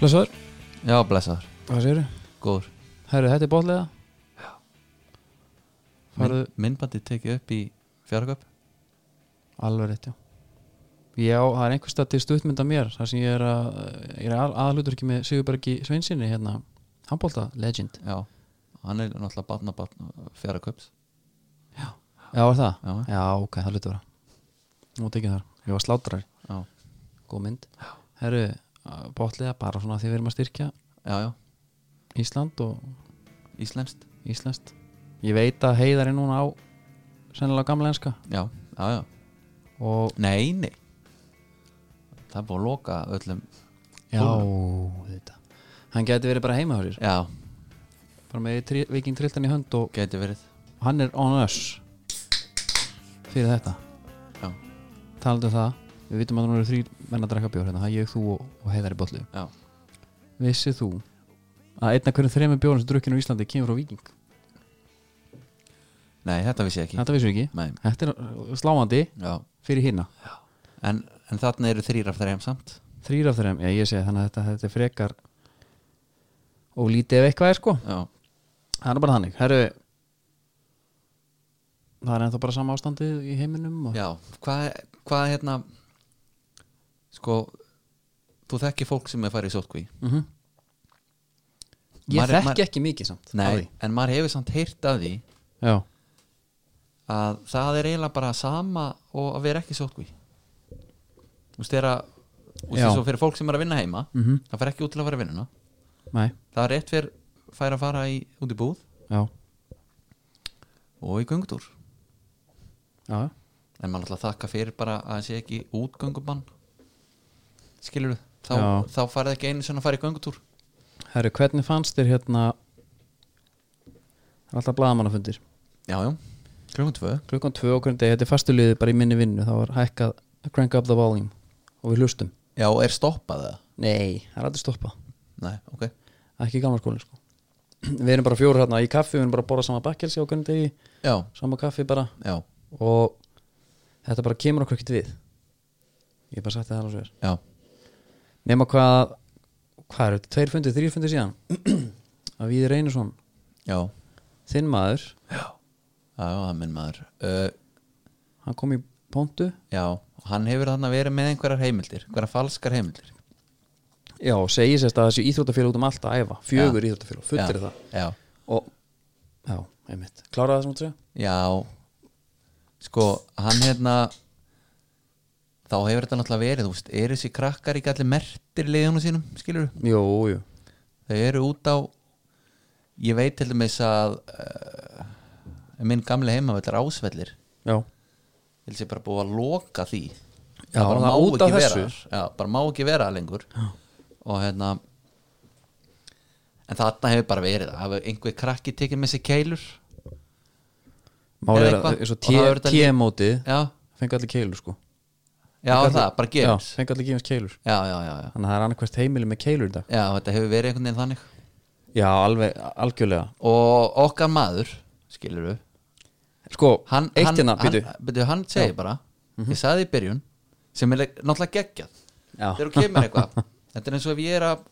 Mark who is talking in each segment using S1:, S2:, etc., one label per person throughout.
S1: Blessaður,
S2: Já, blessaður,
S1: hvað séru?
S2: góður
S1: Herru, þetta er bóðlega Farðu-
S2: Minn- Myndbandið tekið upp í fjárköp
S1: Alveg rétt, já Já, það er einhver stað til stuttmynda mér þar sem ég er að ég er aðalutur ekki með Sigurbergi Sveinsinni hérna, handbólta, legend
S2: Já, hann er náttúrulega barna barna fjárköps
S1: Já, var það?
S2: Já.
S1: ok, það hlutur vera Nú tekið þar, ég var slátrar
S2: Já,
S1: Góð mynd Herru, bóðlega, bara svona af því við erum að styrkja
S2: já, já,
S1: Ísland og
S2: íslenskt
S1: Íslandst Ég veit að heiðar er núna á sennilega gamla enska
S2: Já, já, já,
S1: og
S2: nei, nei Það er búið að loka öllum
S1: Já, þetta Hann gæti verið bara heima hjá sér
S2: Já,
S1: bara með tri, viking trilltan í hönd og
S2: geti verið
S1: hann er on us fyrir þetta
S2: Já,
S1: talandi um það, við vitum að nú eru þrý menn að drakka bjór hérna, það er ég, þú og, og heiðar í bollu
S2: já,
S1: vissið þú að einna hvernig þremur bjórnum sem drukkinu í Íslandi kemur frá viking,
S2: nei, þetta vissi ég ekki
S1: þetta vissum við ekki
S2: Nei,
S1: þetta er uh, sláandi
S2: já
S1: fyrir hina
S2: En, en þarna eru þrýr af þeirra samt
S1: þrýr af þrem, já ég segi þannig að þetta, þetta er frekar og lítið ef eitthvað er sko
S2: Já,
S1: það er nú bara þannig, herru það er ennþá bara sama ástandið í heiminum og...
S2: já, hvað, hvað hérna Sko, þú þekki fólk sem er farið í sótkví
S1: mm ég
S2: Maður-
S1: þekki
S2: maður-
S1: ekki mikið samt af
S2: Nei,
S1: því.
S2: en maður hefur samt heyrt að því
S1: já,
S2: að það er eiginlega bara sama og að vera ekki sótkví Þú veist þeirra Þú
S1: Já.
S2: veist svo fyrir fólk sem er að vinna heima
S1: Mhm.
S2: það fer ekki út til að fara að vinna
S1: nei,
S2: það er rétt fyrir fær að fara í, út í búð
S1: já
S2: og í göngutúr
S1: já, já.
S2: en maður alltaf þakka fyrir bara að það sé ekki útgöngubann skilur við þá,
S1: Já.
S2: þá farið ekki einu sem að fara í göngutúr
S1: herru, hvernig fannst þér hérna það er alltaf blaðamannafundir
S2: já, já, klukkan tvö
S1: klukkan tvö okkur en degi, þetta er fastuliðið bara í minni vinnu þá var hækkað að crank up the volume og við hlustum
S2: já, er stoppað það?
S1: nei, það er aldrei stoppað
S2: nei, ok,
S1: Það er ekki í gamla skólinn sko við erum bara fjóru hérna í kaffi, við erum bara að borða sama bakkelsi okkur en degi,
S2: já,
S1: sama kaffi bara
S2: já,
S1: og þetta bara kemur okkur ekkert við ég hef bara sagt það alveg svo er
S2: já
S1: nema hvað hvað eru, tveir fundir, þrýr fundir síðan að við Reynarsson
S2: já,
S1: þinn maður,
S2: já, já, það er minn maður uh,
S1: hann kom í pontu
S2: já, hann hefur þarna verið með einhverjar heimildir einhverjar falskar heimildir
S1: já, og segi sérst að þessi íþróttafélag út um allt að æfa, fjögur íþróttafélag, fullir
S2: já,
S1: það
S2: já,
S1: og, já, einmitt kláraði það sem þú segja?
S2: já sko, hann hérna þá hefur þetta náttúrulega verið þú veist, eru þessi krakkar ekki allir mertir leiðunum sínum, skilur
S1: Jú, jú,
S2: þau eru út á ég veit til dæmis að uh, minn gamli heimavellar ásvellir
S1: já
S2: til þessi bara búið að loka því
S1: Já,
S2: bara
S1: það
S2: má
S1: út af
S2: ekki vera
S1: þessu.
S2: þar. já, bara má ekki vera þar lengur já. og hérna en þarna hefur bara verið það hefur einhver krakki tekið með sér keilur
S1: Málið
S2: Eða
S1: er
S2: eitthvað.
S1: að eins og
S2: Og það verður þetta
S1: T-mótið
S2: já,
S1: fengi allir keilur sko
S2: já
S1: Fengu
S2: það,
S1: allir-
S2: bara
S1: Já,
S2: gefur
S1: fengi allir gefins keilur
S2: já, já, já, já
S1: Þannig að það er annarkvært heimili með keilur í dag
S2: Já, þetta hefur verið einhvern veginn þannig
S1: Já, alveg, algjörlega
S2: Og okkar maður, skilur við
S1: Sko,
S2: hann,
S1: eitt hérna, Mhm.
S2: hann,
S1: býtu
S2: hann, byrju, hann segir bara Ég sagði í byrjun Sem er náttúrulega geggjað Þegar þú kemur eitthvað Þetta er eins og ef ég er að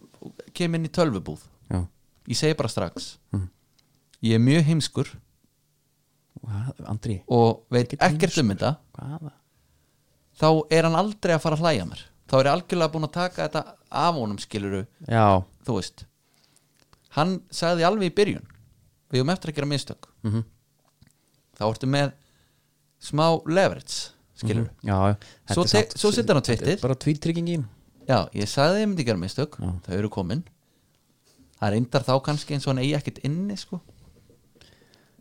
S2: kemur inn í tölvubúð
S1: Já,
S2: Ég segi bara strax Ég er mjög heimskur
S1: Hvað, Andri,
S2: Og veit ekkert um þetta
S1: hvaða?
S2: Þá er hann aldrei að fara að hlæja mér Þá er ég algjörlega búin að taka þetta af honum skilur við
S1: Já,
S2: þú veist hann sagði alveg í byrjun við höfum eftir að gera mistök
S1: Mhm.
S2: þá ertu með smá leverage skilur mm
S1: já, já. Þetta
S2: Svo
S1: er
S2: te-
S1: samt-
S2: svo situr hann á
S1: þetta er
S2: Twitter.
S1: Bara tvíttryggingi
S2: já, ég sagði ég myndi gera mistök
S1: Já.
S2: þau eru komin það reyndar þá kannski eins og hann eigi ekkit inni sko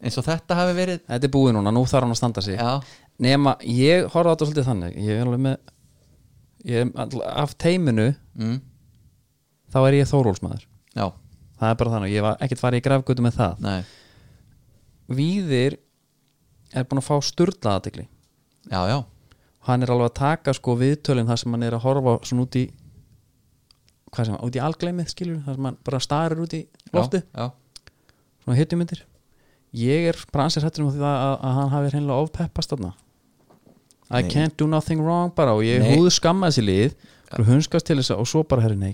S2: eins og þetta hafi verið
S1: Þetta er búið núna, nú þarf hann að standa sig
S2: já,
S1: Nema, ég horfði á þetta svolítið þannig Ég er alveg með ég er, all- Af teiminu,
S2: mm,
S1: þá er ég þórólsmaður
S2: já,
S1: Það er bara þannig, ég var ekkert farið í grafgötu með það
S2: nei
S1: Víðir er búin að fá sturla aðtekli
S2: já, já,
S1: Hann er alveg að taka sko viðtölin þar sem hann er að horfa svona út í hvað sem, út í algleimið skilur þar sem hann bara starir út í loftið
S2: já, já,
S1: svona hitjumyndir ég er bara ansið hættur um því að, að, að hann hafi hreinlega ofpeppast þarna I
S2: Nei.
S1: can't do nothing wrong bara og ég
S2: Nei.
S1: húðu skammaði sér lið og hunskast til þess að og svo bara herri nei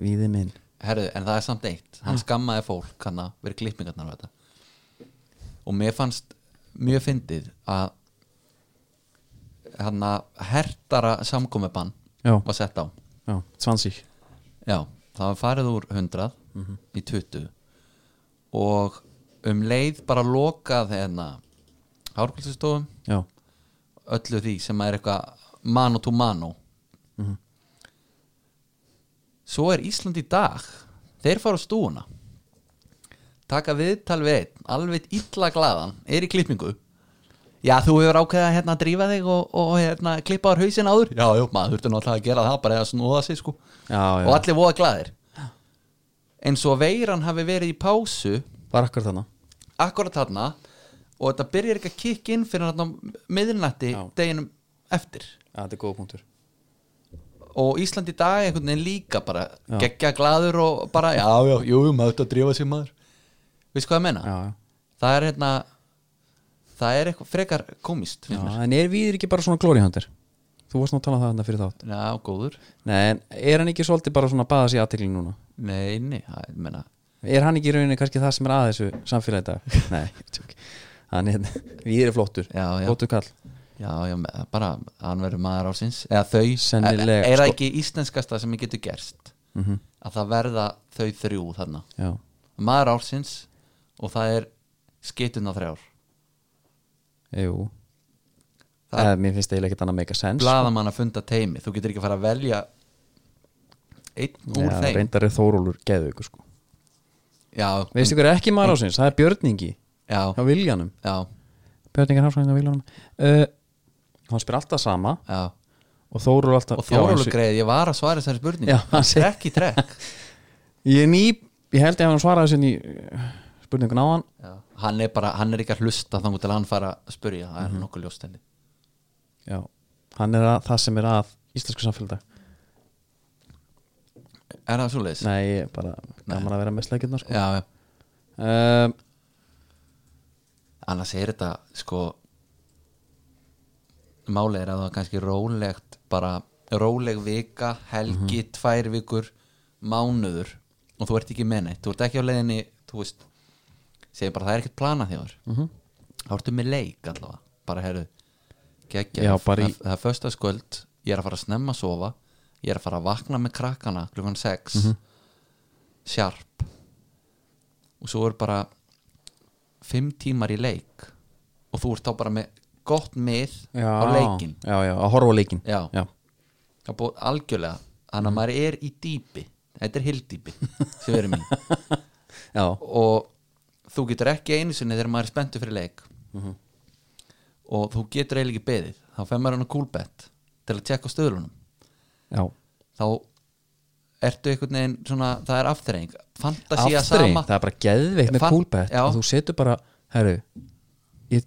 S1: Víði minn
S2: Herðu, en það er samt eitt Hann skammaði fólk hann að vera klippingarnar á þetta Og mér fannst mjög fyndið að hann að hertara samkomiðbann
S1: Já,
S2: var sett á
S1: já, svansík
S2: Já, það var farið úr 100
S1: Mhm.
S2: í 20 og um leið bara lokað hérna hárkvöldstofum
S1: Já,
S2: öllu því sem er eitthvað mano to mano
S1: Mhm.
S2: Svo er Ísland í dag þeir fara á stúuna taka viðtal við einn alveg illa glaðan, er í klippingu Já, þú hefur ákveðið að hérna drífa þig og, og hérna klippa á hausin áður Já, jú, maður þurfti náttúrulega að gera það bara eða snúða sig sko
S1: já, já
S2: og allir voða glæðir eins og veiran hafi verið í pásu
S1: Var akkur þarna
S2: akkurat þarna og þetta byrjar ekki að kikka inn fyrir hann á miðurnætti
S1: Já.
S2: deginum eftir
S1: Já, þetta er góða punktur
S2: og Ísland í dag einhvern veginn líka bara
S1: Já.
S2: geggja glæður og bara já, já, jú, jú, maður þetta að drífa sér maður veist hvað ég menna?
S1: Já, já
S2: það er hérna það er eitthvað frekar komist
S1: Já, en er Víðir ekki bara svona glórihandir? Þú varst nú að tala um það þarna fyrir þátt
S2: já, góður
S1: Nei, en er hann ekki svolítið bara svona að baða sér aðtekli núna?
S2: nei, nei, það er, menna
S1: Er hann ekki í rauninni kannski það sem er að þessu samfélagi í dag? Nei, ég tjók Hann er, Víðir er flottur
S2: Já, já.
S1: Flottur kall
S2: já, já, me- bara, hann verður maður ársins eða þau,
S1: Sennilega,
S2: er það
S1: sko.
S2: ekki íslenskasta sem ég getur gerst
S1: mm
S2: að það verða þau þrjú þarna
S1: Já,
S2: maður ársins og það er skituna þrjár
S1: jú
S2: Það-
S1: Það, mér finnst það eiginlega ekkert annað meika sens
S2: blaðamann að funda teimi, þú getur ekki að fara að velja einn úr
S1: Já,
S2: þeim
S1: reyndar er Þórólur geðveikur sko
S2: já,
S1: Veistu hver er ekki maður ásins? Það er Björningi
S2: já,
S1: hjá Viljanum
S2: já,
S1: Björningar hafsvæðin hjá Viljanum uh, Hann spyr alltaf sama
S2: já
S1: og Þórólur alltaf
S2: og
S1: Já,
S2: Þórólu
S1: eins
S2: greið, ég var að svara þessari spurning
S1: Já, hann segir-
S2: trekk í trekk
S1: og- Ég er ný, ég held ég að hann svaraði þessu ný eh, spurningun á hann
S2: já. hann er bara, hann er ekki að hlusta þangur til hann fara að spurja, það
S1: Mhm.
S2: er nokkuð ljóst henni
S1: Já, hann er að, það sem er að íslensku samfélagdag
S2: er það svoleiðis?
S1: Nei, ég er bara gaman að vera með slækjurnar sko
S2: já, já
S1: um,
S2: Ehm, annars er þetta sko málið er að það er kannski rólegt bara róleg vika helgi,
S1: Mhm.
S2: tvær vikur mánuður og þú ert ekki með neitt þú ert ekki á leiðinni, þú veist segir bara það er ekkert planað þjóður mm
S1: Mhm.
S2: -hmm. þá ertu með leik allavega bara herðu, geggja
S1: Já, bara í-
S2: það er föstaskvöld, ég er að fara að snemma að sofa ég er að fara að vakna með krakkana klukkan 6
S1: Mhm.
S2: sjarp og svo er bara fimm tímar í leik og þú ert þá bara með gott mið
S1: já,
S2: á leikin
S1: Já, já, að horfa á leikin
S2: Já.
S1: já, Mhm.
S2: það er búið algjörlega þannig að maður er í dýpi þetta er hildýpi sem verið mín
S1: já,
S2: og þú getur ekki einu sinni þegar maður er spenntu fyrir leik
S1: Mhm.
S2: og þú getur eiginlega ekki beðið þá fer maður hann á kúlbett til að tjekka á stöðlunum
S1: já.
S2: þá ertu einhvern veginn svona, það er afturreying fantasía
S1: Afþreying,
S2: sama
S1: það er bara geðveikt með
S2: Fan-
S1: kúlbett
S2: Já.
S1: og þú setur bara, herru ég,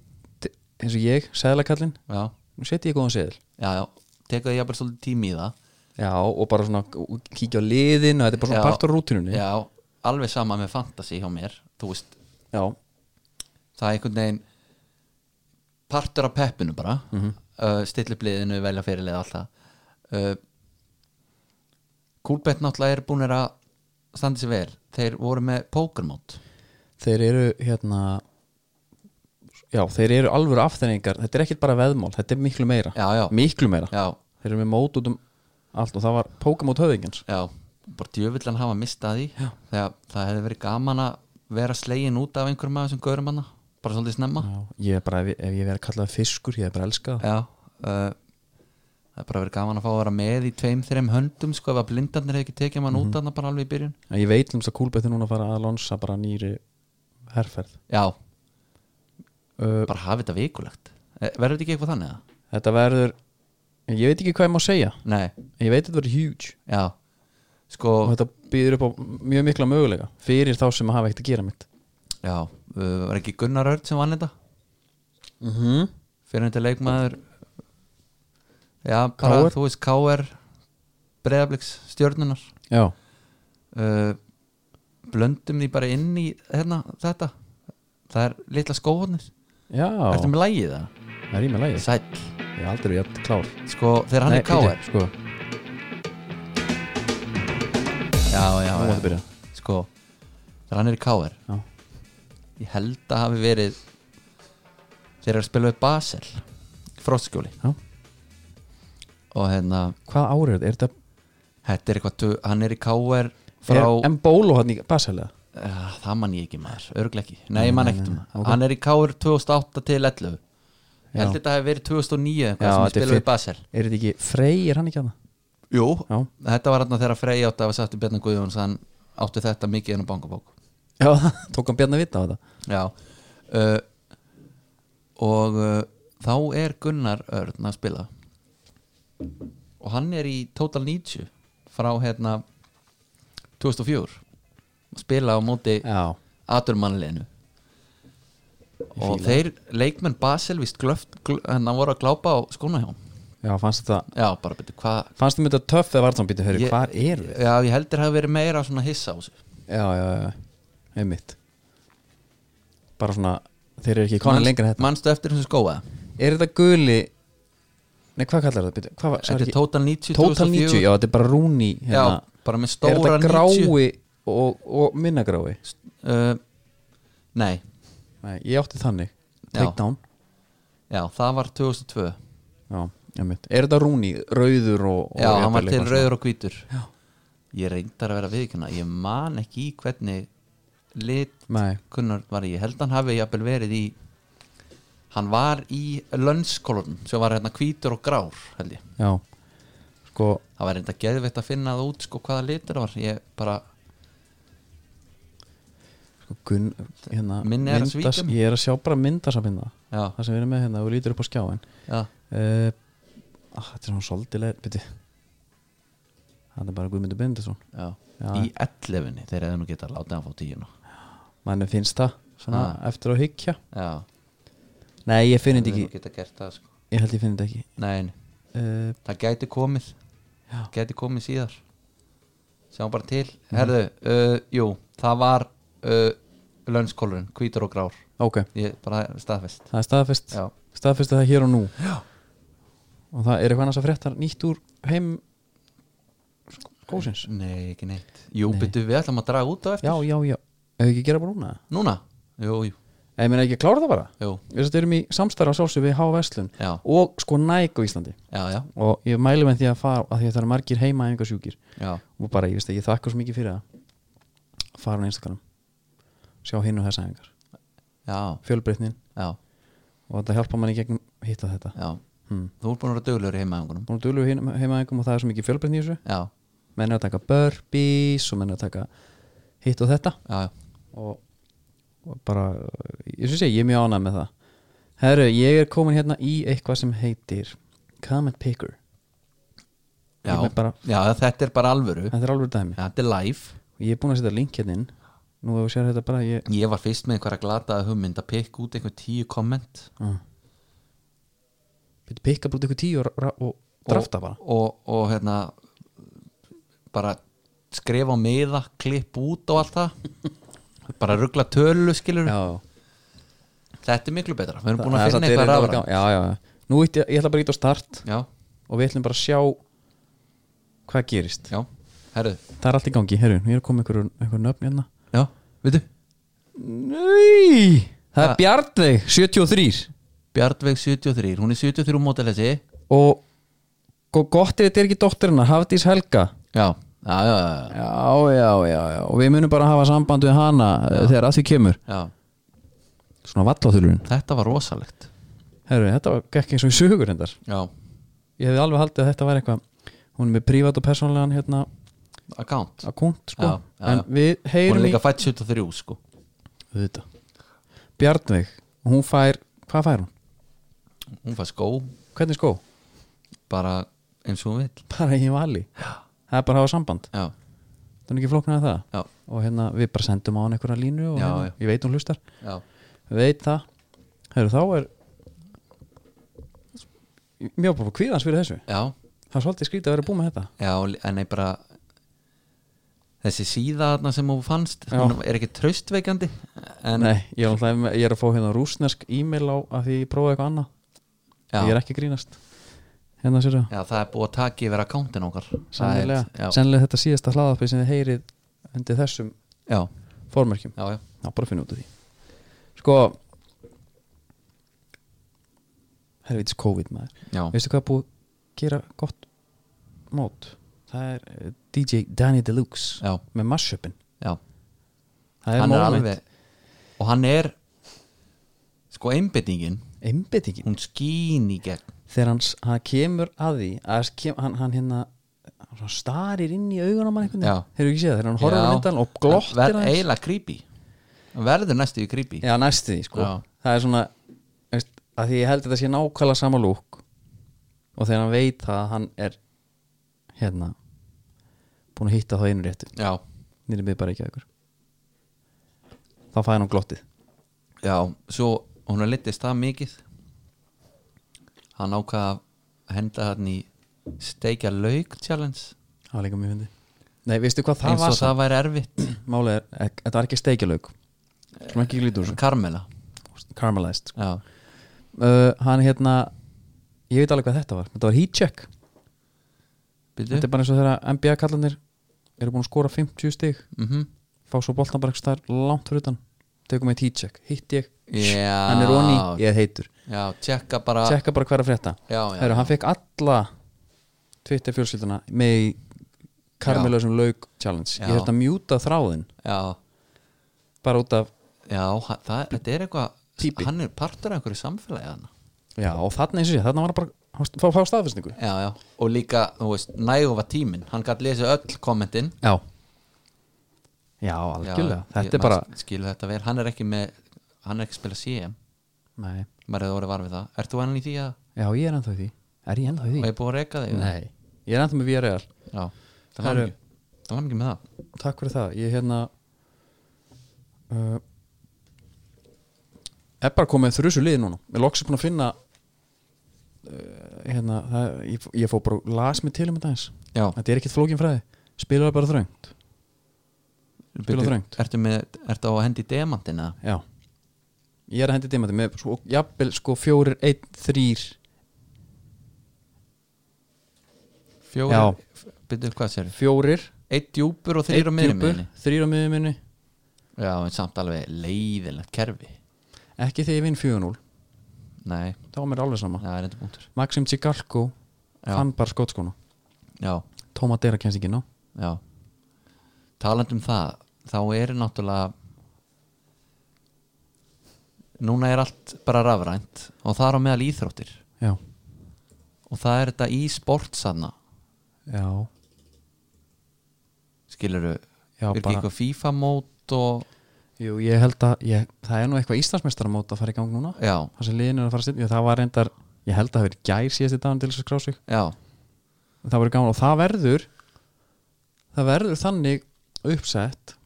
S1: eins og ég, seðlakallinn
S2: já,
S1: nú seti ég góðan seðl
S2: já, já, tekaði jafnvel svolítið tími í það
S1: já, og bara svona og kíkja á liðin og þetta er bara svona
S2: Já.
S1: partur á rútinunni
S2: já, alveg sama með fantasy hjá mér þú veist,
S1: já,
S2: það er einhvern veginn partur af peppinu bara mm -hmm. uh, stilla upp liðinu, velja fyrirlið alltaf uh, Coolbet náttúrulega er búinir að standa sér vel, þeir voru með Pokermót
S1: þeir eru hérna já, þeir eru alvöru afþenningar þetta er ekkert bara veðmál, þetta er miklu meira
S2: já, já,
S1: miklu meira,
S2: já,
S1: þeir eru með mót út um allt og það var Pokémon höfðingjans
S2: já bara djöfullan hafa mistað því
S1: Já.
S2: þegar það hefði verið gaman að vera slegin út af einhverjum af þessum gaurum hana bara svolítið snemma
S1: já, ég er bara, ef, ef ég verið að kalla það fiskur ég er bara að elska það
S2: Já uh, Það er bara verið gaman að fá að vera með í tveim, þreim höndum sko ef að blindarnir hefði ekki tekið mann út þarna bara alveg í byrjun
S1: En ég veit um þess að kúlbætti núna að fara að lonsa bara nýri herrferð
S2: Já,
S1: uh,
S2: bara hafi þetta vikulegt Eh, Verður þetta ekki eitthvað þannig eða?
S1: þetta verður ég veit ekki hvað ég má segja
S2: Nei,
S1: en ég veit að þetta verður huge
S2: já Sko,
S1: og þetta býður upp á mjög mikla mögulega fyrir þá sem hafa ekkert að gera mitt
S2: já, uh, var ekki Gunnar Örd sem vann þetta
S1: mm
S2: Mhm.
S1: -hmm.
S2: Fyrir þetta leikmaður Já, bara
S1: KR?
S2: þú veist KR Breiðabliks stjörnunar
S1: já,
S2: uh, Blöndum því bara inn í hérna, þetta Það er litla skóhornir
S1: já,
S2: Ertu með lægið það?
S1: það er í með lægið
S2: Sæll
S1: ég er aldrei jætt klár
S2: Sko, þegar hann
S1: Nei,
S2: er káar
S1: bíddu, sko.
S2: já, já,
S1: Nú máttu
S2: já.
S1: byrja.
S2: sko þegar hann er í KR
S1: Já.
S2: ég held að hafi verið þeir eru að spila við Basel í fróstskjóli
S1: Já.
S2: og hérna
S1: Hvað árið er þetta? Er þetta
S2: þetta er eitthvað, tu- hann er í KR frá,
S1: er, En bólu hann í Baselega?
S2: uh, það man ég ekki maður, örglega ekki nei, ég man
S1: nei,
S2: ekkert um
S1: nei,
S2: það,
S1: ok.
S2: hann er í KR 2008 til 11 ég
S1: Já.
S2: held þetta hafi verið 2009
S1: Já,
S2: eitthvað
S1: þetta er
S2: sem ég spila
S1: fyrr-
S2: við Basel
S1: Er þetta ekki Frey, er hann ekki að það?
S2: jú,
S1: Já,
S2: þetta var hann þegar Frey átti að hafa sagt í Bjarnar Guðjóns hann átti þetta mikið enn á bankabók
S1: já tók hann bjarni að vita á þetta
S2: Já uh, Og uh, þá er Gunnar Örn að spila Og hann er í Total 90 Frá hérna 2004 Að Spila á móti ja.
S1: Já,
S2: Aturmannleginu Og
S1: fíla
S2: þeir leikmenn Basel Vist glöft, gl, en hann voru að glápa á skóna hjá honum.
S1: já fannst þetta
S2: Já, bara betur hvað
S1: Fannst þetta töff eða var það býttu höru,
S2: Ég-
S1: hvar eru við?
S2: Já, ég heldur hafi verið meira svona hissa á þessu
S1: Já, já, já, einmitt Bara svona, þeir eru ekki komin
S2: Manst-
S1: lengra hérna. en þetta
S2: Manstu eftir þessu skóa
S1: Er þetta guli Nei, hvað kallar þetta? Bíddu, Hvað var,
S2: Þetta er Total 90
S1: Total 90, já, þetta er bara rúni
S2: já,
S1: hérna.
S2: bara með
S1: Er
S2: stóra
S1: þetta
S2: 90
S1: grái og, og minna grái?
S2: uh, Nei,
S1: Nei, ég átti þannig
S2: Já.
S1: Takedown
S2: já, það var 2002
S1: Já, einmitt Er þetta rúni, rauður og, og
S2: Já, hann
S1: jafnvel
S2: var til
S1: eitthvað
S2: rauður og hvítur
S1: Já.
S2: Ég reyndar að vera viðkynna Ég man ekki í hvernig lit
S1: svona? Nei,
S2: kunnar var ég Ég held hann hafi jafnvel verið í Hann var í lönnskolunum sem var hérna hvítur og grár held ég
S1: já Sko,
S2: Það var reynda geðveitt að finna það út sko hvaða litur það var Ég bara,
S1: sko Gunn, hérna
S2: Minni er að
S1: myndas-
S2: svíkja mig.
S1: Ég er að sjá bara myndasafnina
S2: já,
S1: Það sem við erum með hérna, þú lítur upp á skjáin
S2: já
S1: uh, ah, Þetta er svona soldileg Byrju Það er bara Guðmundur Bindesson
S2: Já.
S1: Já.
S2: Í 11 þeir hefðu nú getað að láta hann fá tíuna
S1: Mæni finnst það svona, eftir að hyggja
S2: Já,
S1: Ah. Nei, ég finn
S2: þeir
S1: þetta
S2: hefðu nú
S1: ekki
S2: getað gert það sko
S1: Ég held ég finn þetta ekki
S2: Nei, nei.
S1: uh,
S2: það gæti komið
S1: Já. Mhm.
S2: gæti komið síðar sjáum bara til herðu, uh, jú, það var uh, lönskólurinn, hvítur og grár
S1: Ok,
S2: ég bara staðfest
S1: það er staðfest
S2: já,
S1: Staðfest það hér og nú Já. Og það er eitthvað annars að frétta nýtt úr heim Góðsins
S2: nei, ekki neitt jú,
S1: Nei.
S2: byrju, við ætlum að draga út á eftir
S1: Já, já, já Ef við ekki gera bara núna
S2: núna, jú, jú,
S1: Eða meina ekki að klára það bara
S2: jú
S1: Við þetta erum í samstarf á sálsum við Há Vestlun
S2: já,
S1: Og sko næg á Íslandi
S2: já, já,
S1: Og ég mælu með því að fara að Því að það eru margir heima sjúkir
S2: já,
S1: og bara ég veist að ég þakka svo mikið fyrir það fara á Instagram sjá hinn og þessa æfingar
S2: já,
S1: fjölbreytnin
S2: já,
S1: og þetta hjálpa manni í gegnum hitta þetta
S2: já.
S1: hmm.
S2: þú ert búin að vera döglegur í heimaðungunum
S1: búin að dulur heimaæfingum og það er svo mikið fjölbreytni í þessu
S2: já,
S1: menn er að taka burpees og menn er að taka hitt og þetta
S2: já, já,
S1: og, og bara ég syns ég, ég er mjög ánægð með það herru, ég er komin hérna í eitthvað sem heitir comment picker
S2: já,
S1: Ég er bara,
S2: já þetta er bara alvöru
S1: þetta er alveg dæmi
S2: þetta er live
S1: og ég er búin að setja link hérna inn nú ef við sér þetta bara ég
S2: ég var fyrst með einhverja glataða hugmynd að pikka út einhver tíu komment
S1: uh. pikka bara út ykkur tíu og, ra- og drafta bara
S2: og, og hérna bara skrifa á miða klipp út og allt það bara ruggla tölu skilur
S1: já,
S2: þetta er miklu betra, við erum búin
S1: Það er
S2: að
S1: satt
S2: finna eitthvað
S1: verið-
S2: rafra
S1: já, já, já. nú ít, ég ætla bara að íta á start
S2: já,
S1: og við ætlum bara að sjá hvað gerist
S2: já, herru
S1: það er allt í gangi, herru, ég er að koma ykkur, ykkur nöfn hérna
S2: já, veitu,
S1: Nei, það er
S2: Ha.
S1: Bjarnveig 73
S2: Bjartveig 73 hún er 73 mótilessi
S1: og go- gott er þetta er ekki dóttirina Hafdís Helga
S2: já, já, já,
S1: já,
S2: já,
S1: já, já, já, og við munum bara hafa samband við hana já. þegar að því kemur
S2: já
S1: svona valláþulurinn
S2: þetta var rosalegt
S1: herru, þetta var gekk eins og í sögur hendar
S2: já,
S1: ég hefði alveg haldið að þetta væri eitthvað hún er með prívat og persónlegan hérna
S2: account
S1: akkúnt sko
S2: Já, já,
S1: en
S2: já.
S1: við
S2: hún
S1: heyrum
S2: er
S1: í
S2: líka fætt 73 sko
S1: Auðvitað. Bjarnveig, hún fær hvað fær hún?
S2: hún fær skó,
S1: Hvernig skó?
S2: bara eins og hún vill
S1: Bara í vali það er bara að hafa samband
S2: já,
S1: það er ekki flóknar það
S2: já,
S1: og hérna við bara sendum á hann einhverja línu og
S2: Já,
S1: hérna,
S2: já.
S1: ég veit hún hlustar
S2: já,
S1: veit það Heru, þá er mjög bara kvíðans fyrir þessu
S2: já
S1: það er svolítið skrítið að vera búið með þetta
S2: Já, en ég bara þessi síða þarna sem hún fannst
S1: Já.
S2: hún er ekki tröstveikandi en
S1: Nei, ég, er alltaf, ég er að fá hérna rúsnesk e-mail á að því ég prófaði eitthvað annað
S2: já,
S1: ég er ekki að grínast hérna sér það
S2: Já, það er búið að taka yfir akkántin okkar Það er-
S1: sennilega,
S2: já,
S1: sennilega þetta síðasta hlaðarpið sem þið heyrið undir þessum
S2: já,
S1: formörkjum
S2: já, já,
S1: Já, bara finna út af því Sko Helvitis COVID maður
S2: já.
S1: Veistu hvað er búið að gera gott mót? Það er eh, DJ Danny Deluxe
S2: já,
S1: með massupin
S2: já.
S1: Það er
S2: Hann er
S1: moment
S2: alveg Og hann er Sko einbyttingin,
S1: Einbyttingin
S2: hún skín í gegn
S1: Þegar hans, hann kemur að því að kem, hann, hann hérna hann starir inn í augun á mann einhvern
S2: Já.
S1: veginn Hefur ekki séð það? Þegar hann horfður
S2: Já.
S1: myndan og glottir
S2: Ver-
S1: aðeins.
S2: Eiginlega creepy Hann Verður næstu í creepy
S1: Já, næstu því sko
S2: Já.
S1: Það er svona veist, að því ég held að það sé nákvæmlega sama lúk og þegar hann veit það að hann er hérna búin að hitta þá einu réttu
S2: Já,
S1: nýri miður bara ekki að ykkur þá fæði hann glottið
S2: já, svo hún er litist það mikið Hann ákvað að henda hann í steikja lauk challenge
S1: það var líka mjög fyndi Nei, veistu hvað það
S2: eins
S1: var
S2: og
S1: það...
S2: það væri erfitt
S1: málið er, ek- þetta var ekki steikjalauk sem ekki glítur þessu
S2: Carmela
S1: caramelized sko.
S2: Já,
S1: uh, hann hérna ég veit alveg hvað þetta var, þetta var heat check
S2: byrju
S1: þetta er bara eins og þegar NBA kallanir eru búin að skora 50 stig
S2: mm
S1: fá svo boltan bara eitthvað langt fyrir utan tegum eitt heat check, hitt ég
S2: Já.
S1: hann er Roni, ég er heitur
S2: Já, tjekka bara
S1: tjekka bara hver að frétta
S2: Já, já,
S1: Heru, hann fekk alla Twitter fjölskylduna með í karmelöðsum lauk challenge
S2: Já.
S1: ég þurfti að mjúta þráðin
S2: já,
S1: bara út af,
S2: já hann, það, þetta er eitthvað
S1: Típi.
S2: Hann er partur af einhverju samfélagi hann
S1: já og þarna eins og sé þarna var hann bara að fá, fá staðfæsningu
S2: Já, já, og líka, þú veist, nægum var tíminn Hann gætt lesið öll kommentin
S1: já já,
S2: Já,
S1: algjörlega,
S2: ég-
S1: þetta er
S2: maður
S1: bara
S2: Skilu þetta vel, hann er ekki með Hann er ekki að spila CM,
S1: nei,
S2: maður hefði orðið var við það Ert þú enn í því að,
S1: já ég er ennþá í því er ég ennþá í
S2: og
S1: því?
S2: ég búið að reka þig
S1: nei, ég er ennþá með VRL
S2: Já, það var
S1: Herru.
S2: ekki Það var ekki með það
S1: takk fyrir það ég hérna uh, er bara komið þrjusu lið núna ég loksum búin að finna uh, hérna það, ég, ég fó bara og las mig til um þetta eins
S2: Já,
S1: þetta er ekkert flókin fræði spilaðu bara þröngt
S2: byrju,
S1: þröngt.
S2: Ertu, með, ertu á að hendi demantina?
S1: já ég er að hendi dimandi með sko, jafnvel sko fjórir, einn, þrýr
S2: Fjóri,
S1: Já.
S2: byrju, hvað sér
S1: fjórir,
S2: Eitt djúpur og þrýr á
S1: einn
S2: miðri
S1: djúpur,
S2: minni
S1: þrír á miðjum minni
S2: Já, en samt alveg leiðilegt kerfi
S1: ekki þegar ég vinn 4-0
S2: Nei,
S1: þá er mér alveg sama
S2: það er enda punktur
S1: Maxim Tsigalko
S2: Já.
S1: fann bara skotskona
S2: Já,
S1: Tómatera kemst ekki ná
S2: já Talandi um það, þá er náttúrulega Núna er allt bara rafrænt og það er á meðal íþróttir
S1: já,
S2: og það er þetta í sportsanna
S1: já
S2: skilurðu,
S1: Já,
S2: er ekki
S1: bara-
S2: eitthvað FIFA mót og,
S1: Jú, ég held að ég, það er nú eitthvað Íslandsmeistaramót að fara í gang núna
S2: já,
S1: það sem liðin er að fara að setja, það var reyndar ég held að það verið gær síðast í dagann til þess að skrá sig
S2: já
S1: það verið gaman og það verður það verður þannig uppsett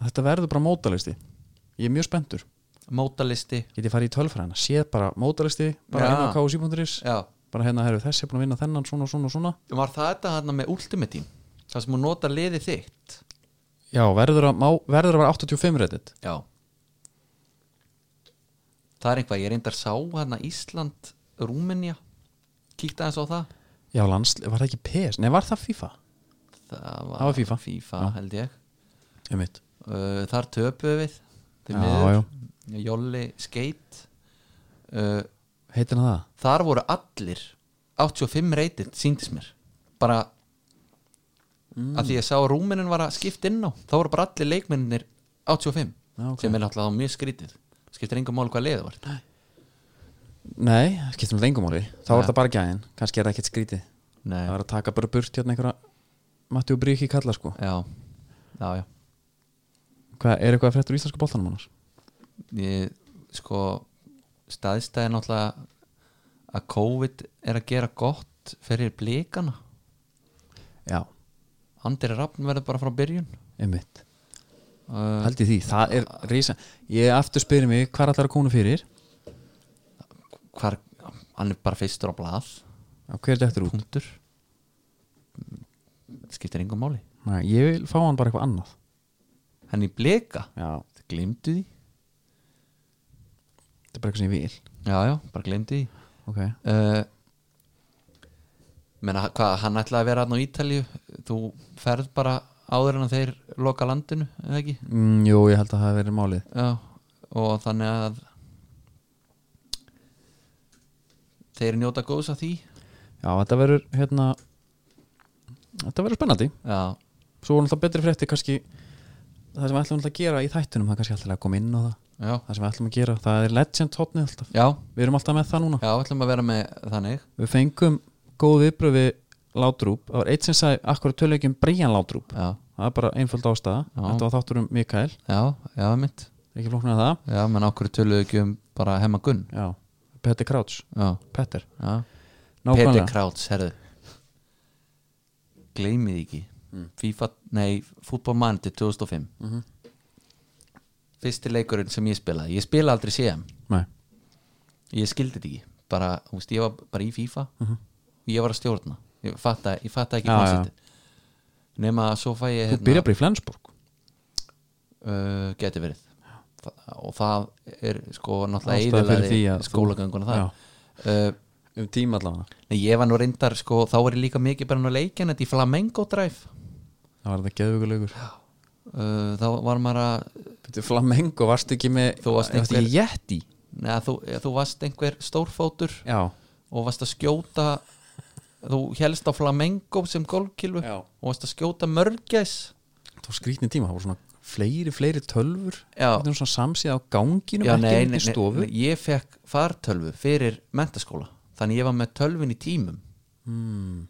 S1: að þetta verður bara mótalisti ég er mjög spenntur,
S2: mótalisti,
S1: get ég farið í tölfræðina séð bara mótalisti, bara
S2: Já.
S1: inn á kási.is
S2: já
S1: bara hérna, herru, þessi er búin að vinna þennan svona, svona, svona
S2: Var það þetta hann með Ultimate Team það sem hún notar liði þitt
S1: já, verður að, má, verður að vera 85 reddit
S2: Já Það er einhvað, ég reyndar sá hana Ísland, Rúmenja Kíkta aðeins á það
S1: já, landsli, var það ekki PS, nei, var það FIFA
S2: Það var,
S1: Það var FIFA. Já.
S2: held ég
S1: einmitt,
S2: uh, Þar töpuðu við því
S1: Já,
S2: miður. Jolli Skate uh,
S1: heitir hann það?
S2: Þar voru allir 85 reytið, síndist mér Bara
S1: Mm.
S2: að því ég sá að Rúmenin var að skipta inn á þá voru bara allir leikmennir 85
S1: Já, ok.
S2: sem er náttúrulega þá mjög skrítið skiptir engum mál hvað leiðið var Nei.
S1: Nei, það skiptir um lengumáli Þá er það bara gæðin, kannski er það ekkert skrítið
S2: Nei.
S1: Það er að taka bara burt hérna einhverja Matti og Bríki kalla sko
S2: Já, já, já
S1: Hva, Er eitthvað fréttur í íslensku boltanum annars?
S2: Ég, sko, staðstæði náttúrulega að COVID er að gera gott fyrir blíkana
S1: Já,
S2: Andri Rafn verður bara frá byrjun
S1: einmitt
S2: uh,
S1: Haldi því, það er reysa Ég aftur spyrir mig, hvað allar að konu fyrir?
S2: hvar, Hann er bara fyrstur á blað
S1: Á Hver er þetta út?
S2: Punktur Skiptir engum máli
S1: Nei, ég vil fá hann bara eitthvað annað
S2: Hann í blika,
S1: Já,
S2: glemdu því
S1: þetta er bara eitthvað sem ég vil
S2: Já, já, bara glemdu því
S1: Ok,
S2: uh, Eh, menna hvað, hann ætlaði að vera hann á Ítalíu þú ferð bara áður en að þeir loka landinu, eða ekki
S1: mm, Jú, ég held að það hafi verið málið
S2: Já, og þannig að þeir njóta góðs að því
S1: Já, þetta verður hérna Þetta verður spennandi
S2: Já,
S1: Svo voru náttúrulega betri frétti kannski Það sem við ætlum náttúrulega að gera í þættunum Það er kannski alltaf að koma inn á það
S2: já,
S1: Það sem við ætlum að gera, það er legend hotnið alltaf
S2: já
S1: Við erum alltaf með það núna
S2: Já, ætlum að vera með þannig
S1: Við fengum góð viðbröð við Látrúp Það var eitt sem sagði akkur tölugjum um Brian Látrúp
S2: Já,
S1: Það er bara einföld ástæða
S2: Já.
S1: Þetta var þáttur um Mikael,
S2: já, já, mitt
S1: ekki flóknar en það
S2: Já, menn okkur töluðu ekki um bara hemma gunn
S1: Já, Petter Crouch,
S2: Já,
S1: Petter
S2: já Peter
S1: Nákvæmlega,
S2: Krauts, herðu Gleimið því ekki
S1: Hmm.
S2: FIFA, nei, Football Manager 2005
S1: Mhm.
S2: Fyrsti leikurinn sem ég spilaði Ég spila aldrei CM,
S1: nei,
S2: ég skildi þetta ekki bara, þú veist, ég var bara í FIFA
S1: Mhm.
S2: ég var að stjórna, ég fatta, ég fatta ekki
S1: Já,
S2: konceptið nema að svo fæ ég hérna,
S1: þú byrjar bara í Flensborg
S2: uh, geti verið Þa- og það er sko náttúrulega
S1: Ástæða fyrir
S2: eyðilagði
S1: því að þú-
S2: skólagönguna það
S1: Já.
S2: uh,
S1: Um tíma allavega
S2: nei, ég var nú reyndar sko, þá er ég líka mikið bara nú leikin þetta í Flamengo Drive
S1: Það var þetta geðvögulegur
S2: uh, þá var maður að
S1: Þetta Flamengo, varstu ekki með
S2: Þú varst
S1: varstu ekki Yeti
S2: neða, þú, eða þú varst einhver stórfótur
S1: Já,
S2: og varst að skjóta þú helst á Flamengo sem golfkilvu
S1: Já.
S2: og varst að skjóta mörgæs
S1: það var skrýtni tíma, það voru svona fleiri, fleiri tölfur
S2: Já.
S1: Þetta var svona samsíða á ganginum, ekki nei, í stofu
S2: ég fekk fartölvu fyrir mentaskóla þannig ég var með tölvin í tímum
S1: Mm,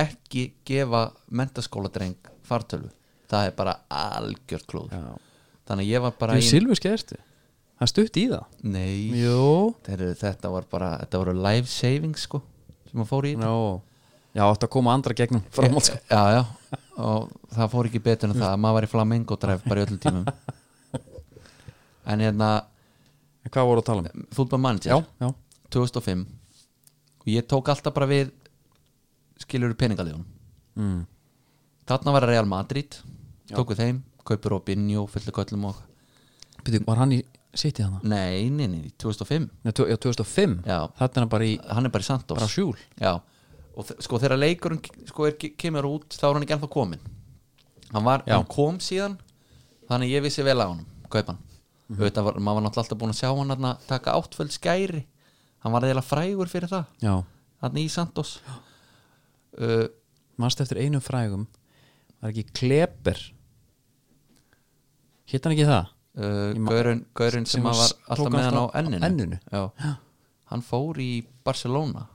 S2: ekki gefa mentaskóladreng fartölvu það er bara algjört klúð
S1: já.
S2: þannig að ég var bara
S1: Ég silfur skerti, það stutt í það
S2: nei,
S1: Jó
S2: Heru, þetta var bara þetta voru life savings sko sem maður fór í
S1: Nó. Já, átti að koma andra gegnum framhalds
S2: já, já, og það fór ekki betur en það maður var í Flamengo dræf bara í öllum tímum en hérna
S1: En Hvað voru að tala um?
S2: fútbol
S1: Já,
S2: manager,
S1: já,
S2: 2005 og ég tók alltaf bara við skilur peningalíðunum
S1: mm.
S2: þarna var Real Madrid tók við þeim, kaupur Robinho fullu köllum og
S1: Býtu, var hann í City hana?
S2: nei, nei, nei, 2005
S1: Nei, tvö- já, 2005
S2: Já.
S1: Þetta er hann bara í
S2: hann er bara í Santos
S1: bara sjúl
S2: Já, og þe- sko þegar leikurinn sko er, kemur út þá er hann ekki ennþá komin hann, var,
S1: Já.
S2: hann kom síðan þannig að ég vissi vel á hann, kaup hann auðvitað var, maður var náttúrulega alltaf búin að sjá hann þarna taka áttföld skæri hann var eiginlega frægur fyrir það
S1: Já,
S2: hann í Santos uh,
S1: manst eftir einum frægum Var ekki Kleber Hitt hann ekki það?
S2: uh,
S1: Ég ma-
S2: gaurinn, gaurinn
S1: sem
S2: sem, sem
S1: var-
S2: var alltaf
S1: tók
S2: með hann á
S1: alltaf á
S2: enninu,
S1: enninu.
S2: Já. hann fór í Barcelona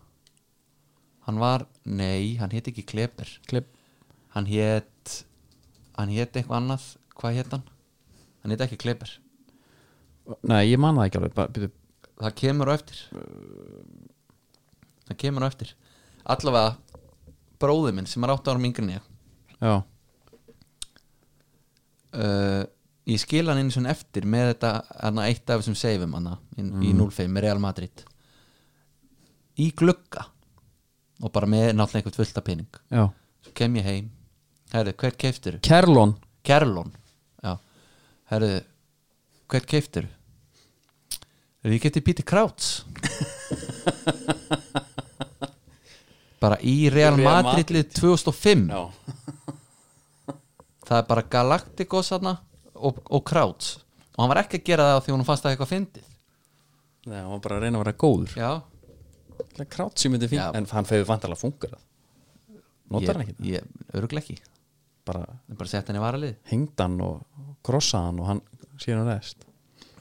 S2: hann var, nei, hann hétt ekki Kleber
S1: Kleb,
S2: hann hétt hann hétt eitthvað annað, hvað hétt hann hann hétt ekki Kleber
S1: Nei, ég man það ekki alveg bara, byrju,
S2: það kemur á eftir það kemur á eftir allavega bróði minn sem er 8 árum yngri en ég
S1: Já,
S2: uh, ég skil hann eins og eftir með þetta hana, eitt af þessum seifum hana, í, í 0-5 með Real Madrid í glugga og bara með náttúrulega einhvern fullta pening
S1: já
S2: svo kem ég heim herðu, hver keiftir
S1: Kerlon
S2: Kerlon já. herðu, hver keiftir er ég getið Píti Krauts bara í Real,
S1: Í Real
S2: Madrid lið 2005
S1: Já.
S2: það er bara Galacticos hana, og, og Krauts og hann var ekki að gera það því hún fannst það eitthvað fyndið
S1: Nei, hann var bara að reyna að vera góður
S2: já,
S1: Krátt sem myndi
S2: Já.
S1: fín En hann fegur vantarlega fungur það Notar hann ekki það?
S2: ég, ég, öruglega ekki
S1: Bara
S2: bara sett hann í varalið
S1: hengd hann og krossa hann og hann síðan rest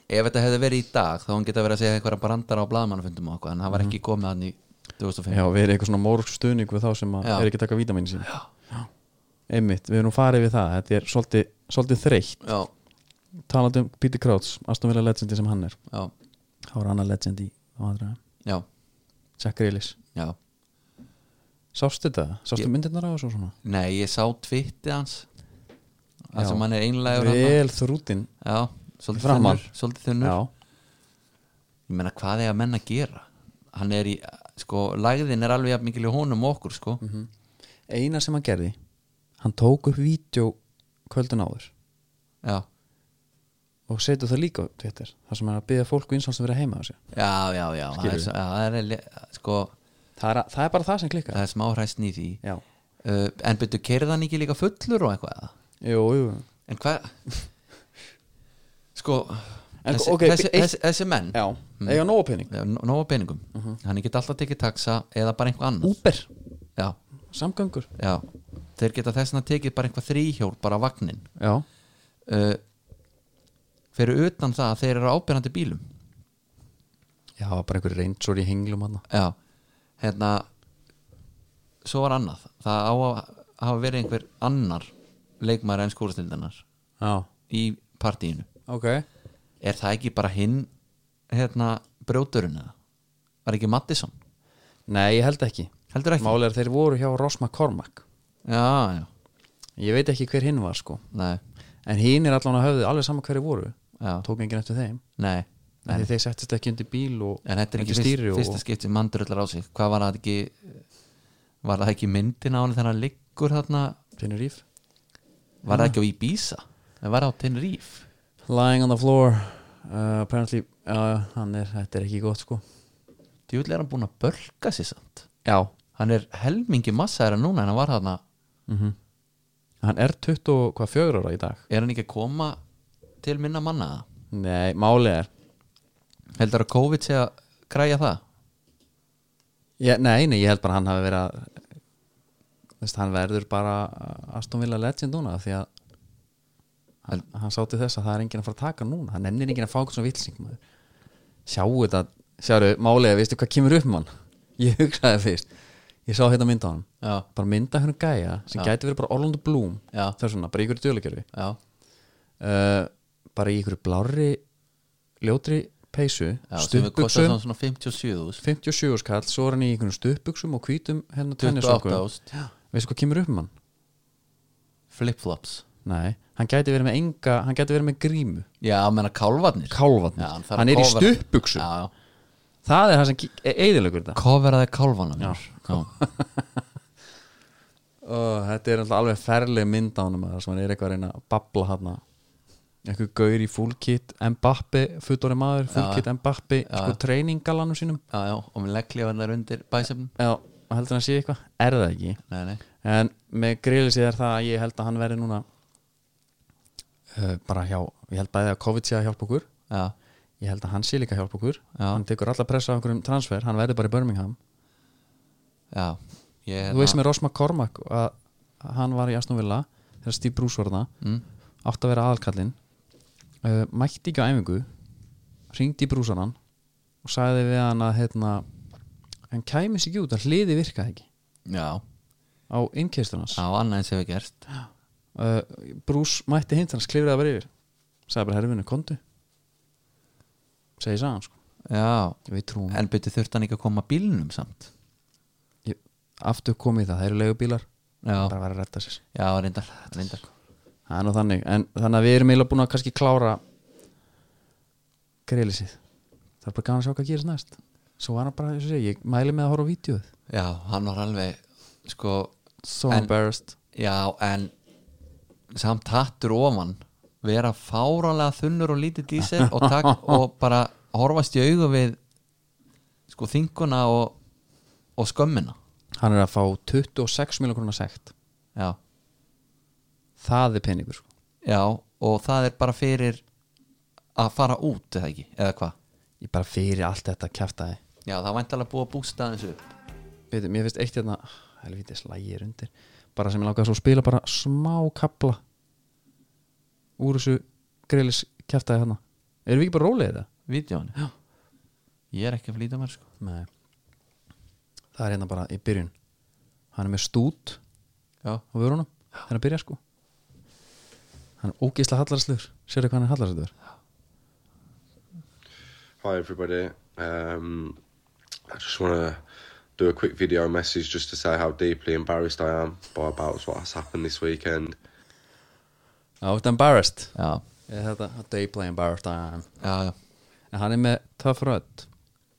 S2: ef þetta hefði verið í dag þá hann geta verið að segja einhverja brandara á blaðmannafundum og eitthvað en hann
S1: Mhm.
S2: var ekki komið hann í 2005
S1: Já, við erum eitthvað svona mórsk stuðning við þá sem að
S2: Já.
S1: er ekki að taka vítamín sín Já Einmitt, við erum farið við það Þetta er svolítið, svolítið þreytt
S2: já,
S1: Talandi um Peter Krauts, Aston Villa legendi sem hann er
S2: já,
S1: Há er annar legend í á aðra
S2: já,
S1: Jack Grealish
S2: já
S1: Sástu þetta? Sástu
S2: Ég-
S1: myndirnar á þessu og svona?
S2: Nei, ég sá tvittið hans Það
S1: Já.
S2: sem hann er einlægur hann
S1: Vel þrútin
S2: Já, svolítið
S1: Framan.
S2: þunnur, svolítið þunnur.
S1: Já,
S2: Ég meina, hvað er að menna að gera? Hann er í, sko, lægðin er alveg jafn mikil í honum og okkur, sko
S1: Mhm. eina sem hann gerði hann tók upp vídeo kvöldun áður
S2: Já,
S1: og setur það líka á Twitter þar sem hann er að byggja fólku eins og sem vera heima á sér
S2: já, já, já Það er,
S1: Skilurðu?
S2: svo- já, það er le- sko,
S1: það er, það er bara það sem klikkar
S2: það er smá hræstn í því
S1: já,
S2: uh, en byrju kerðan ekki líka fullur og eitthvað eða?
S1: jú, jú
S2: en hvað sko
S1: En
S2: þessi,
S1: ok,
S2: þessi,
S1: eitt-
S2: þessi, þessi menn
S1: já, Mhm. eiga nóg pening
S2: nóga peningum, hann geta alltaf tekið taxa eða bara einhver annar
S1: Uber,
S2: já,
S1: samgöngur
S2: já. þeir geta þessna tekið bara einhver þríhjól bara vagnin
S1: já,
S2: uh, fyrir utan það að þeir eru ábyrjandi bílum
S1: já bara einhver reynsor í henglum hann
S2: já, hérna svo var annað það á að hafa verið einhver annar leikmaður en skólastildanar
S1: já,
S2: í partíinu
S1: ok
S2: er það ekki bara hinn hérna brjóturinn eða var ekki Mattisson,
S1: nei, ég held ekki,
S2: heldur ekki
S1: máli er þeir voru hjá Rosma Kormak
S2: já, já,
S1: ég veit ekki hver hinn var sko
S2: nei,
S1: en hinn er allan að höfðu, alveg saman hverju voru
S2: já,
S1: tók enginn eftir þeim
S2: nei
S1: Nei. Þeir, þeir settist ekki undir bíl og
S2: en þetta er ekki
S1: undir
S2: fyrst,
S1: stýri og,
S2: fyrsta skipti mandurullar á sig hvað var það ekki var það ekki myndin á henni þegar hann liggur þarna
S1: Tenerife
S2: var það ekki á Ibiza það var á Tenerife
S1: Lying on the floor uh, apparently, uh, hann er, þetta er ekki gott sko
S2: djúvel er hann búin að bölka sér samt
S1: Já
S2: hann er helmingi massaðar en núna en hann var þarna
S1: Mhm. Hann er 24 ára í dag
S2: er hann ekki að koma til minna manna eða?
S1: Nei, málið er
S2: heldur að COVID sé að græja það
S1: ég, Nei, nei, ég held bara hann hafi verið að þú veist, hann verður bara Aston Villa legend núna af því að hann, hann sátti þess að það er enginn að fara að taka núna hann ennir enginn að fá eitthvað svona villsing maður. sjáu þetta, sjáru, málið er veistu hvað kemur upp um hann ég hugsaði fyrst, ég sá hérna mynda á hann
S2: já,
S1: bara mynda hérna gæja sem gæti verið bara Orlando Bloom
S2: já,
S1: þess vegna, bara í ykkur djölugjörfi
S2: já,
S1: uh, bara í ykkur blárri ljótri peysu
S2: já sem við
S1: stuttbuxum,
S2: kostar svona, svona 57
S1: 57 skall svo er hann í ykkur stuttbuxum og hvítum hérna
S2: 28
S1: tennisokkum,
S2: ást
S1: veistu hvað kemur upp um hann?
S2: flip-flops
S1: Nei, hann gæti verið með enga hann gæti verið með grímu,
S2: já, að menna kálvarnir
S1: kálvatn
S2: Já, hann þarf að
S1: hann er í
S2: kofra-
S1: stuttbuxum,
S2: já, já
S1: það er það sem eðilegur þetta
S2: koferaði kálvarnir
S1: Já.
S2: já.
S1: Ó, þetta er alltaf alveg ferleg mynd á hann maður, sem hann er eitthvað að reyna að babla hann eitthvað gaur í full kit Mbappi, fullori maður, full kit Mbappi sko treyningalanum sínum
S2: já, já, og með legglífarnar undir bæsefn
S1: já, heldur hann að sé eitthvað, er það ekki
S2: Nei, nei,
S1: en með grillisið er það að ég held að hann verði núna uh, bara hjá ég held bæði að COVID sé að hjálpa okkur
S2: já,
S1: ég held að hann sé líka að hjálpa okkur
S2: Já.
S1: hann tekur alla pressa á okkur um transfer, hann verði bara í Birmingham
S2: já ég, hérna-
S1: þú veist með Rosma Kormak að að hann var í Aston Villa þegar Steve Bruce var það
S2: mm,
S1: átt að vera aðalkallinn uh, mætti ekki á æfingu ringdi í brúsanan og sagði við hann að hérna, hann kæmi sér ekki út að hliði virkaði ekki
S2: Já,
S1: á innkestur hans
S2: já, annað eins hefur gerst
S1: uh, brús mætti hint hans klifraði bara yfir sagði bara herfinu kontu segi sagði hann sko
S2: Já,
S1: við trúum
S2: en byrju þurft hann ekki að koma bílnum samt
S1: Ég- aftur komið það, það eru leigubílar
S2: Já,
S1: bara að vera að retta sér
S2: já, reyndar, reyndar.
S1: það er nú þannig, en þannig að við erum eiginlega búin að kannski klára greilisið það er bara gaman að sjá hvað gerist næst svo var hann bara, eins og segja, ég mæli með að horfa á vídeoð
S2: Já, hann var alveg sko,
S1: so
S2: En-
S1: embarrassed
S2: já, en samt hattur ofan vera fáranlega þunnur og lítið í sér og, tak, og bara horfast í augu við sko þinguna og, og skömmina
S1: hann er að fá 26 miljón krona sekt
S2: Já,
S1: það er peningur sko.
S2: já, og það er bara fyrir að fara út eða ekki, eða hvað
S1: ég bara fyrir allt þetta kjaftaði
S2: Já, það vænti alveg búið að bústa þessu upp
S1: Veitum, mér finnst eitt hérna helvítið slægir undir bara sem ég langaði svo að spila bara smá kapla úr þessu greilis kjaftaði hérna erum við ekki bara rólegið það?
S2: Vídeóinu
S1: Já.
S2: Ég er ekki að flýta mér sko
S1: Nei Það er hérna bara í byrjun Hann er með stút
S2: Já,
S1: á vörunum Þegar hann byrja sko Hann er ógeislega hallarslur Sérðu hvað hann er hallarslur?
S3: Hi, everybody. Um, I just want to do a quick video message just to say how deeply embarrassed I am by about what's happened this weekend.
S1: Já, þetta er embarrassed
S2: já,
S1: Ég, Þetta, deeply embarrassed I am
S2: já, já.
S1: En hann er með tough rödd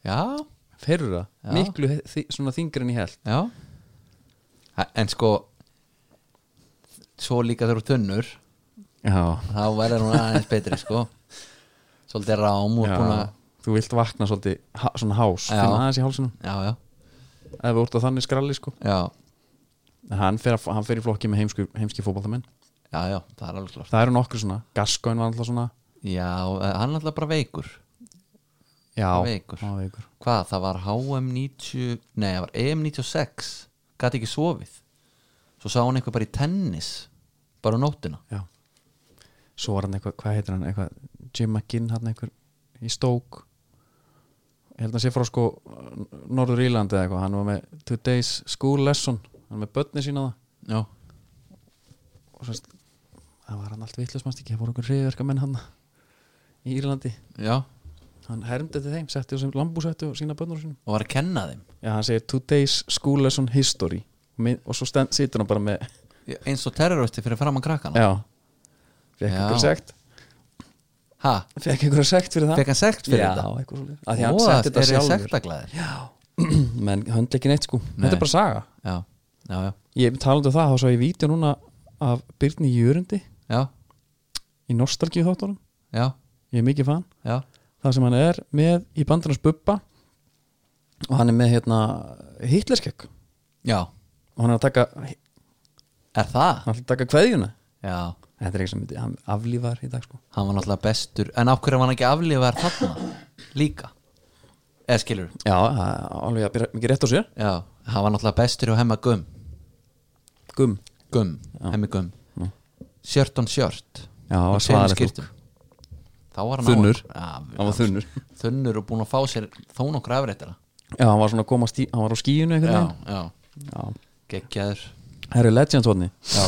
S2: já,
S1: Fyrra,
S2: Já.
S1: miklu he- þi, svona þingri en ég held
S2: já. Ha- En sko Svo líka þegar þú tunnur
S1: Já,
S2: Þá verður hún aðeins betri sko Svolítið rám og búin að
S1: Þú vilt vakna svolítið ha, svona hás
S2: Já.
S1: Finna aðeins í hálsunum
S2: Já, já
S1: ef við úrt á þannig skralli sko
S2: já,
S1: En hann fer, að- hann fer í flokki með heimsku, heimski fótballamenn
S2: já, já, það er alveg klart
S1: það eru nokkru svona, Gascoigne var alltaf svona
S2: já, eh, hann er alltaf bara veikur
S1: já,
S2: Hann var veikur.
S1: hann var veikur.
S2: hvað, það var HM 90 nei, það var E EM 96 gæti ekki sofið svo sá hann eitthvað bara í tennis bara á nóttina
S1: Já. svo var hann eitthvað, hvað heitir hann eitthvað, Jim McGinn hann eitthvað í stók ég held að hann sé frá sko Norður Írlandi eða eitthvað, hann var með Today's School Lesson, hann var með börni sína það
S2: já,
S1: og svo það var hann allt vitlaus mannst ekki, það voru okkur reyðverka menn hann í Írlandi,
S2: já,
S1: hann hermdi til þeim setti þessum lambúsetti og sína bönnur sínum
S2: og var að kenna þeim
S1: já, hann segir Today's School Lesson History Minn- og svo stend, situr hann bara með
S2: Já, eins og terroristi fyrir framann krakkana
S1: já, fekk
S2: Já.
S1: ykkur sekt
S2: ha,
S1: fekk ykkur sekt fyrir það
S2: fekk hann sekt fyrir
S1: já,
S2: þetta
S1: eitthvað svolítið
S2: Ó,
S1: að því hann setti þetta
S2: er ég
S1: sjálfur
S2: sektaglæðir já,
S1: menn hönd ekki neitt sko
S2: Nei.
S1: þetta er bara saga
S2: já, já,
S1: ég talandi um það þá sá ég vídeo núna af Byrni Jörundi
S2: já,
S1: í nostalgíu þáttunum
S2: já,
S1: ég er mikið fan
S2: já,
S1: það sem hann er með í bandarnas bubba og hann er með hérna Hitlerskekk og
S2: já.
S1: hann er að taka hann
S2: er það?
S1: er að taka kveðjuna
S2: já,
S1: þetta er ekki sem myndi, hann aflífar í dag sko
S2: hann var náttúrulega bestur en af hverju var hann ekki aflifar þarna líka eða skilur
S1: já, það- alveg að byrja mikið rétt á sér
S2: já, hann var náttúrulega bestur hjá hemma gum
S1: gum
S2: gum, hemmi gum sjört on sjört
S1: Já,
S2: Og
S1: var
S2: tveimur
S1: svaðalegt
S2: skyrtum. þá var hann
S1: Þunnur.
S2: á, já,
S1: Hann var þunnur.
S2: þunnur og búin að fá sér þó nokkur afréttara
S1: já, hann var svona að komast í, hann var á skíinu einhvern
S2: já,
S1: veginn
S2: já,
S1: já,
S2: geggjaður
S1: herri Legends hodni
S2: já,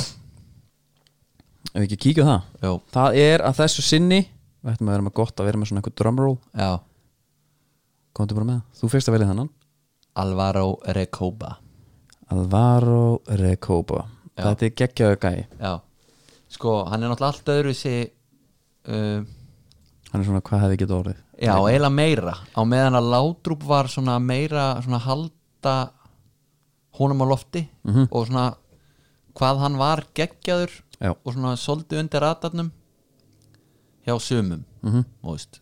S1: ef við ekki kíkja á það
S2: já,
S1: Það er að þessu sinni Við ættum að vera með gott að vera með svona einhver drumroll
S2: já
S1: Komdu bara með, það. þú fyrst að velja þennan
S2: Alvaro Recoba
S1: Alvaro Recoba Þetta er geggjaðu gæi
S2: já, sko, hann er náttúrulega allt öðru sig uh,
S1: Hann er svona, hvað hefði getað orðið
S2: já, eiginlega meira á meðan að Látrúb var svona meira svona halda honum á lofti og svona hvað hann var geggjaður
S1: Já,
S2: og svona svolítið undir ratarnum hjá sumum mm -hmm.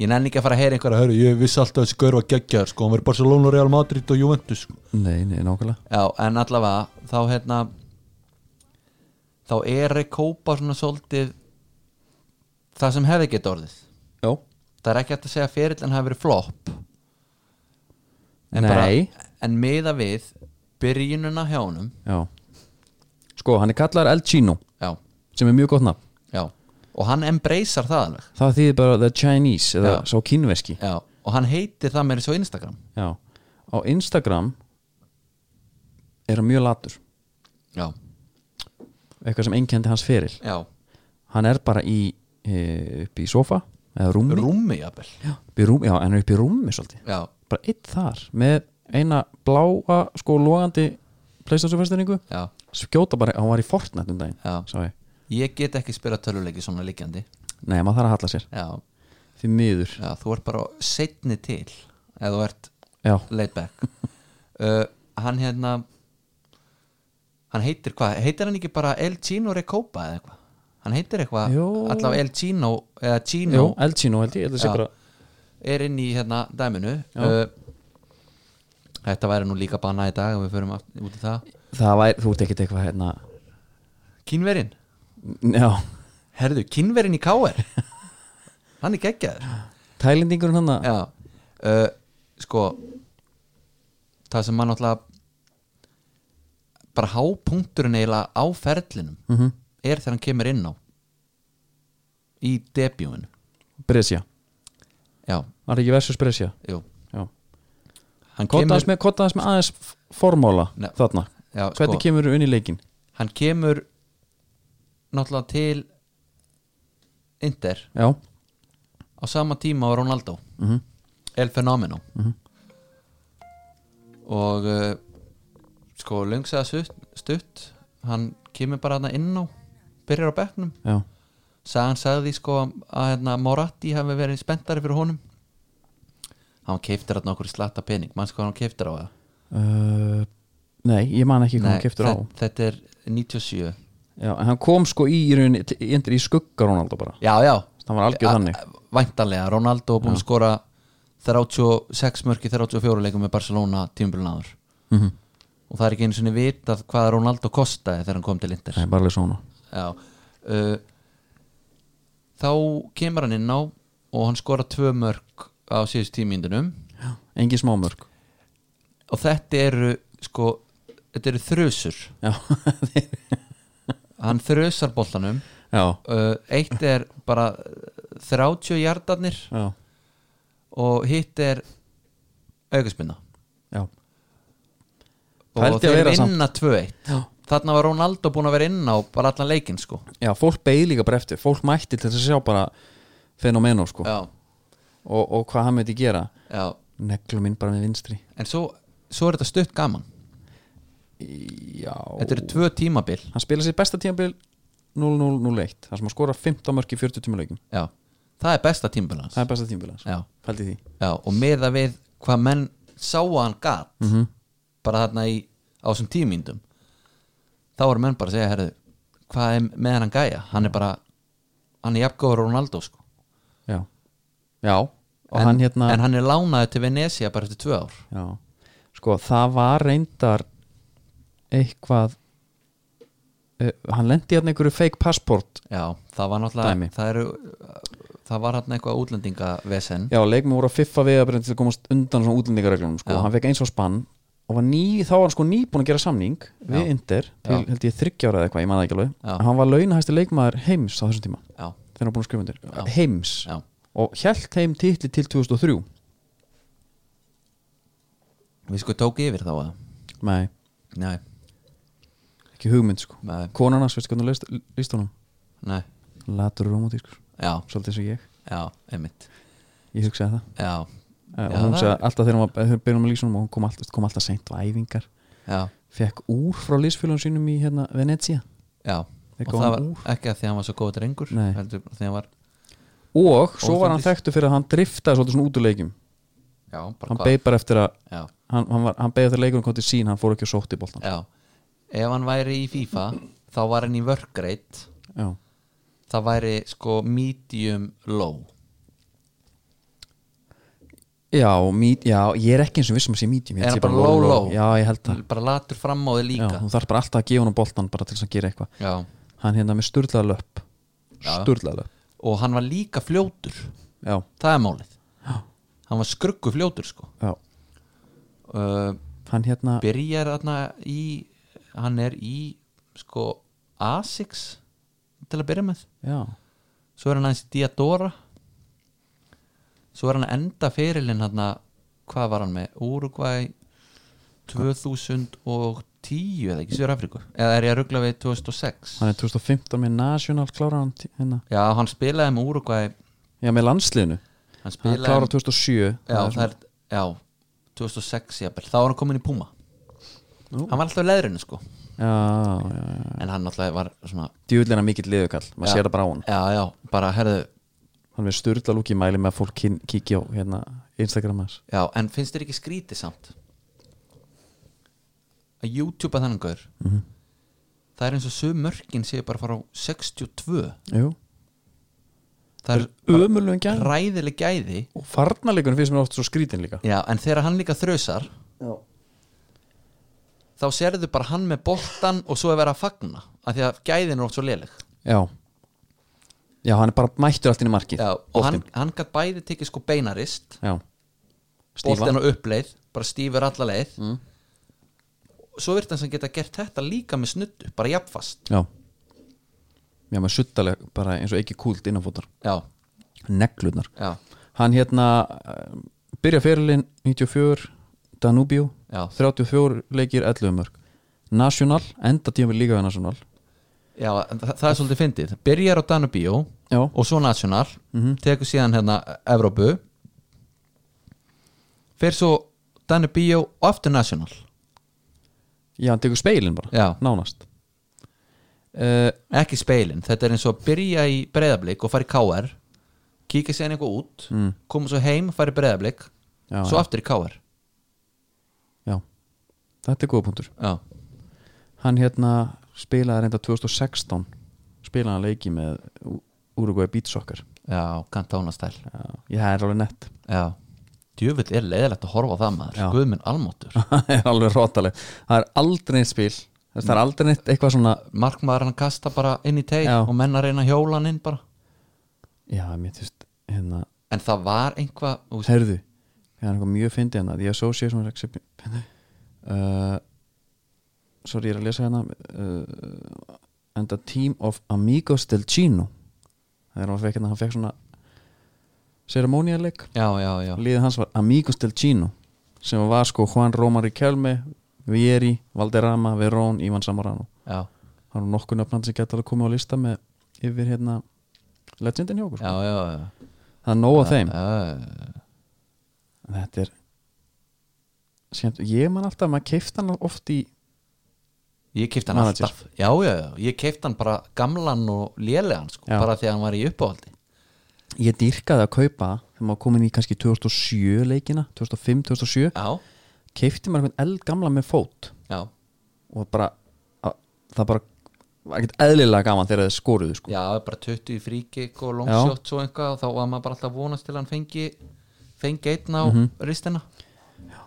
S2: ég nenni ekki að fara að heyra einhverja
S4: Herru, ég vissi alltaf að þessi gaur var geggjaður sko, hann verið Barcelona, Real Madrid og Juventus sko.
S1: nei, nei, nákvæmlega
S2: já, en allavega þá hérna þá er Rekópa svona svolítið það sem hefði gett orðið
S1: Já,
S2: það er ekki hægt að segja fyrirl en hafi verið flopp en,
S1: Nei.
S2: en miða við byrjununa hjá honum
S1: já Sko, hann er kallar El Chino
S2: já,
S1: Sem er mjög gott nafn
S2: já og hann embracear það alveg
S1: Það þýðir bara The Chinese Eða
S2: Já.
S1: sá kínveski
S2: já, og hann heitir það meiri svo Instagram
S1: Já Á Instagram Er hann mjög latur
S2: já,
S1: Eitthvað sem einkendi hans feril
S2: já
S1: Hann er bara í, e, upp í sofa Eða rúmi
S2: rúmi jafnvel
S1: já, upp í rúmi, já, en upp í rúmi svolítið
S2: já,
S1: bara einn þar með eina bláa sko logandi playstation-festningu
S2: já,
S1: skjóta bara, hann var í Fortnite um daginn
S2: Já.
S1: sá ég,
S2: ég get ekki spila töluleiki svona líkjandi
S1: nei, maður þarf að halla sér
S2: já,
S1: því miður,
S2: já, þú ert bara setni til eða þú ert
S1: já,
S2: laid back uh, hann hérna hann heitir hvað, heitir hann ekki bara El Chino Recopa eða eitthvað hann heitir eitthvað,
S1: Jú.
S2: allavega El Chino eða Chino
S1: jú, El Chino held ég held að sé
S2: Já.
S1: bara,
S2: er inn í hérna dæminu
S1: Já.
S2: uh, þetta væri nú líka banna í dag ef við förum aft- út í það
S1: það væri, þú ert ekkert eitthvað hérna,
S2: kínverinn
S1: n- já,
S2: Herðu, kynverinn í K.R. Hann er geggjaður
S1: tælendingurinn hann að-
S2: Já, uh, sko Það sem mann náttúrulega bara hápunkturinn eiginlega á ferlinum
S1: Mhm.
S2: er þegar hann kemur inn á í debjúinu
S1: Brescia,
S2: Já,
S1: var það ekki versus Brescia
S2: jú
S1: já,
S2: Hann
S1: kottaðast með, kottaðast með aðeins f- formóla
S2: Nei.
S1: þarna,
S2: já, sko,
S1: hvernig kemur unni leikin
S2: hann kemur náttúrulega til Inder
S1: já,
S2: á sama tíma á Ronaldo
S1: Mhm.
S2: El Fenomeno og uh, sko lungsaða stutt, stutt hann kemur bara þarna inn á byrjar á bekknum
S1: já,
S2: Sagan sagði sko að hérna, Moratti hafi verið spenntari fyrir honum hann keiftir þarna okkur slatta pening manns hvað hann keiftir á það
S1: uh, nei, ég man ekki hvað
S2: Nei,
S1: hann keftur á
S2: þe- þetta er 97
S1: Já, en hann kom sko í í rauninni til- í- í skugga Ronaldo bara
S2: já já
S1: hann var algjör þannig
S2: væntanlega Ronaldo búin að skora 36 mörki 34 leikum með Barcelona tímbilin aður
S1: Mhm.
S2: og það er ekki einu sinni vitað hvað Ronaldo kostaði þegar hann kom til Inter
S1: það er bara alveg svona
S2: Já uh, Þá kemur hann inn á og hann skora tvö mörg á síðust tímyndunum
S1: engin smámörk
S2: og þetta eru sko, þetta eru þrösur
S1: já,
S2: hann þrösar boltanum
S1: já,
S2: uh, eitt er bara uh, 30 hjartarnir
S1: já,
S2: og hitt er aukaspinna
S1: já.
S2: og
S1: Pældi að
S2: þeir
S1: vera samt.
S2: vinna 2-1
S1: Já.
S2: þarna var Ronaldo búin að vera inn á bara allan leikinn sko
S1: já, fólk beigð líka bara eftir fólk mætti til þess að sjá bara fenomenum sko
S2: já,
S1: og, og hvað hann myndi gera
S2: já.
S1: neglum inn bara með vinstri
S2: en svo, svo er þetta stutt gaman
S1: já,
S2: þetta eru tvö tímabil
S1: hann spila sér besta tímabil 0-0-0-1 það sem hann skora 15 mörk í 40 tíma leikum
S2: já. það er besta tímabil hans
S1: það er besta tímabil hans,
S2: já,
S1: pældi því
S2: já, og meða við hvað menn sáu að hann gat
S1: Mhm.
S2: -hmm. bara þarna í, á þessum tímyndum þá voru menn bara að segja herðu, hvað er með hann gæja hann er bara, hann er jafngóður Ronaldo sko
S1: já, já og hann hérna
S2: en hann er lánaði til Venesia bara eftir tvö ár
S1: já, sko það var reyndar eitthvað uh, hann lendi hérna einhverju fake passport
S2: já, það var náttúrulega
S1: Dæmi.
S2: það, eru, það var hann eitthvað útlendingavesen
S1: já, leikmenn voru að fiffa við að byrja til að komast undan svona útlendingareglunum sko,
S2: Já.
S1: hann fekk eins á spann og var ný, þá var hann sko nýbúin að gera samning við
S2: Já.
S1: Inder til
S2: Já.
S1: held ég þryggjára eða eitthvað, ég maður ekki alveg
S2: Já.
S1: hann var launahæsti leikmaður heims á þessum tíma
S2: já,
S1: þegar hann var búin að skrifa undir heims
S2: já,
S1: og hjælt heim titli til 2003
S2: við sko tók yfir þá að
S1: nei,
S2: nei,
S1: ekki hugmynd sko
S2: nei,
S1: konan hans, veistu hvernig hún leist, líst honum
S2: nei
S1: latur og romantískur,
S2: já,
S1: svolítið eins og ég
S2: já, einmitt
S1: ég hugsaði það
S2: já,
S1: Já,
S2: Já,
S1: og hún
S2: það-
S1: sagði alltaf þegar hún var- þegar byrjum að lýsa honum og hún kom alltaf, kom alltaf seint á æfingar
S2: já,
S1: fekk úr frá lýsfélagum sínum í hérna, Venezia
S2: já
S1: Þeir
S2: og
S1: gáfu
S2: það
S1: hann
S2: var
S1: úr.
S2: ekki að því að hann var svo góð drengur
S1: Nei.
S2: heldur því að hann var
S1: og svo var hann
S2: Óþolandi.
S1: þekktu fyrir að hann driftaði svolítið svona út úr leikjum
S2: já, bara
S1: hann
S2: hvað
S1: beið bara eftir að
S2: já,
S1: hann, hann, var- hann beið eftir að leikurinn kom til sín hann fór ekki að sótti boltan
S2: já, ef hann væri í FIFA þá var hann í vörgreit
S1: já,
S2: það væri sko medium low
S1: já, mí, já ég er ekki eins og vissum að sé medium ég
S2: Er
S1: held
S2: hann
S1: sé bara
S2: bara low, low?
S1: já, ég held það
S2: bara latur fram á þig
S1: já,
S2: líka
S1: þú þarf bara alltaf að gefa hann boltan bara til þess að gera eitthvað
S2: já.
S1: hann hérna með sturlaða löpp
S2: Já.
S1: sturlaða löpp
S2: og hann var líka fljótur
S1: já,
S2: það er málið hann var skruggu fljótur sko
S1: já,
S2: uh,
S1: hann hérna
S2: byrjar þarna í hann er í sko A6 til að byrja með
S1: já,
S2: svo er hann aðeins í Diadora svo er hann að enda fyrirlinn hann hvað var hann með Uruguay 2010 eða ekki Sjöra Afríku eða er ég að ruggla við 2006
S1: hann er 2015 með National klára hann tí- hérna
S2: já hann spilaði með Uruguay
S1: já, með landsliðinu
S2: hann
S1: hann klára
S2: spilaði
S1: 2007
S2: já, það er, já 2006 jafnvel þá var hann komin í Puma
S1: Nú.
S2: hann var alltaf í leðrinu sko
S1: já, já, já.
S2: en hann alltaf var svona
S1: djúðlina mikill liðukall maður
S2: Já.
S1: sér það bara á hann
S2: já já bara herðu
S1: hann er sturla lúki mæli með að fólk kín- kíkja á hérna Instagram hans
S2: Já, en finnst þér ekki skrítið samt að YouTube að þannig gaur
S1: Mhm.
S2: það er eins og söm mörkin séu bara að fara á 62
S1: Jú.
S2: það er
S1: ömurlegum gæðum
S2: ræðileg gæði
S1: og farnarleikunum finnst mér oft svo skrítin líka
S2: Já, en þegar hann líka þrösar þá serðu bara hann með boltan og svo er verið að fagna af því að gæðin er oft svo léleg
S1: já já, hann er bara mættur allt inn í markið
S2: Já, og hann,
S1: boltinn.
S2: hann gætt bæði tekið sko beinarist
S1: já.
S2: boltan á uppleið, bara stífur alla leið svo virtan sem geta gert þetta líka með snuttu bara jafnfast
S1: já já, maður suttaleg bara eins og ekki kúlt innanfótar
S2: Já,
S1: neglunar
S2: já,
S1: hann hérna eh, byrja fyrirlin 94 Danubio
S2: Já.
S1: 34 leikir 11 mörg National, enda tíma við líka við National
S2: já en það, það er svolítið fyndið Byrjar á Danubíó
S1: Já.
S2: og svo National Tekur síðan hérna Evrópu Fer svo Danubíó og aftur National
S1: já, hann tekur speilin bara,
S2: Já. Eh,
S1: nánast uh,
S2: Ekki speilin, þetta er eins og að byrja í breyðablík og fara í KR Kíkja síðan eitthvað út mm. Koma svo heim, fara í breyðablík
S1: Já,
S2: Svo
S1: já.
S2: aftur í KR
S1: já, þetta er góða punktur
S2: Já,
S1: hann hérna spilaði reynda 2016 spilaði hann leiki með Úrugvæði Beatsocker
S2: já, kanta ánastæl
S1: já, ég það er alveg nett
S2: Já, djöfull er leiðilegt að horfa á það maður
S1: Já.
S2: guðminn almóttur
S1: það er alveg rótaleg það er aldrei neitt spil Þess, það er aldrei neitt eitthvað svona
S2: markmaður hann kasta bara inn í teig
S1: Já.
S2: og menn að reyna hjólan inn bara
S1: já, mér tjúst, hérna,
S2: en það var einhvað þú veist,
S1: herðu það er eitthvað mjög fyndið hérna, the association was accepted uh, sorry, ég er að lesa hérna uh, and a team of amigos del Chino það er hann fekk hérna, hann fekk svona ceremonialeik
S2: já, já, já,
S1: liðið hans var Amigos del Chino sem var sko Juan Romar Riquelme Vieri, Valderrama, Verón, Ivan Zamorano
S2: já,
S1: það eru nokkuð nöfnand sem geta alveg komið á lista með yfir hérna legendin hjá okkur
S2: já, já, já.
S1: það er nóg af þeim
S2: Uh,
S1: þetta er skemmt, ég man alltaf að maður keifta hann oft í
S2: ég kefti hann
S1: Manager.
S2: alltaf já, já, já, ég kefti hann bara gamlan og lélegan sko,
S1: Já.
S2: bara því að hann var í uppáhaldi
S1: ég dýrkaði að kaupa þegar maður komin í kannski 2007 leikina 2005-2007
S2: já,
S1: keifti maður einhvern eld gamla með fót
S2: já,
S1: og bara að, það bara var ekkert eðlilega gaman þegar þeir skoruðu sko.
S2: já, bara 20 í fríkik og
S1: Já.
S2: longshot og einhvað og þá var maður bara alltaf að vonast til að hann fengi fengi einn á
S1: Mhm.
S2: ristina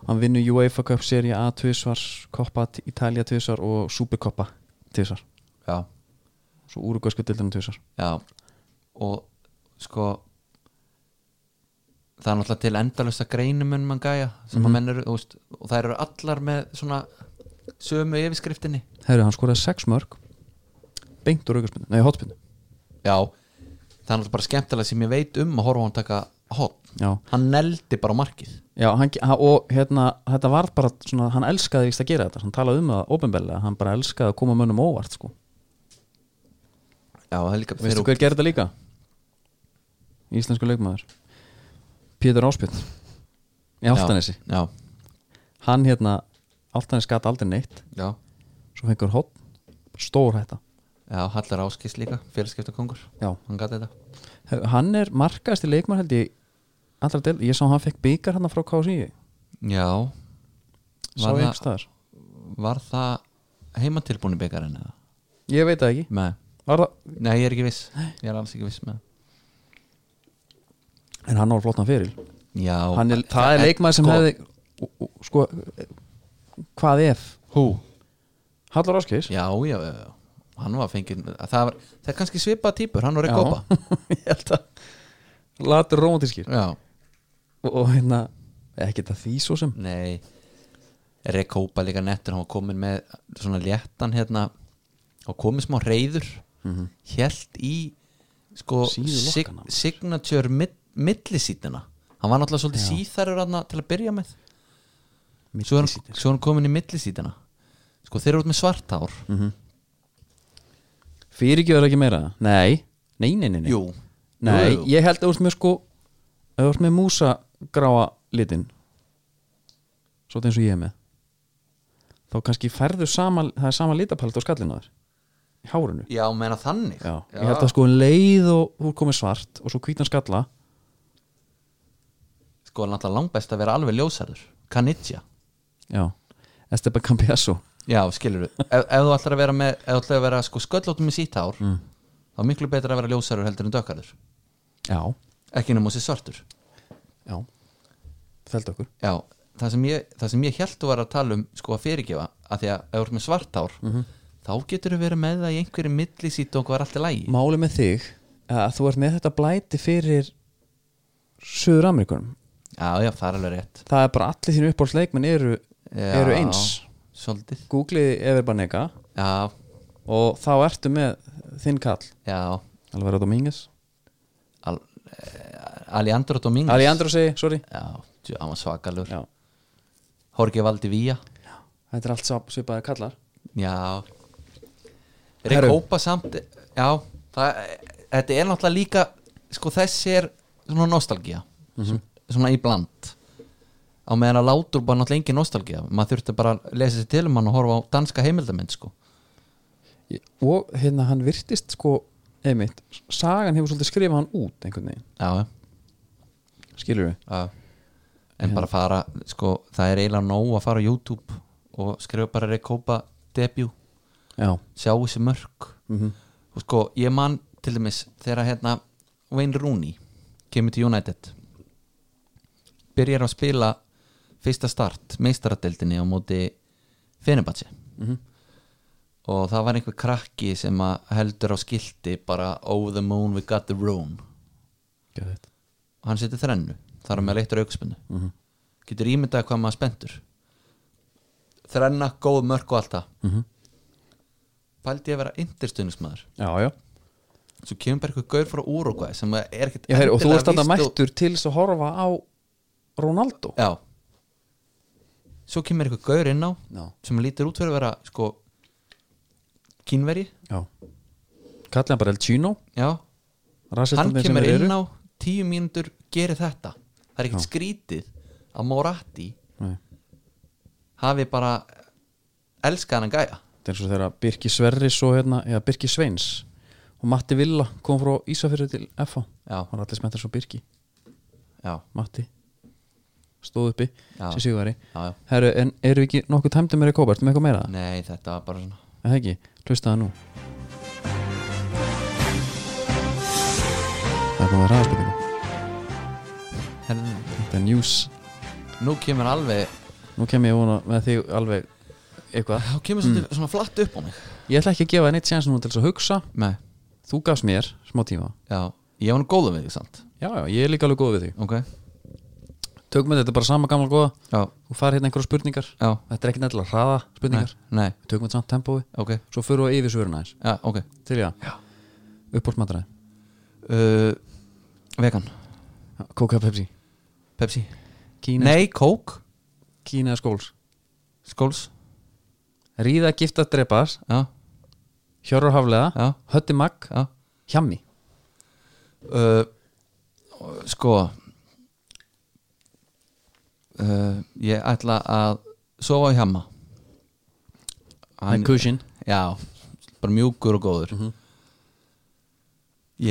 S1: hann vinnur UEFA Cup Serie A tvisvar, Coppa Italia tvisvar og Supercoppa tvisvar
S2: já,
S1: svo úrugvæsku dildinu tvisvar
S2: já og sko það er náttúrulega til endalösa greinum en mann gæja sem mm menn eru, þú veist, og þær eru allar með svona sömu yfirskriftinni
S1: Herru, hann skoraði sex mörg beint úr aukarspinnu, nei hotspinnu
S2: já, það er náttúrulega bara skemmtilega sem ég veit um að horfa á hann taka hot
S1: já,
S2: hann neldi bara á markið
S1: já hann, ge- ha- og hérna þetta var bara svona, hann elskaði víst að gera þetta, hann talaði um það ofinbellega, hann bara elskaði að koma mönnum óvart sko,
S2: já, það er líka
S1: veistu
S2: þeir-
S1: hver gerði þetta líka? Íslensku leikmaður Pétur Áspjöld í Áltanesi,
S2: já,
S1: hann hérna Áltanes gæti aldrei neitt,
S2: já,
S1: svo fengur hot stór hætta
S2: já, Hallar Áskis líka félagskiptakongur,
S1: Já.
S2: hann gæti þetta
S1: Hann er markaðasti leikmann held ég allra del, ég sá hann fekk byggar hann frá KSI
S2: já,
S1: sá ég
S2: Var það-
S1: einhvers staðar
S2: var það heimatilbúni byggarinn eða?
S1: Ég veit það ekki
S2: Nei,
S1: Var það,
S2: nei, ég er ekki viss ég er alls ekki viss með það
S1: en hann var flottan fyrir
S2: Já,
S1: hann er, Það er leikmann sem
S2: sko,
S1: hefði og- og- sko hvað ef
S4: Hú
S1: Hallar Áskis
S2: Já, já, já, já Hann var fengið Það, var, það er kannski svipað típur, hann var ekki gópa
S1: ég held að latur romantískir
S2: Já,
S1: og, og hérna ekki það því svo sem
S2: nei Rekópa líka nettur, hann var komin með svona léttan hérna og komin smá reyður mm Hélt í sko
S1: Mhm. Síðu
S2: sig,
S1: lokkana.
S2: signature mid, millisítina Hann var náttúrulega svolítið síþarur hann til að byrja með svo er, hann, svo er hann komin í millisítina Sko þeir eru út með svartár
S1: Mhm.
S2: mm
S1: Fyrirgjöður ekki meira Nei, nei, nei, nei, nei.
S2: Jú
S1: Nei,
S2: Jú, jú.
S1: ég held að þú ert með sko að þú ert með músa gráa litin svo eins og ég er með þá kannski færðu sama það er sama litapalit á skallinu á þér í hárinu
S2: Já, meina þannig
S1: Já. ég held að sko um leið og þú ert komið svart og svo hvítan skalla
S2: sko er náttúrulega langbest að vera alveg ljósarður Kanitja
S1: já, Esteban Campiasso
S2: Já, skilur við ef, ef þú ætlar að vera, með, ef þú ætlar að vera sko, sköllóttum með sítt hár
S1: Mm.
S2: þá er miklu betra að vera ljósarður heldur en dökkarður
S1: já,
S2: ekki nema þessi svartur
S1: já fældu okkur
S2: Já, það sem ég, það sem ég held þú var að tala um sko að fyrirgefa að því að ef þú ert með svart hár
S1: Mhm.
S2: þá getur þú verið með það í einhverju millisít og hvað er allt í lægi
S1: máli með þig að þú ert með þetta blæti fyrir Suður Amerikunum
S2: Já, já, það er alveg rétt
S1: það er bara allir þínu uppáhaldsleikmenn eru,
S2: já,
S1: eru eins
S2: Svolítið
S1: googliði Everbanega
S2: Já,
S1: og þá ertu með þinn kall
S2: já
S1: Alvaro Dominguez
S2: Al, eh, Alejandro Domínguez
S1: Alejandro segi, sorry
S2: Já, djú, hann var svakalur
S1: Já.
S2: Jorge Valdivia
S1: þetta er allt sá- svipaðir kallar
S2: Já
S1: Herru.
S2: Rekópa samt Já, það, þetta er náttúrulega líka sko þessi er svona nostalgía svona í bland á meðan að látur bara náttúrulega engin nostalgía maður þurfti bara að lesa sér til um hann og horfa á danska heimildamind sko
S1: Ég- og hérna hann virtist sko einmitt, sagan hefur svolítið skrifað hann út einhvern veginn,
S2: Já, já
S1: skilur við
S2: Já. En bara fara, sko, það er eiginlega nóg að fara á YouTube og skrifa bara Rekopa debut
S1: já,
S2: sjá þessi mörk og sko ég man til dæmis þegar hérna Wayne Rooney kemur til United byrjar að spila fyrsta start meistaradeldinni á móti Fenebatsi og það var einhver krakki sem að heldur á skilti bara over the moon we got the room
S1: Geðveikt.
S2: og hann setur þrennu þar með leittur aukspennu mm
S1: Mhm.
S2: -hmm. getur ímyndað hvað maður spenntur þrenna, góð mörk og allt það
S1: Mhm.
S2: pældi ég að vera yndirstuðnismæður
S1: já, já,
S2: svo kemur bara eitthvað gaur frá Úrugvæ sem að er ekkert
S1: já heyr, og þú
S2: endilega
S1: ert þarna
S2: víst og-
S1: mættur til þess að horfa á Ronaldo
S2: já svo kemur eitthvað gaur inn á
S1: já,
S2: sem lítur út fyrir að vera sko kínveri
S1: já. kallið hann bara El Chino
S2: já hann
S1: rasistarnir sem
S2: kemur
S1: þeir eru.
S2: inn á tíu mínútur gerir þetta það er ekkert skrítið að Moratti
S1: Nei.
S2: hafi bara elskað hann gæja
S1: þetta er eins og þegar Birki Sverris og hérna, já, Birki Sveins og Matti Villa kom frá Ísafyrri til FH
S2: Já.
S1: hann var allir smettar svo Birki
S2: já,
S1: Matti stóð uppi
S2: Já.
S1: sem sigurveri
S2: já, já.
S1: Herru, en eru við ekki nokkuð tæmdum meira kópart með eitthvað meira?
S2: nei þetta var bara svona
S1: Er það ekki, hlustaðu nú Það er komið ræðarspurningu
S2: Herðu,
S1: Þetta er news
S2: nú kemur alveg
S1: Nú kem ég vona með þig alveg eitthvað
S2: þá kemur svolítið svona flatt upp á mig
S1: Ég ætla ekki að gefa þér neitt séns núna til þess að hugsa
S2: nei,
S1: Þú gafst mér smá tíma
S2: já, ég var nú góðum við því samt
S1: Já, já, ég er líka alveg góð við þig
S2: ok,
S1: Tökum við þetta bara sama gamla góða
S2: já,
S1: Þú farið hérna einhverja spurningar
S2: já
S1: Þetta er ekki nættilega hraða
S2: nei,
S1: spurningar
S2: nei,
S1: Við Tökum við samt tempói
S2: ok,
S1: Svo förum við yfir svöruna eins
S2: já, ok
S1: Til ég að Uppbólsmatræði
S2: uh, vegan,
S1: Coca Pepsi
S2: Pepsi
S1: Kína,
S2: nei, kók,
S1: Kína skóls
S2: skóls
S1: Ríða gifta drepas
S2: já,
S1: Hjörur haflega
S2: já,
S1: Hötti magg
S2: já
S1: Hjammi
S2: uh, sko uh, ég ætla að sofa í hama
S1: Með kushin
S2: já, bara mjúkur og góður
S1: Og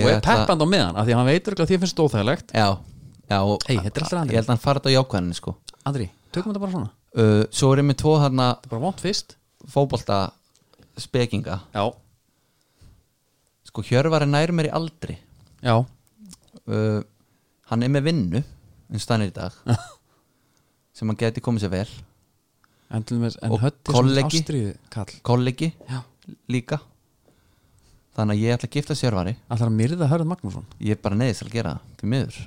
S1: er peppand á meðan af Því að hann veitur að því finnst þetta óþægilegt
S2: já, já og-
S1: Hey, þetta er alltaf Andri.
S2: ég held að hann fara þetta á jákvæðinni sko
S1: Andri, tökum þetta bara svona Þetta
S2: uh, svo er ég með tvo þarna
S1: er bara vont fyrst
S2: fótbolta spekinga
S1: Já
S2: sko Hjörvar er nær mér í aldri
S1: Já
S2: uh, hann er með vinnu eins og þannig í dag sem hann geti komið sér vel
S1: En, til dæmis- en
S2: Og
S1: hötti
S2: kollegi.
S1: ástriðu kall
S2: kollegi
S1: Já
S2: líka þannig að ég ætla að gifta sérvari
S1: Allar að myrða Hörð Magnússon
S2: ég er bara neyðist til að gera það, því miður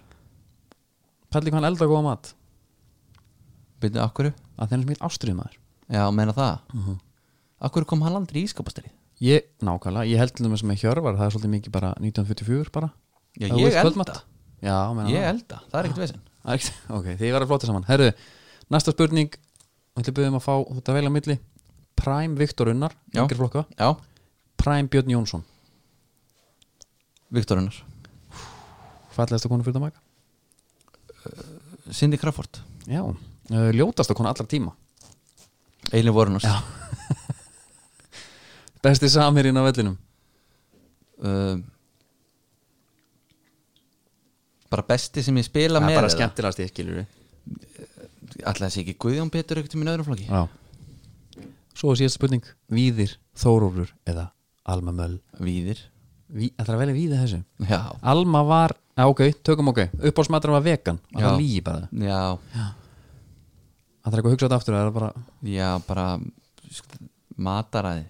S1: Palli hvað hann elda góða mat
S2: byrjuðu akkur,
S1: Að þeirnum sem heit ástriðu maður
S2: já meina það mm
S1: Mhm.
S2: -hmm. akkur kom hann aldrei í skapastri
S1: Ég, nákvæmlega, ég held til þess með Hjörvar Það er svolítið mikið bara 1944 bara
S2: Já,
S1: Ef þú
S2: ég
S1: vilt
S2: elda.
S1: kvöldmat. Já, meina
S2: ég
S1: það.
S2: elda, það er ekkert vesinn
S1: Það er ekkert- Ok, þið verður flótið saman Herru, næsta spurning Þú ætlum byrðum að fá þú ert að velja á milli Prime Viktor Unnar,
S2: Já.
S1: yngri flokka
S2: já,
S1: Prime Björn Jónsson,
S2: Viktor Unnar,
S1: fallegasta konu fyrir það mæka
S2: Cindy Crawford
S1: Já, uh, ljótasta konu allra tíma
S2: Eilin Vorunars
S1: Já. Besti samirinn á vellinum
S2: uh, bara besti sem ég spila
S1: Það
S2: með
S1: er bara
S2: eða?
S1: skemmtilegast ég skilur við
S2: ætla þessi ekki Guðjón Petur ekkert í minn öðrum flokki
S1: Já Svo er síðast spurning Víðir, Þórólfur eða Alma Möll
S2: Víðir,
S1: Ví, Það er að velja víði þessu
S2: já,
S1: Alma var, já ok, tökum ok Uppáhalsmatur var vegan, var
S2: Já.
S1: það lígi bara
S2: já
S1: Það er eitthvað að hugsa þetta aftur það er bara,
S2: já, bara sk- mataræði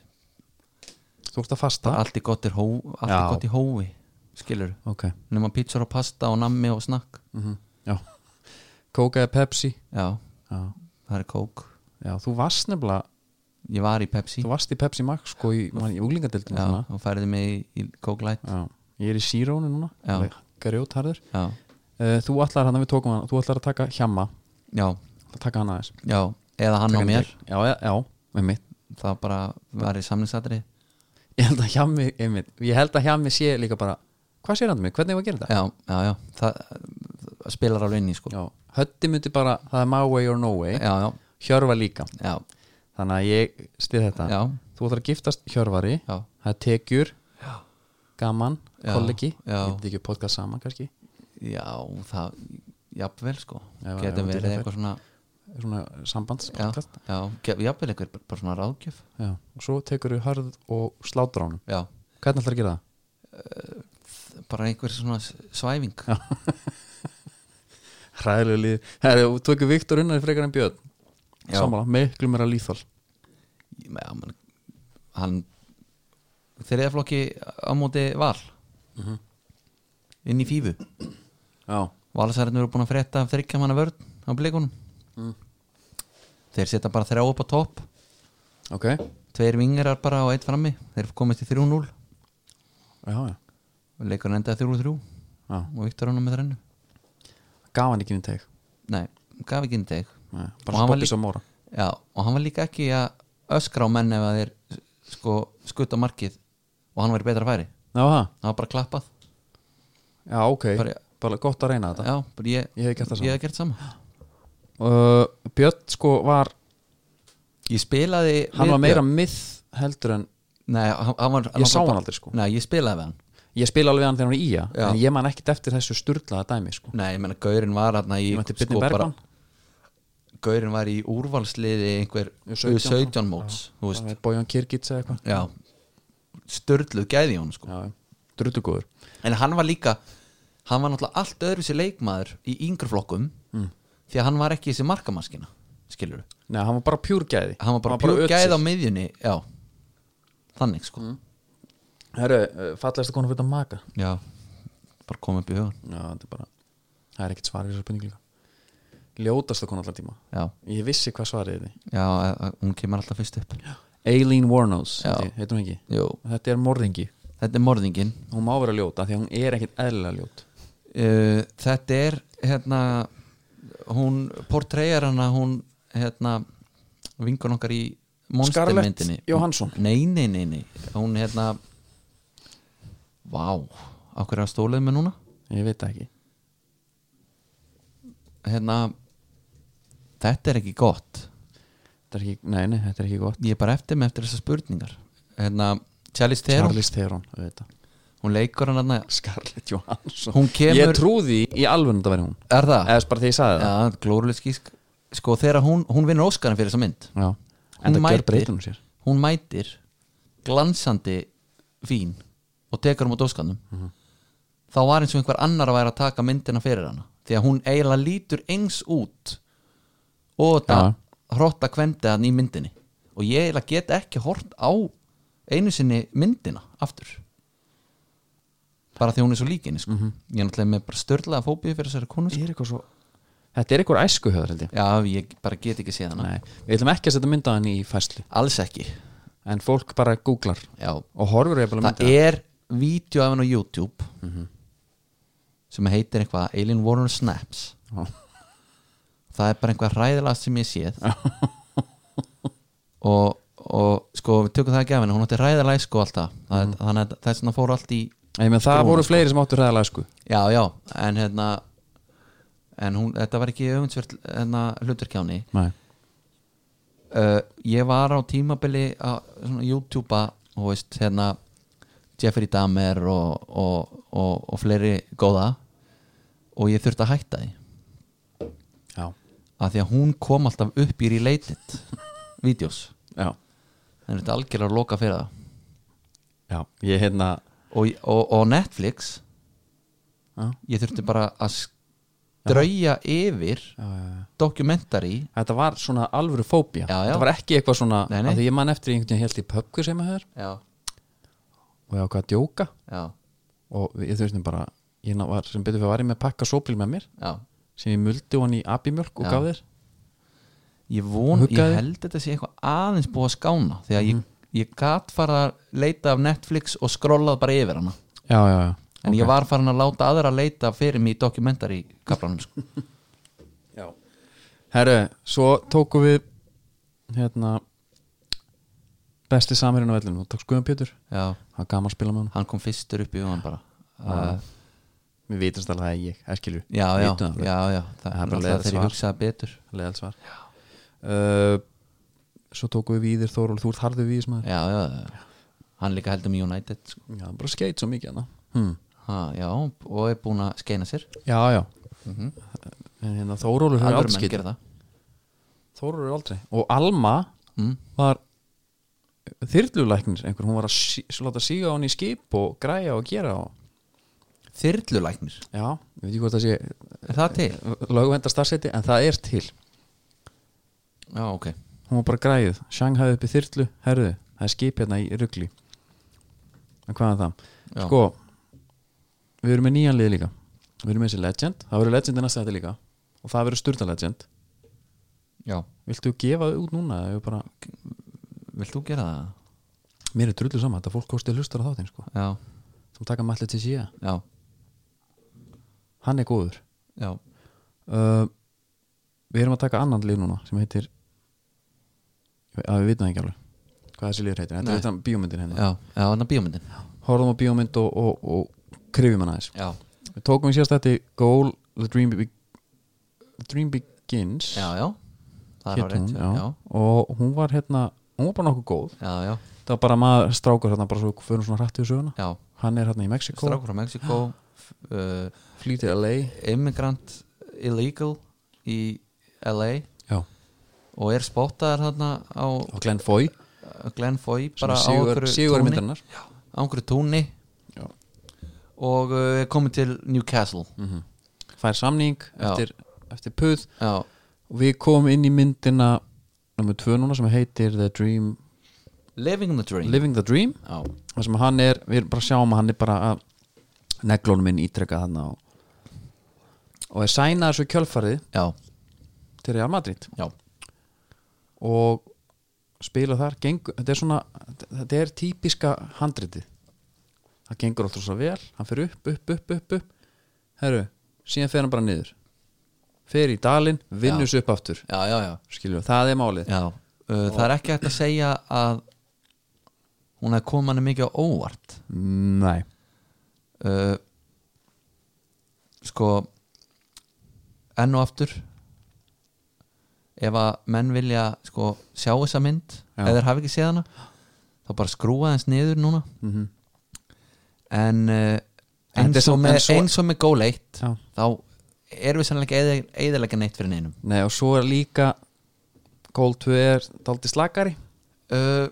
S1: Þú ert að fasta
S2: allt er gott, er hó, allt er
S1: Já.
S2: gott í hófi skilur,
S1: Ok, mhm,
S2: nema pítsur og pasta og nammi og snakk
S1: já Coca eða Pepsi
S2: já,
S1: Já,
S2: það er kók
S1: já þú varst nefnilega
S2: ég var í Pepsi
S1: Þú varst í Pepsi Max sko í, man- í úlingadeildinu
S2: já, og færði mig í, í Coke Light
S1: já Ég er í Sírónu núna
S2: Já.
S1: Garjótharður
S2: já,
S1: uh, Þú ætlar hann að við tókum hann Þú ætlar að taka hjamma
S2: já,
S1: Það taka hann aðeins
S2: já eða hann
S1: Taka
S2: á
S1: hann í
S2: mér,
S1: gegn. Já, já, já, með mitt
S2: það bara var í samlingsatri
S1: Ég held að hjammi, einmitt, ég held að hjammi sé líka bara Hvað sér hann mig, hvernig ég var að gera þetta?
S2: já, já, já, það, það spilar alveg inn í sko,
S1: Já, Höddi myndi bara, það er my way or no way
S2: já, já,
S1: Hjörva líka,
S2: já,
S1: þannig að ég stið þetta
S2: já,
S1: Þú ætlar að giftast Hjörvari
S2: já.
S1: það er tekjur gaman,
S2: Já,
S1: kollegi ég
S2: já.
S1: veit ekki podcast saman kannski
S2: Já, það, jafnvel sko
S1: Já,
S2: getum
S1: já,
S2: verið
S1: þetta er
S2: eitthvað svona
S1: svona
S2: já,
S1: sambandspodcast
S2: já, ge- jafnvel eitthvað bara- bara svona ráðgjöf
S1: já. og svo tekur þú hörð og slátur á hann
S2: já,
S1: hvernig ætlar að gera það?
S2: bara einhver svona s- svæfing
S1: hræðilegu lið Herri, þú tökur Viktor Unnar frekar en Björn
S2: Já.
S1: Sammála, miklu meira lýþál
S2: Ég- með- hann- hann þriða flokki á móti val inn í fífu
S1: Já,
S2: valsarinn eru búin að frétta af þryggja manna vörn á blikunum þeir setja bara þrjá upp á topp
S1: ok Já,
S2: tveir vingarar bara og eitt frammi þeir komist í 3-0
S1: já,
S2: leikurinn endaði 3-3
S1: já
S2: og Viktor ánum með þrennu
S1: Gaf hann ekki inn í teg
S2: nei, gaf ekki inn teg
S1: Nei,
S2: Og
S1: Bara
S2: hann var
S1: stoppis
S2: líka-
S1: á móra
S2: Já, og hann var líka ekki að öskra á menn ef að þeir sko skutt á markið og hann væri betra færi
S1: Já, það,
S2: hann var bara klappað
S1: já, ok
S2: Bara-
S1: Bara gott að reyna þetta
S2: Já, bara ég,
S1: Ég hefði gert það sama.
S2: ég hef gert sama
S1: uh, Björn sko var
S2: Ég spilaði
S1: hann
S2: við
S1: var meira
S2: Björn.
S1: mið heldur en
S2: Nei, hann, hann var
S1: ég sá
S2: var
S1: hann
S2: bara-
S1: aldrei sko
S2: Nei, ég spilaði við hann
S1: ég spila alveg hann þegar hann er í ja
S2: Já.
S1: en ég man ekkit eftir þessu sturlaða dæmi sko
S2: Nei, ég sko meina Gaurin var hann í
S1: ég mætti Byrni Bergman
S2: Gaurin var í úrvalsliði einhver
S1: U17
S2: U17 móts Þú veist,
S1: bara Bójan Kirkits eða eitthvað
S2: já Störluð gæði hún sko
S1: Já, drullugóður
S2: En hann var líka Hann var náttúrulega allt öðru sér leikmaður í yngri flokkum
S1: Mm.
S2: Því að hann var ekki í þessi markamaskina Skilur við
S1: Nei, hann var bara pjúrgæði
S2: Hann var bara pjúr
S1: ötsýr.
S2: gæð á miðjunni Já Þannig sko
S1: Mm. Herru, uh, fallegasta konu fyrir þetta maka
S2: Já Bara kom upp í hugan
S1: Já, þetta er bara Það er ekkit svarið þessu spurningu líka Ljótasta konu allar tíma
S2: Já
S1: Ég vissi hvað svarið þið
S2: Já eh, eh, Hún kemur alltaf fyrst upp
S1: Eileen Warnos,
S2: Já.
S1: heitir heitir hún ekki
S2: Jú
S1: Þetta er morðingi
S2: Þetta er morðingin
S1: Hún má vera ljóta því að hún er ekkit eðlilega ljót
S2: uh, Þetta er hérna Hún portreyjar hana Hún hérna Vingun okkar í
S1: Scarlett
S2: monstermyndinni
S1: Johansson.
S2: Nei, nei, nei, nei Hún hérna Vá Á hverju er að stólaði með núna
S1: Ég veit það ekki
S2: Hérna Þetta er ekki gott
S1: Þetta er ekki, nei, nei, þetta er ekki gott
S2: Ég er bara eftir með eftir þessar spurningar Hérna Charlize Theron
S1: Charlize Theron, auðvitað
S2: Hún leikur hann hérna
S1: Scarlett Johansson
S2: Hún kemur- Ah.
S1: Ég trúði í alveg að það væri hún
S2: Er það?
S1: Eða bara því ég sagði
S2: Já, glórulega skísk Sko þegar hún, hún vinnur Óskarinn fyrir þessa mynd
S1: það Já En
S2: Hún
S1: það
S2: mætir.
S1: gjör breytunum sér
S2: Hún mætir glansandi fín og tekar hún út Óskarnum
S1: Mhm.
S2: þá var eins og einhver annar að væri að taka myndina fyrir hana því að hún eiginlega lítur eins út og þetta
S1: Já.
S2: hrotta kvendi hann í myndinni og ég eiginlega get ekki hort á einu sinni myndina aftur bara því hún er svo líkinni sko. ég er náttúrulega með bara störlaða fóbíu fyrir þessari konu sko.
S1: Mhm. er eitthvað svo Þetta er eitthvað æskuhöður held ég
S2: já, ég bara get ekki séð hana
S1: Nei, við ætlum ekki að setja mynda hann í fæslu
S2: alls ekki
S1: En fólk bara googlar
S2: já.
S1: og horfur ég bara
S2: það Mhm.
S1: mynda
S2: er vídeo af henni á YouTube sem heitir eitthvað Alien Warner Snaps
S1: Já.
S2: það er bara einhvað hræðilega sem ég séð og, og sko við tökum það ekki af henni hún átti hræðilega sko alltaf það, þannig að þess að fór allt í
S1: Ég menn það
S2: Skrúfuna,
S1: voru
S2: sko.
S1: fleiri sem áttu hræðalega æsku
S2: já já en hérna en hún, þetta var ekki öfundsvert hérna, hluturkjáni
S1: Nei,
S2: uh, ég var á tímabili að svona YouTube-a þú veist, hérna Jeffrey Dahmer og, og, og, og fleiri góða og ég þurfti að hætta því
S1: já,
S2: af því að hún kom alltaf upp í related videos
S1: já,
S2: þannig að þetta er algjörlega að loka fyrir það
S1: já Ég hérna
S2: og, og, og Netflix
S1: Já.
S2: ég þurfti bara að strauja yfir dokumentari
S1: Þetta var svona alvöru fóbía
S2: Já, já.
S1: Þetta var ekki eitthvað svona
S2: Nei, nei.
S1: af Því ég man eftir einhvern veginn held í pöpku sem að höfður
S2: já,
S1: og ég ákvað að djóka
S2: já,
S1: og við- ég þurftum bara ég ná- var, sem betur fyrir var ég með pakka sópil með mér
S2: já
S1: sem ég muldi hann í abimjölk og
S2: Já.
S1: gaf þér
S2: ég von,
S1: Huggaði.
S2: ég held þetta sé eitthvað aðeins búið að skána þegar ég, ég gat farið að leita af Netflix og skrollað bara yfir hana
S1: Já, já, já,
S2: en ég var farin að láta aðra leita fyrir mig í dokumentari kaplanum sko.
S1: já. Herru, svo tókum við hérna besti samherjun á vellinu, þú tókst Guðan Pétur
S2: já,
S1: það var gaman að spila með hann
S2: hann kom fyrstur upp í hugan bara uh,
S1: Við vitast alveg að það er ég, erskilju
S2: já, já,
S1: Vitum
S2: já,
S1: það
S2: já það
S1: Það er bara
S2: er
S1: leiðilegt
S2: alltaf þegar
S1: svar.
S2: ég hugsaði betur
S1: Leðal svar uh, Svo tókum við Víðir Þóról Þú ert harður Víðis maður
S2: já, já, já, hann líka heldur með United sko.
S1: Já, bara skeit svo mikið hana hmm.
S2: ha, já, og er búin að skeina sér
S1: Já, já En hérna Þórólur hefur
S2: aðra
S1: aldrei
S2: menn
S1: skeit
S2: gera það
S1: Þórólur hefur aldrei Og Alma
S2: Mm.
S1: var þyrlulæknir einhver, hún var að sí, láta síga hann í skip og græja og gera og
S2: þyrlulæknir,
S1: já, ég veit ekki hvort það sé
S2: Er það til?
S1: lögvenda starfseti en það er til
S2: Já, ok
S1: hún var bara græðið, Shanghai upp í þyrlu herðu, það er skip hérna í rugli en hvað er það
S2: Já.
S1: sko, við erum með nýjan lið líka við erum með þessi legend, það verður legend í næsta þetta líka og það verður styrta legend
S2: Já,
S1: viltu gefa þau út núna eða eigum við bara,
S2: vilt þú gera það?
S1: mér er drullu saman þetta fólk kosti hlustar á þáttinn sko
S2: Já,
S1: sem taka mallið til síða,
S2: já,
S1: hann er góður
S2: já
S1: uh, við erum að taka annan lið núna sem heitir Ég veit- að við vitum það ekki alveg hvað þessi liður heitir, þetta
S2: Nei.
S1: er þetta bíómyndin hérna
S2: Já, já, þannig að bíómyndin
S1: horfum á bíómynd og, og, og krifjum hana aðeins
S2: Já,
S1: við tókum við sérst þetta Goal, The Dream, Be The Dream Begins
S2: já, já Það er
S1: hét
S2: á rétt,
S1: hún,
S2: já, já,
S1: og hún var hérna hún var bara nokkuð góð,
S2: já, já,
S1: það var bara maður strákur hérna bara svo við förum svona hrættu í söguna
S2: já.
S1: hann er hérna í Mexiko,
S2: Strákur frá Mexiko uh,
S1: flýtið LA
S2: Immigrant Illegal í LA
S1: já.
S2: og er spótaðar þarna á
S1: og Glenn Foy
S2: Glenn Foy
S1: sem
S2: bara
S1: er
S2: á
S1: sigur,
S2: einhverju
S1: sigur
S2: túni-
S1: myndarinnar
S2: á einhverju túnni
S1: Já.
S2: og uh, er komið til Newcastle
S1: Mm. fær samning
S2: Já.
S1: eftir, eftir puð
S2: Já,
S1: og við komum inn í myndina nummer tvö núna sem heitir The Dream
S2: Living the Dream
S1: Living the Dream
S2: Já,
S1: þar sem hann er, við erum bara að sjáum að hann er bara að neglónum minn ítrekka hann og, og er sænaður svo í kjölfarið
S2: já,
S1: til Real Madrid
S2: já,
S1: og spila þar gengur, þetta er svona, þetta er típiska handritið það gengur alltaf svo vel, hann fer upp, upp, upp, upp, upp herru, síðan fer hann bara niður fer í dalinn, vinnur svo upp aftur
S2: já, já, já.
S1: skilur, það er málið
S2: Já, uh, það er ekki hægt að segja að hún hefði komið hann mikið á óvart
S1: Nei
S2: uh, Sko enn og aftur ef að menn vilja sko, sjá þessa mynd
S1: Já.
S2: eða þeir hafi ekki séð hana þá bara skrúa þess niður núna
S1: Mhm.
S2: en uh,
S1: En þetta er
S2: eins og
S1: samt-
S2: með,
S1: en svo-
S2: eins og með Goal 1
S1: Já.
S2: þá erum við sannlega eðalega neitt fyrir neinum
S1: Nei og svo er líka Goal 2 er daldi slakari
S2: uh,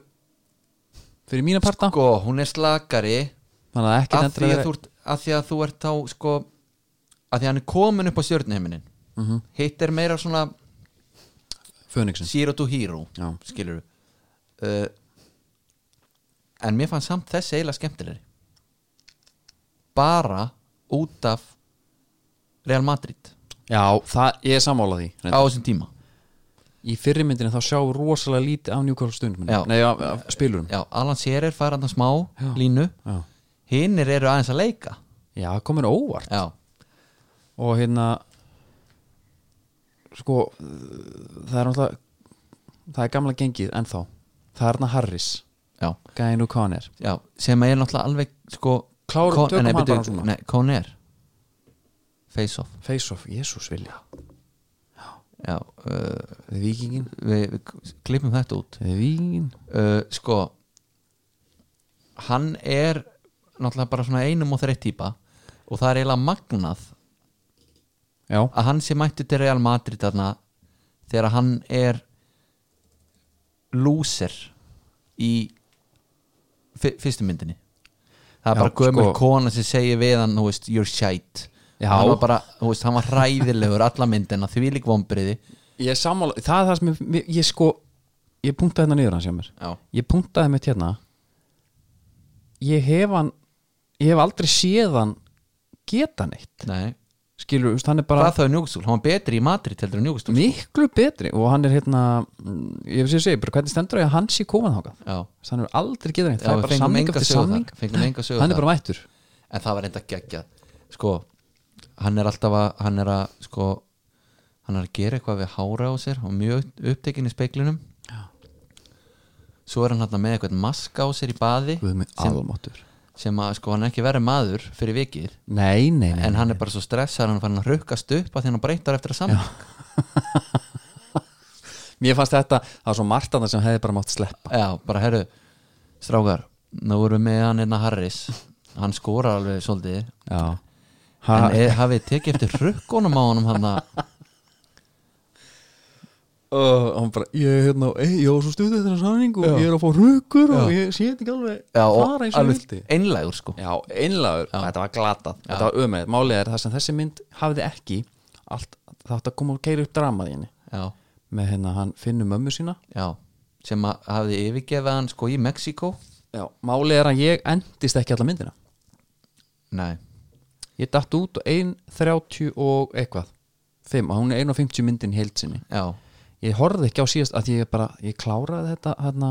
S1: fyrir mína parta
S2: sko, hún er slakari
S1: Þannig að ekki
S2: að því
S1: endilega
S2: að, þú, ert- að því að þú ert þá sko, að því að hann er komin upp á stjörnuhiminin mm -hmm. hitt er meira svona
S1: Fönixin
S2: zero to hero
S1: Já.
S2: skilur við uh, en mér fannst samt þessi eiginlega skemmtilegri bara út af Real Madrid
S1: Já, það, ég er sammála því
S2: á þessum tíma
S1: Í fyrri myndinu þá sjáum við rosalega lítið af Newcastle stundum
S2: Já.
S1: Nei, af, af spilurum
S2: já, Alan Shearer fær hann smá
S1: Já.
S2: línu
S1: Já,
S2: hinnir eru aðeins að leika
S1: Já komin óvart
S2: já,
S1: Og hérna Sko Það er náttúrulega Það er gamla gengið ennþá Það er hérna Harris,
S2: já,
S1: Gæin og Conner
S2: já sem er náttúrulega alveg sko
S1: Klárum-
S2: Con-
S1: tökum
S2: nei,
S1: hann
S2: byrju,
S1: bara svona.
S2: nei, Conner face off
S1: Face-off, Jesus vilja
S2: já, uh,
S1: Þið vikingin
S2: við, við klippum þetta út
S1: Þið vikingin
S2: uh, sko hann er náttúrulega bara svona einum og þreitt típa og það er eiginlega magnað
S1: Já,
S2: að hann sé mættu til Real Madrid þarna þegar hann er loser í fy- fyrstu myndinni það er
S1: Já,
S2: bara gömur
S1: sko.
S2: kona sem segir við hann, þú veist, you're shite
S1: Já.
S2: hann var bara, þú veist, hann var hræðilegur alla myndina, því lík vombriði
S1: Ég er sammála, það er það sem ég, mér- ég sko ég punktaði hérna niður hans hjá mér
S2: já,
S1: ég punktaði mitt hérna ég hef hann ég hef aldrei séð hann geta neitt,
S2: nei
S1: skilur, veist, hann er bara
S2: hvað þá er Newcastle, hann var betri í Madrid heldur en Newcastle
S1: miklu betri og hann er hérna mm, ég hef sér að segja, bara hvernig stendur á því að hann sé komað þákað,
S2: já,
S1: hann er aldrei geta neitt
S2: Já,
S1: það
S2: við
S1: er bara
S2: fengum
S1: samning
S2: enga
S1: eftir
S2: sögu
S1: samning
S2: þar, fengum enga sögu
S1: hann
S2: þar.
S1: er bara mættur
S2: en það var enda geggja sko, hann er alltaf að hann er að, sko hann er að gera eitthvað við hára á sér og mjög upptekinn í speiklinum já. svo er hann hann með eitthvað maska á sér í baði
S1: Guð minn,
S2: sem,
S1: aðalmáttur.
S2: sem að, sko, hann er ekki verið maður fyrir vikið,
S1: nei, nei, nei,
S2: en hann er bara svo stressað hann er farin að rukkast upp að því hann breytar eftir að saman
S1: mér fannst þetta, það var svo margt annað sem hefði bara mátt sleppa
S2: já, bara herru, strákar nú vorum við með hann einna Harris hann skorar alveg svolítið
S1: já,
S2: En
S1: hann
S2: er, hafið þið tekið eftir rökkunum á honum hann
S1: uh, og hann bara, ég er hérna ey, ég var svo stuðið þetta sanningu og ég er að fá rukur og ég sé þetta ekki alveg fara eins og ég vildi
S2: einlægur sko
S1: Já, einlagur, þetta var glatað Þetta var ömæð, málið er það sem þessi mynd hafði ekki allt, það átti að koma og keira upp dramað í henni
S2: já,
S1: með hérna hann finnur mömmu sína
S2: já, sem að hafði yfirgefið hann sko í Mexíkó
S1: Já, málið er að ég endist ekki alla myndina
S2: nei,
S1: Ég datt út og 1.30 og eitthvað 5, og hún er 1.50 myndin í heild sinni
S2: já
S1: Ég horfði ekki á síðast að ég bara ég kláraði þetta hérna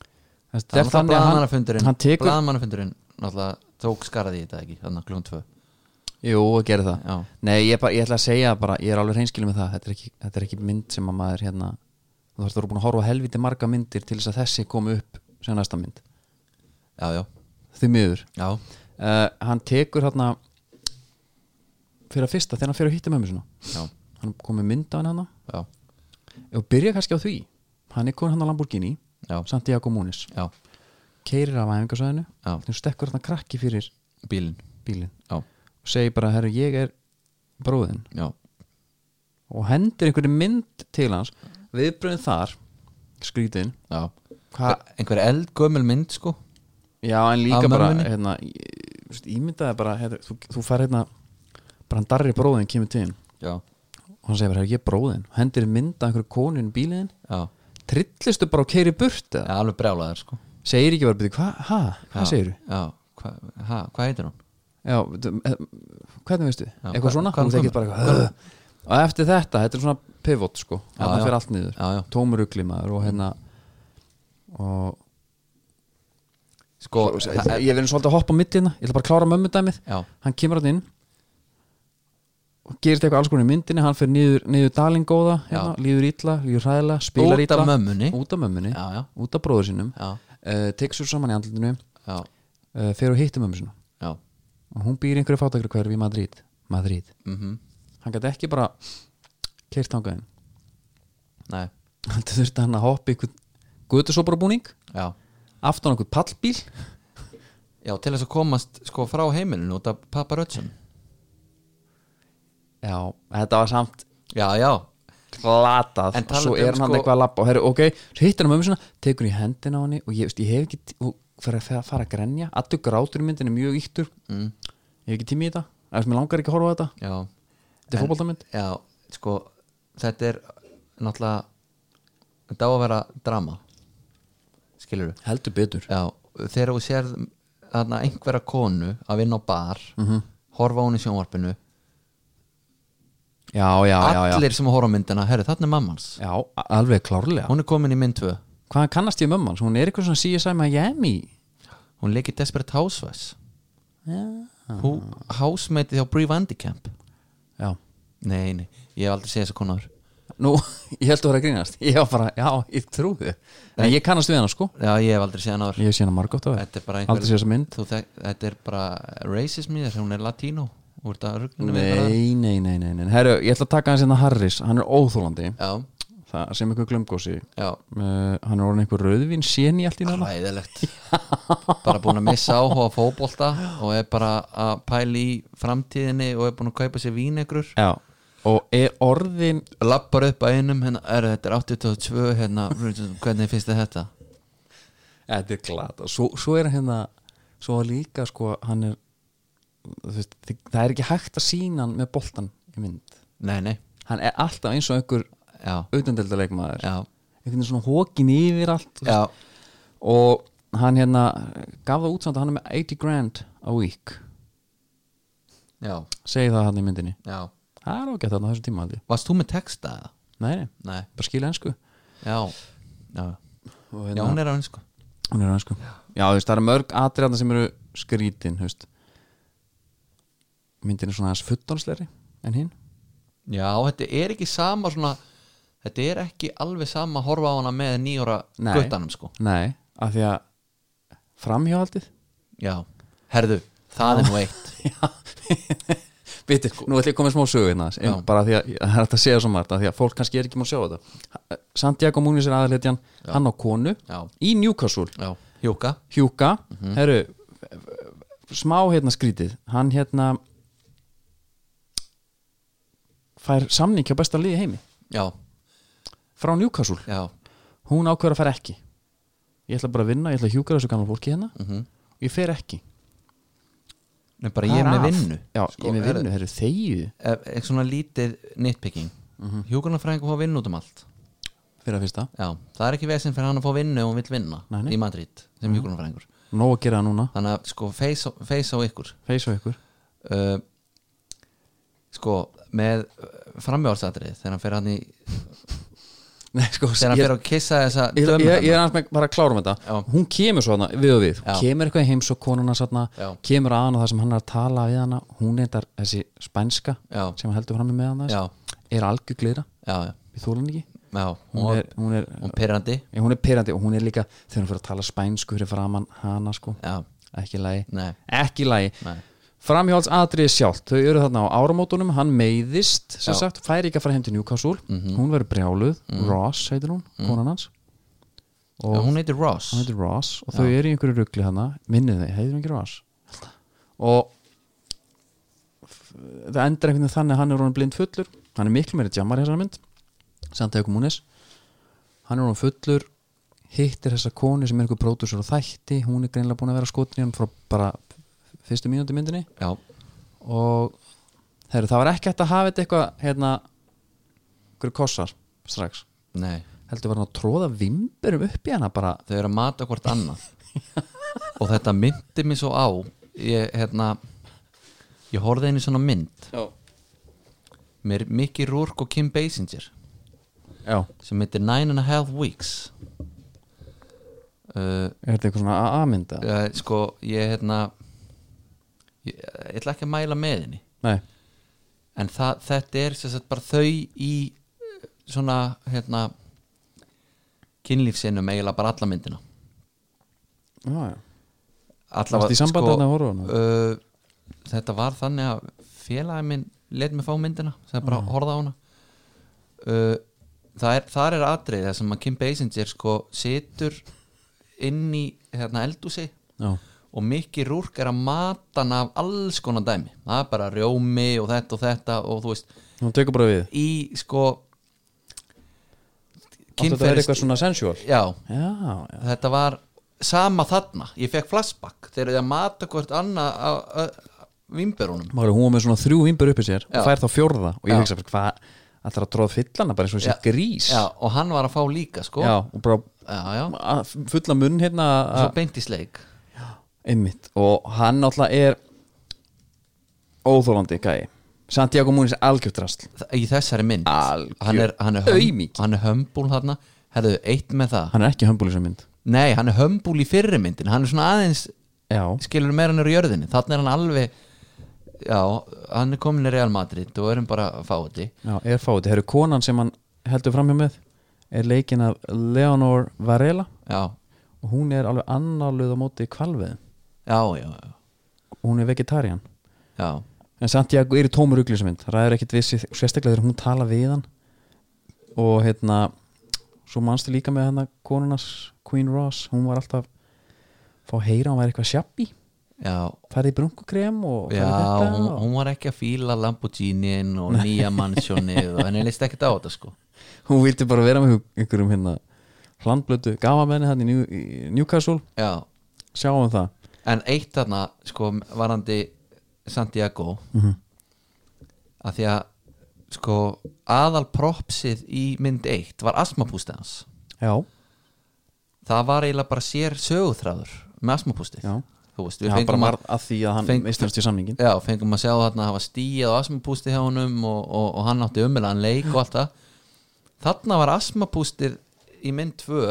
S2: það var það blaðamannafundurinn
S1: hann tekur,
S2: blaðamannafundurinn náttúrulega tók skarði í þetta ekki þannig að klun 2
S1: Jú, að gera það
S2: Já.
S1: Nei, ég, bara, ég ætla að segja bara, ég er alveg reynskilin með það þetta er, ekki, þetta er ekki mynd sem að maður hérna þú þarfst að vera búin að horfa á helviti marga myndir til þess að þessi kom upp sem næsta mynd
S2: já, já,
S1: því miður
S2: já,
S1: uh, hann tekur hérna fyrir að fyrsta þegar hann fyrir að hitta mömmu sinna
S2: já,
S1: hann kom með mynd á hann hana
S2: já,
S1: og byrja kannski á því hann er komin hann á Lamborghini
S2: Já.
S1: Santiago Munis
S2: já,
S1: keirir af æfingasöðinu
S2: Já.
S1: þú stekkur hérna krakki fyrir
S2: bílinn
S1: bílinn
S2: já,
S1: og segir bara, herru, ég er bróðin
S2: já,
S1: og hendir einhverju mynd til hans viðbröðin þar skrítin
S2: já
S1: Hva?
S2: einhver eldgömmul mynd sko
S1: já en líka
S2: Af
S1: bara
S2: mömmunni?
S1: hérna, ég- þú veist, ímyndaði bara hérna, þú, þú fær hérna bara hann darri bróðin kemur til hann
S2: já,
S1: og hann segir bara "Herra, ég er bróðin hendir mynd af einhverju konun bíliðin
S2: já,
S1: trillistu bara og keiri burt eða?
S2: já alveg brjálaðar sko
S1: segir ekki bara byrju hvað, hæ,
S2: Já,
S1: hvað segir
S2: já, hva, ha, hvað heitir hún?
S1: já, þú- eh, hvernig veistu,
S2: Já,
S1: eitthvað
S2: hvað-
S1: svona
S2: hvað
S1: hún
S2: kom-
S1: tekið bara eitthvað "Ugh." og eftir þetta, þetta er svona pivot sko
S2: Já,
S1: þarna
S2: já.
S1: fyrir allt niður,
S2: Já, já.
S1: tómurugli maður og hérna og
S2: sko,
S1: Svo- ég- ég verður svolítið að hoppa á mittina ég ætla bara að klára mömmu dæmið
S2: Já.
S1: hann kemur hann inn og gerist eitthvað alls konar í myndinni hann fyrir niður, niður dalinn góða hérna, líður illa, líður hræðilega, spilar
S2: Út
S1: illa
S2: af mömmunni.
S1: út af mömmunni,
S2: Já, já.
S1: út af bróður sínum
S2: Já.
S1: uh, tekur sér saman í andlutinu
S2: já,
S1: uh, fyrir að hitta mömmu sínum
S2: já,
S1: og hún býr í einhverju fátakri hverfi í Madrid Madrid,
S2: mhm,
S1: hann gæti ekki bara keirt þangaðin
S2: nei
S1: hann þurfti hann að hoppa í einhvern gutusoparabúning
S2: já,
S1: aftan á einhvern pallbíl
S2: já, til þess að komast sko frá heimilinu út af paparötsum
S1: já, þetta var samt
S2: já, já,
S1: glatað
S2: En
S1: og
S2: talandi
S1: svo er
S2: um
S1: hann
S2: sko-
S1: eitthvað að lappa og herri, ok, svo hittir hann mömmu sinna tekur hann í hendina á henni og ég, veist, ég hef ekki tí- og fyrir að fer- fara að grenja allur grátur í myndin er mjög íttur mm. ég hef ekki tími í þetta, eða sem ég langar ekki að horfa á þetta
S2: já
S1: þetta er
S2: En-
S1: fótboltamynd
S2: já, sko, þetta er náttúrulega þetta á að vera drama skilur við
S1: heldur betur
S2: já, þegar þú sér þarna einhverja konu að vinna á bar -hmm. horfa á hún í sjónvarpinu
S1: já, já, já, já,
S2: allir sem horfa á myndina, herru, þarna er mammans
S1: já a- alveg klárlega
S2: hún er komin í mynd 2
S1: hvaðan kannast ég mömmu hans, hún er eitthvað svona CSI Miami
S2: hún leikir Desperate Housewives hún hásmeiti hjá Brie Vandicamp
S1: já,
S2: nei, nei, ég hef aldrei séð þessa konaður
S1: nú, ég held að vera að grínast ég var bara, já, ég trúði en ég kannast við hana sko,
S2: já, ég hef aldrei séð hana áður
S1: ég sé hana margótt á
S2: þetta er bara
S1: aldrei sé þessa mynd
S2: þú, þek- þetta er bara racism í þess hún er latínó úr þetta rugnum
S1: Nei, nei, nei, nei, nei. Herru, ég ætla að taka hans hérna Harris Hann er óþólandi
S2: já,
S1: Það sem einhver glömgósi uh,
S2: já,
S1: Hann er orðin einhver rauðvin séni allt í
S2: Ah.
S1: nála
S2: ræðilegt bara búin að missa áhuga á fótbolta og er bara að pæla í framtíðinni og er búin að kaupa sér vínegrur
S1: Já Og er orðin
S2: lappar upp að einum hérna, er, þetta er 82 hérna, hvernig finnst þið þetta
S1: Þetta er glata Svo, svo er hérna Svo var líka sko Hann er þú veist, þi- Það er ekki hægt að sína hann með boltan í mynd
S2: nei, nei,
S1: Hann er alltaf eins og einhver
S2: já,
S1: auðvendeldarleikmaður
S2: já,
S1: Einhvern veginn svona hókin yfir allt þú veist.
S2: já
S1: Og hann hérna Gaf það út samt að hann er með 80 grand a week
S2: já,
S1: Segði það hann í myndinni
S2: já,
S1: Það er ágætt þarna á þessum tíma aldrei
S2: varst þú með texta eða?
S1: Nei, nei,
S2: nei,
S1: bara skilja ensku
S2: já já,
S1: Og
S2: já hún er á henni sko
S1: Hún er ensku Já, þú veist, það eru mörg atriðarna sem eru skrítin, þú veist Myndin er svona aðeins fullorðslegri en hinn
S2: Já, þetta er ekki sama svona Þetta er ekki alveg sama að horfa á hana með nýjóra
S1: Nei.
S2: guttanum sko
S1: Nei, af því að framhjóaldið
S2: Já, herðu, það er nú eitt
S1: Biti, nú ætlum ég að koma með smá sögu hérna aðeins, en
S2: Sko- Já.
S1: bara af því að það er hægt að segja svo margt af því að fólk kannski er ekki múin að sjá þetta eh, Santiago Múnis er aðalhetjan, hann á konu
S2: Já.
S1: í Newcastle
S2: Já, Júka
S1: Hjúka,
S2: Mhm.
S1: herru smá hérna skrítið hann hérna fær samning hjá besta liði heimi
S2: Já,
S1: frá Newcastle
S2: já,
S1: hún ákveður að fara ekki ég ætla bara að vinna, ég ætla að hjúkara þessu gamla fólki hérna
S2: mhm
S1: og ég fer ekki
S2: Nei, bara ég er
S1: af.
S2: með vinnu
S1: já,
S2: Sko,
S1: ég er með
S2: er-
S1: vinnu, þeirri þegið
S2: ef- eitthvað svona lítið nitpicking mm
S1: Mhm.
S2: -hmm. fá vinnu út um allt
S1: fyrir að fyrsta,
S2: já, það er ekki veginn fyrir hann að fá vinnu ef hún vill vinna
S1: Nei, Mhm. nei.
S2: í Madrid sem hjúkunarfræðingur
S1: nóg að gera það núna
S2: þannig að sko feis á, feis á ykkur
S1: feis á ykkur
S2: uh, sko með framjáhalsatrið þegar hann fyrir hann í
S1: Nei, sko,
S2: þegar hann
S1: ég-
S2: fyrir að kissa þessa
S1: ég,
S2: dömu
S1: ég, ég
S2: þarna.
S1: er aðeins með bara að klára um þetta
S2: Já.
S1: hún kemur svona við og við
S2: Já.
S1: kemur eitthvað í heims og konuna satna,
S2: Já.
S1: kemur að hana það sem hann er að tala við hana hún er þessi spænska
S2: Já.
S1: sem hann heldur fram með hana
S2: já,
S1: er algjör glera,
S2: já, já,
S1: við þólan ekki
S2: já
S1: hún
S2: hún,
S1: er, hún er,
S2: hún pyrrandi
S1: já, hún er perandi og hún er líka þegar hún fyrir að tala spænsku fyrir framan hana sko
S2: já,
S1: ekki lægi,
S2: nei,
S1: ekki lægi
S2: nei,
S1: framhjálds atriði sjálft, þau eru þarna á áramótunum hann meiðist, sem
S2: Já.
S1: sagt, fær ekki að fara heim til Newcastle hún verður brjáluð, Ross heitir hún, konan hans
S2: og hún heitir Ross
S1: hann heitir Ross og þau eru í einhverju ruggli hana minnið þau, heitir hann ekki Ross og f- það endur einhvern veginn þannig að hann er orðin blind fullur hann er miklu meiri jammar í þessari mynd Santiago Múnis hann er orðin fullur hittir þessa konu sem er einhver pródúsur og þætti hún er greinlega búin að vera skotin í hann frá bara fyrstu mínúti myndinni
S2: já,
S1: og heru, það var ekki hægt að hafa þetta eitthvað hérna einhverju kossar strax
S2: nei
S1: heldur var hann að tróða vimberum upp í hana bara
S2: þau eru að mata hvort annað og þetta myndi mér svo á ég, hérna ég horfði einu svona mynd
S1: já,
S2: með Mickey Rourke og Kim Basinger
S1: já.
S2: sem heitir Nine and a Half Weeks uh,
S1: Er þetta eitthvað svona A-mynda?
S2: uh, sko ég hérna ég, ég ætla ekki að mæla með henni
S1: Nei,
S2: en það, þetta er sem sagt bara þau í uh, svona hérna kynlífsinum eiginlega bara alla myndina
S1: já, já
S2: Alla sko,
S1: Varst í sambandi að horfa á hana?
S2: uh, þetta var þannig að félagi minn let mig fá myndina sem bara
S1: Mm.
S2: horfði á hana uh, það er, þar er atrið það sem að Kim Basinger sko situr inn í hérna, eldúsi
S1: Já,
S2: og Mickey Rourke er að mata hann af alls konar dæmi það er bara rjómi og þetta og þetta og þú veist,
S1: hún tekur bara við
S2: í sko
S1: Kynferðist... Þetta er eitthvað svona sensual
S2: já,
S1: Já, já
S2: þetta var sama þarna, ég fekk flashback þegar ég að mata hvort annað vimberunum
S1: Máli, hún var með svona þrjú vimbur uppi sér
S2: Já.
S1: og fær þá fjórða og
S2: Já.
S1: ég hugsa fyrir hvað ætlar að tróða fyllana bara eins og sé grís
S2: já, og hann var að fá líka sko
S1: Já, og bara
S2: já, já.
S1: að fulla munn hérna
S2: svo
S1: að-
S2: beint í sleik
S1: einmitt og hann náttúrulega er óþólandi gæi Santiago Múnis algjöfdrasl
S2: Þa- í þessari mynd
S1: Algjör
S2: hann er, hann, er hum,
S1: aumingi.
S2: hann er hömbúl þarna herðu, eitt með það
S1: Hann er ekki hömbul í þessum mynd
S2: nei, hann er hömbúl í fyrri myndin hann er svona aðeins,
S1: Já,
S2: skilur meira hann er í jörðinni þarna er hann alveg já, hann er komin í Real Madrid og erum bara að fá þetta
S1: já er fáið Það eru konan sem hann heldur framhjá með er leikin af Leonor Varela
S2: já,
S1: og hún er alveg annáluð á móti kvalveð
S2: já, já, já,
S1: hún er vegetarian
S2: já.
S1: en Santiago er í tómur uglismind ræður ekkit vissi, sérstaklega þegar hún tala við hann og hérna svo manstu líka með hennar konunas Queen Ross, hún var alltaf fá að heyra, hún var eitthvað sjabbi
S2: já.
S1: farið í brunkukrem og farið í
S2: Já,
S1: þetta
S2: hún,
S1: og-
S2: hún var ekki að fíla Lamborghinin og nýja mannsjónið og henni leist ekkert á þetta sko
S1: hún vildi bara vera með einhverjum hérna hlandblötu gafamenni hann í, New, í Newcastle
S2: Já,
S1: sjáum það
S2: en eitt þarna sko varandi Santiago
S1: Mhm.
S2: að því að sko aðal propsið í mynd 1 var asmapústið hans
S1: já,
S2: það var eiginlega bara sér sögutræður með asmapústið
S1: Já.
S2: þú veist, við
S1: já bara
S2: fengum að,
S1: varð að því að hann
S2: feng-
S1: mistast í samningin
S2: já, fengum að sjá þarna að hafa stíð og asmapústið hjá honum og, og, og hann átti umjölaðan leik og allt það þarna var asmapústið í mynd 2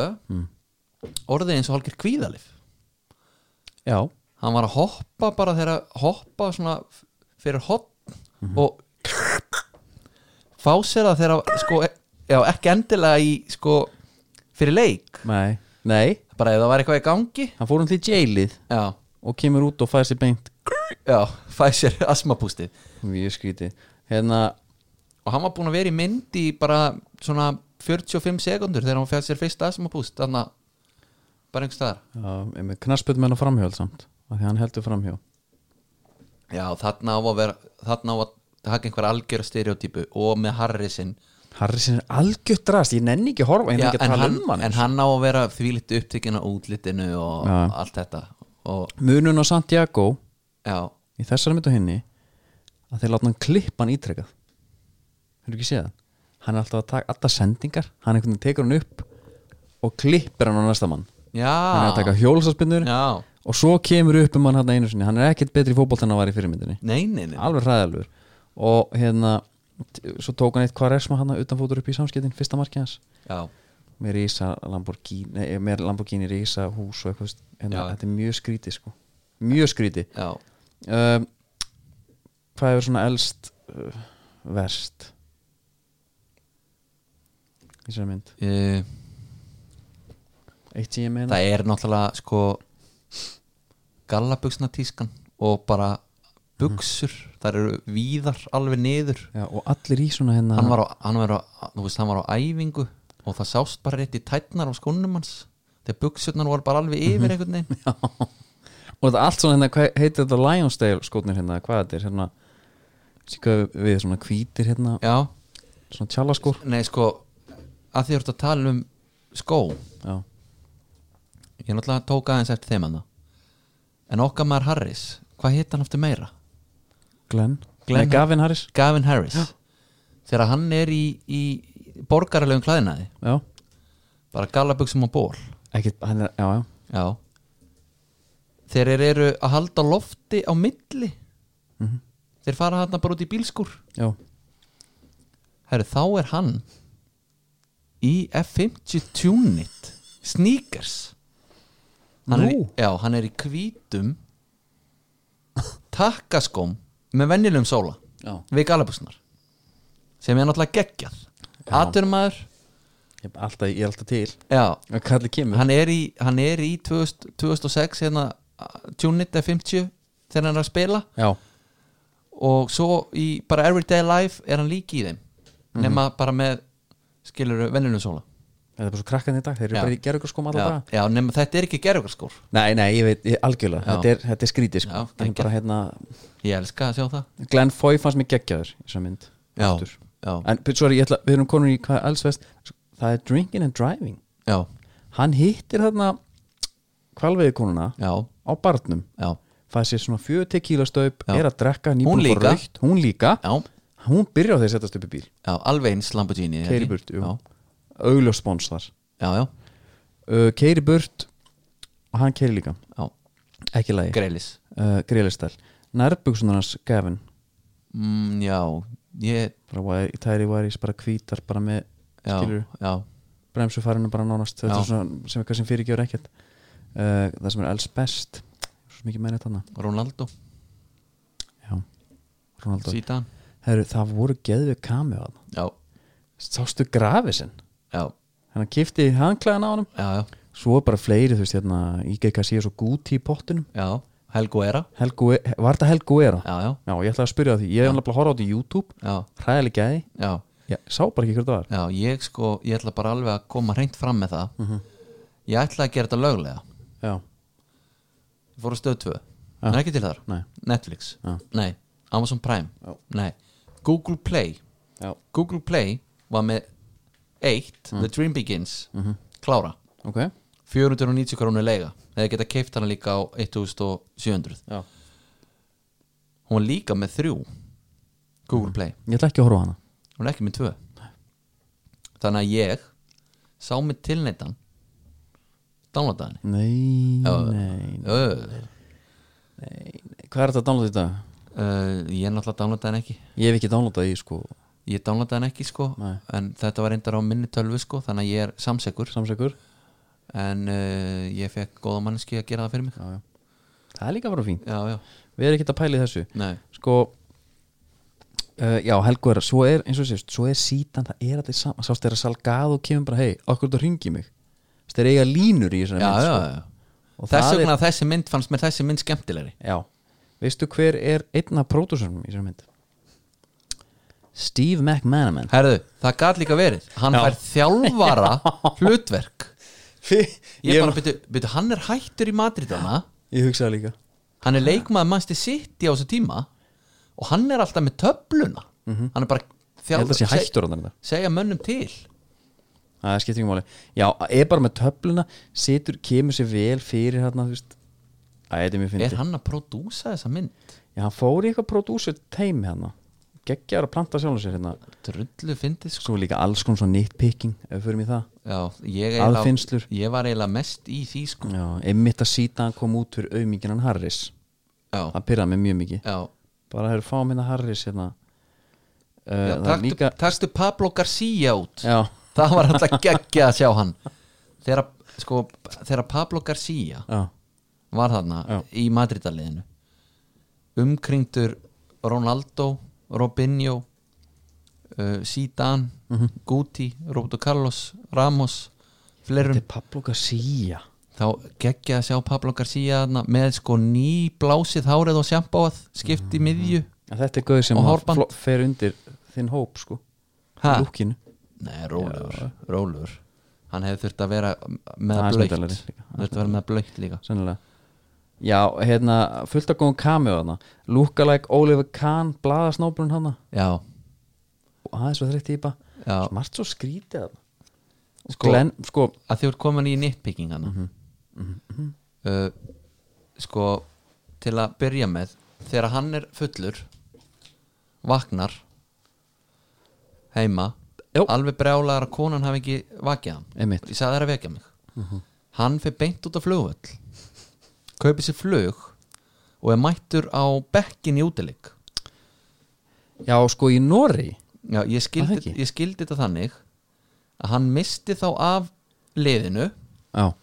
S2: orðið eins og hálfur kvíðalif
S1: já,
S2: hann var að hoppa bara þegar að hoppa svona f- fyrir hopp og fá sér það þegar að sko, e- já, ekki endilega í sko, fyrir leik
S1: nei, nei
S2: bara ef það var eitthvað í gangi
S1: hann fór hann til jailið
S2: já,
S1: og kemur út og fær sér beint
S2: já, fæ sér asmapústið
S1: mjög skríti hérna,
S2: og hann var búin að vera í mynd í bara svona 45 sekundur þegar hann fæ sér fyrst asmapúst þannig að bara einhvers staðar
S1: uh, knarsbjörn menn á framhjóð samt af því hann heldur framhjó
S2: Já, þarna á að vera þarna á að taka einhver algjör stereotypu og með Harrisin
S1: Harry sinni er algjört drast, ég nenni ekki að horfa ég nenni
S2: Já,
S1: ekki að
S2: en,
S1: tala
S2: hann,
S1: um hann
S2: en hann á að vera þvílitt upptekinn á útlitinu og
S1: Já.
S2: allt þetta og
S1: munun á Santiago
S2: já,
S1: í þessari mynd og henni að þeir láta hann klippa hann ítrekað hefur ekki séð það hann er alltaf að taka alltaf sendingar hann einhvern veginn tekur hann upp og klippir hann á næsta mann
S2: já,
S1: hann er að taka hjólsaspinnur
S2: Ah. já
S1: og svo kemur upp um hann hann einu sinni hann er ekkert betri í fótbolt en hann var í fyrirmyndinni
S2: nei, nei, nei,
S1: alveg hræðalur og hérna t- svo tók hann eitt kvaresma hann utanfótur upp í samskiptin fyrsta markið hans
S2: já,
S1: með Risa Lamborghini nei, með Lamborghini Risa hús og eitthvað hérna,
S2: Já.
S1: þetta er mjög skrítið sko mjög skrítið
S2: já
S1: um, hvað hefur svona elst uh, verst í sér mynd
S2: uh,
S1: eitt sem ég meina
S2: það er náttúrulega sko gallabuxna tískan og bara buxur, þar eru víðar alveg niður
S1: Já, og allir í svona hérna
S2: hann var, á, hann, var á, þú veist, hann var á æfingu og það sást bara rétt í tætnar á skónum hans þegar buxurnar voru bara alveg yfir einhvern veginn
S1: Já. og þetta er allt svona hérna hvað heitir þetta Lionsdale skotnir hérna hvað þetta er hérna síka við svona hvítir hérna
S2: já,
S1: svona tjallaskór
S2: nei sko að því þú ert að tala um skó
S1: já,
S2: ég náttúrulega tók aðeins eftir þeim hann en okkar maður Harris hvað hitt hann aftur meira?
S1: Glenn,
S2: Glenn-
S1: Nei, Gavin Harris
S2: Gavin Harris þegar hann er í, í borgaralegum klæðinaði
S1: já,
S2: bara gallabuxum og ból
S1: ekki, hann er, já, já
S2: já þeir eru að halda lofti á milli þeir fara hann bara út í bílskur
S1: Já,
S2: Herru, þá er hann í F50 Tunit Sneakers hann er, í,
S1: Nú.
S2: já, hann er í hvítum takkaskóm með venjulegum sóla
S1: Já.
S2: við galabusnar sem er náttúrulega geggjað aturmaður
S1: ég er alltaf, ég er alltaf til
S2: já,
S1: að kalli kemur
S2: hann er í, hann er í 2000, 2006 hérna Tunit F50 þegar hann er að spila
S1: Já,
S2: og svo í bara everyday life er hann líki í þeim nema bara með skilur venjulegum sóla
S1: þetta er bara svo krakkan í dag Þeir eru
S2: Já.
S1: bara í gerður sko maður
S2: já,
S1: bara
S2: já, nema þetta er ekki gerðugarskór
S1: Nei, nei, ég veit, ég, algjörlega,
S2: Já.
S1: þetta er, þetta er skrítið sko.
S2: Já,
S1: En
S2: geggjað.
S1: bara hérna,
S2: Ég elska að sjá það
S1: Glenn Foy fannst mér geggjaður í þessar mynd
S2: Já,
S1: Aftur.
S2: já.
S1: En, but sorry, ég ætla, við erum konur í hvað alls veist Það er drinking and driving
S2: Já,
S1: Hann hittir þarna hvalveiði
S2: já,
S1: á barnum
S2: já,
S1: Fæði sér svona 40 kíla staup,
S2: Já.
S1: er að drekka nýbúin
S2: Hún
S1: að fá
S2: líka.
S1: rautt, Hún líka
S2: já,
S1: Hún byrjar á því að setjast upp í bíl
S2: já Alveg eins Lamborghini
S1: Keiri
S2: ekki?
S1: burt, jú
S2: Já,
S1: Augljós spons þar
S2: já, já,
S1: uh, Keiri burt og hann keiri líka
S2: já.
S1: ekki lægi
S2: Greilis
S1: uh, greilistel nærbuksunarnas Gavin
S2: mm, Já, ég
S1: bara wire, tæri væris bara hvítar bara með
S2: Já,
S1: skilur
S2: já,
S1: bremsu farinu bara nánast þetta
S2: Já.
S1: er svona sem eitthvað sem fyrirgjör ekkert uh, það sem er els best svo mikið mennið þarna
S2: Ronaldo,
S1: já Ronaldo
S2: Zidane
S1: Heru, það voru geðvið kamið á það
S2: Já,
S1: sástu grafið sinn
S2: já,
S1: hann kifti handklæðan á honum
S2: já, já,
S1: svo var bara fleiri þú veist hérna IGK síðan svo gúti í pottinum
S2: já Helgu Era
S1: Helgu, var þetta Helgu Era?
S2: Já, já,
S1: Já, ég ætlaði að spyrja að því, ég hef náttúrulega að horfa á þetta í YouTube
S2: já,
S1: hræðileg gæði,
S2: já
S1: ég sá bara ekki hver það var
S2: Já, ég sko, ég ætla bara alveg að koma hreint fram með það
S1: Mhm.
S2: Ég ætla að gera þetta löglega
S1: Já,
S2: Ég fór á stöð 2 Það er ekki til þar
S1: nei,
S2: Netflix
S1: Já.
S2: Nei, Amazon Prime
S1: Já.
S2: Nei, Google Play
S1: já,
S2: Google Play var með 1,
S1: Mhm.
S2: The Dream Begins klára,
S1: ok
S2: 490 krónu leiga eða geta keift hana líka á 1700
S1: já.
S2: hún var líka með 3 Google Play,
S1: Ég ætla ekki að horfa á hana
S2: hún er ekki með 2 þannig að ég sá mig tilneittan downloadaði henni
S1: Nei,
S2: Já.
S1: nei,
S2: Ö,
S1: hvað er þetta að downloada í dag?
S2: uh, ég náttúrulega downloadaði henni ekki
S1: Ég hef ekki downloadað í sko
S2: ég downloadaði henni ekki sko
S1: Nei.
S2: en þetta var reyndar á minni tölvu sko þannig að ég er samsekur
S1: samsækur
S2: en uh, ég fekk góða manneski að gera það fyrir mig
S1: já, já. Það er líka bara fín,
S2: já, já,
S1: við erum ekki að pæla í þessu
S2: nei
S1: Sko uh, Já, Helgu Era, svo er eins og sést svo er sítan, það er allir saman Sást þeirra salgað og kemur bara, hei, okkur þetta ringi mig Þeir eiga línur í þessari
S2: já,
S1: mynd,
S2: já,
S1: sko.
S2: já.
S1: Og
S2: þess
S1: það er-
S2: vegna þessi mynd fannst mér þessi mynd skemmtilegri
S1: Já, veistu hver er einn af pródúsurnum í þessari mynd? Steve McManaman
S2: herðu, það gat líka verið hann
S1: Já.
S2: fær þjálfara hlutverk
S1: ég,
S2: ég, bara, byrju, byrju, hann er hættur í Madridana
S1: ég hugsaði líka
S2: hann er leikmaður mannstu sitt í á þessu tíma og hann er alltaf með töfluna hann er bara
S1: Mhm. ég held að sé
S2: seg-
S1: hættur á þetta
S2: segja mönnum til
S1: Það skiptir ekki máli Já, er bara með töfluna Situr, kemur sér vel fyrir hérna þú veist Æ, þetta er mjög
S2: er
S1: fyndið
S2: hann að prodúsa þessa mynd
S1: Já, hann fór í eitthvað prodúsur teimi hérna Geggjar að planta sjálfum sér hérna
S2: drullu fyndið sko
S1: Svo líka alls konar svona nitpicking Ef við förum í það
S2: já, ég, eiginlega-
S1: Aðfinnslur.
S2: ég var eiginlega mest í því sko
S1: Já, einmitt að síta hann kom út fyrir auðminginan Harris
S2: já,
S1: Það pyrraði mig mjög mikið
S2: já,
S1: Bara hefur fáum hérna Harris hérna Uh,
S2: já
S1: það er
S2: taktu,
S1: líka
S2: taktu Pablo Garcia út
S1: Já,
S2: það var alltaf geggja að sjá hann þegar, sko, þegar Pablo Garcia
S1: já,
S2: var þarna
S1: Já.
S2: í Madridaliðinu umkringdur Ronaldo Robinho uh, Zidane,
S1: Mhm.
S2: Guti Roberto Carlos, Ramos
S1: þetta
S2: flerum,
S1: er Pablo Garcia
S2: þá geggja að sjá Pablo Garcia þarna, með sko ný blásið hárið og sjampáað, skipt
S1: Mhm.
S2: í miðju
S1: En Þetta er gauð sem
S2: Og
S1: að
S2: hárband.
S1: fló- fer undir þinn hóp sko
S2: Ha?
S1: Lúkinu
S2: Nei, rólegur, rólegur Hann hefði þurft að vera með
S1: Aðeins
S2: blöytt
S1: myndarlegri líka.
S2: Þurft að vera með blöytt líka
S1: sennilega já, hérna, fullt af góðum kamið hana lúkalæk, Oliver Kahn, blaðasnóbrun hana
S2: Já,
S1: og það er svo þreytt típa
S2: Já.
S1: margt svo skrítið hana
S2: Sko-
S1: sko, Glenn, sko
S2: að þið voru komin í nitpicking hana
S1: Mhm,
S2: uh, Sko, til að byrja með Þegar hann er fullur Vaknar Heima
S1: Jó.
S2: Alveg brjálaðar að konan hafi ekki vakið hann
S1: Einmitt.
S2: Ég sagði þær að vekja mig
S1: Mhm.
S2: Hann fyrir beint út á flugvöll Kaupið sér flug Og er mættur á bekkin í útileik
S1: já, sko í Norri
S2: Já,
S1: Var
S2: ég
S1: það
S2: skildi,
S1: ekki?
S2: ég skildi þetta þannig að hann misti þá af liðinu
S1: já,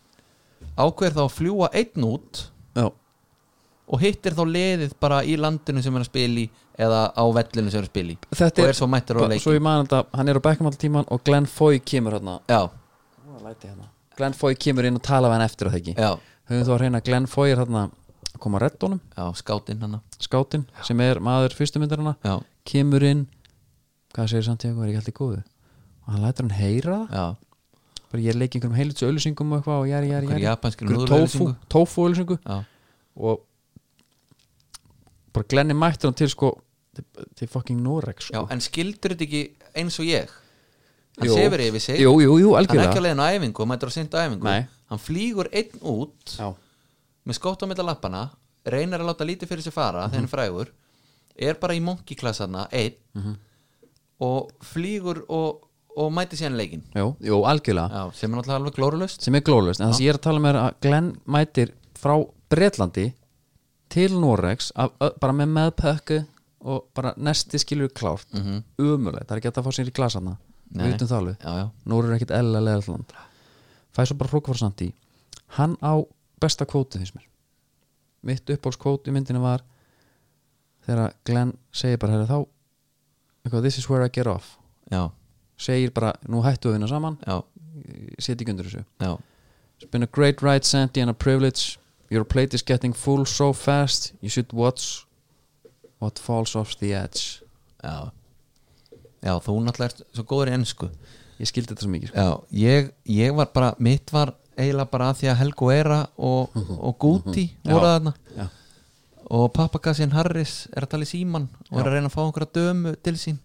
S2: ákveður þá að fljúa einn út
S1: já,
S2: og hittir þá liðið bara í landinu sem er að spila í eða á vellinu sem er að spila í
S1: þetta
S2: og er svo mættur á
S1: bara- svo
S2: leikin
S1: ég man þetta, hann er á bekkum alltaf tíman og Glenn Foy kemur hana,
S2: Já,
S1: hana. hérna. Glenn Foy kemur inn og tala við hann eftir á það ekki
S2: já,
S1: höfum þá að reyna að Glenn Foy er hana að koma að reddónum,
S2: já, skátinn hann
S1: skátin sem er maður fyrstumyndarana
S2: Já,
S1: kemur inn hvað segir Santiago, er ekki allt í góðu og hann lætur hann heyra það
S2: já,
S1: bara ég leik einhverjum heilitsu öllusingum og eitthvað og jari, jari,
S2: Einhverju
S1: jari
S2: japanskri
S1: Einhverju tófu-
S2: núðluauglýsingu.
S1: tófu öllusingu
S2: já,
S1: og bara glenni mættur hann til sko til, til fucking Noreg
S2: já
S1: sko.
S2: En skildur þetta ekki eins og ég Hann
S1: Jú.
S2: sefur yfir sig
S1: jú, jú, jú,
S2: Hann er ekki
S1: algjörlega
S2: á leiðinu á æfingu og mættur á senda æfingu
S1: Nei.
S2: Hann flýgur einn út
S1: já,
S2: með skótt á milla lappana reynar að láta lítið fyrir sér fara þegar hann er frægur er bara í monkiklassana einn
S1: Mhm.
S2: og flýgur og, og mæti síðan leikin
S1: jú, jú, algjörlega
S2: Já, sem er náttúrulega alveg glórulust
S1: sem er glóðlust, en það sem ég er að tala með er að Glenn mætir frá Bretlandi til Noregs af, ö- bara með meðpökku og bara nesti skilur klárt mm -hmm. það er ekki hægt að fá sér í glasanna við utum það alveg
S2: já, já,
S1: Nóri er ekkit eðla leðalland fæði svo bara hrókvar samt í hann á besta kvóti því sem er mitt uppáhaldskvót í myndinu var þegar Glenn segir bara herri þá eitthvað, this is where I get off
S2: já,
S1: segir bara nú hættu við vinna saman
S2: já,
S1: setja ekki undir þessu
S2: já,
S1: it's been a great ride Sandy and a privilege your plate is getting full so fast you should watch what falls off the edge
S2: já já, þú náttúrulega ert svo góður í ennsku
S1: ég skildi þetta svo mikið sko.
S2: Já, ég, ég var bara, mitt var eiginlega bara að því að Helgo Era og, og Guti voru þarna
S1: Já.
S2: og pappakassin Harris er að tala í síman og er að reyna að fá einhverja dömu til sín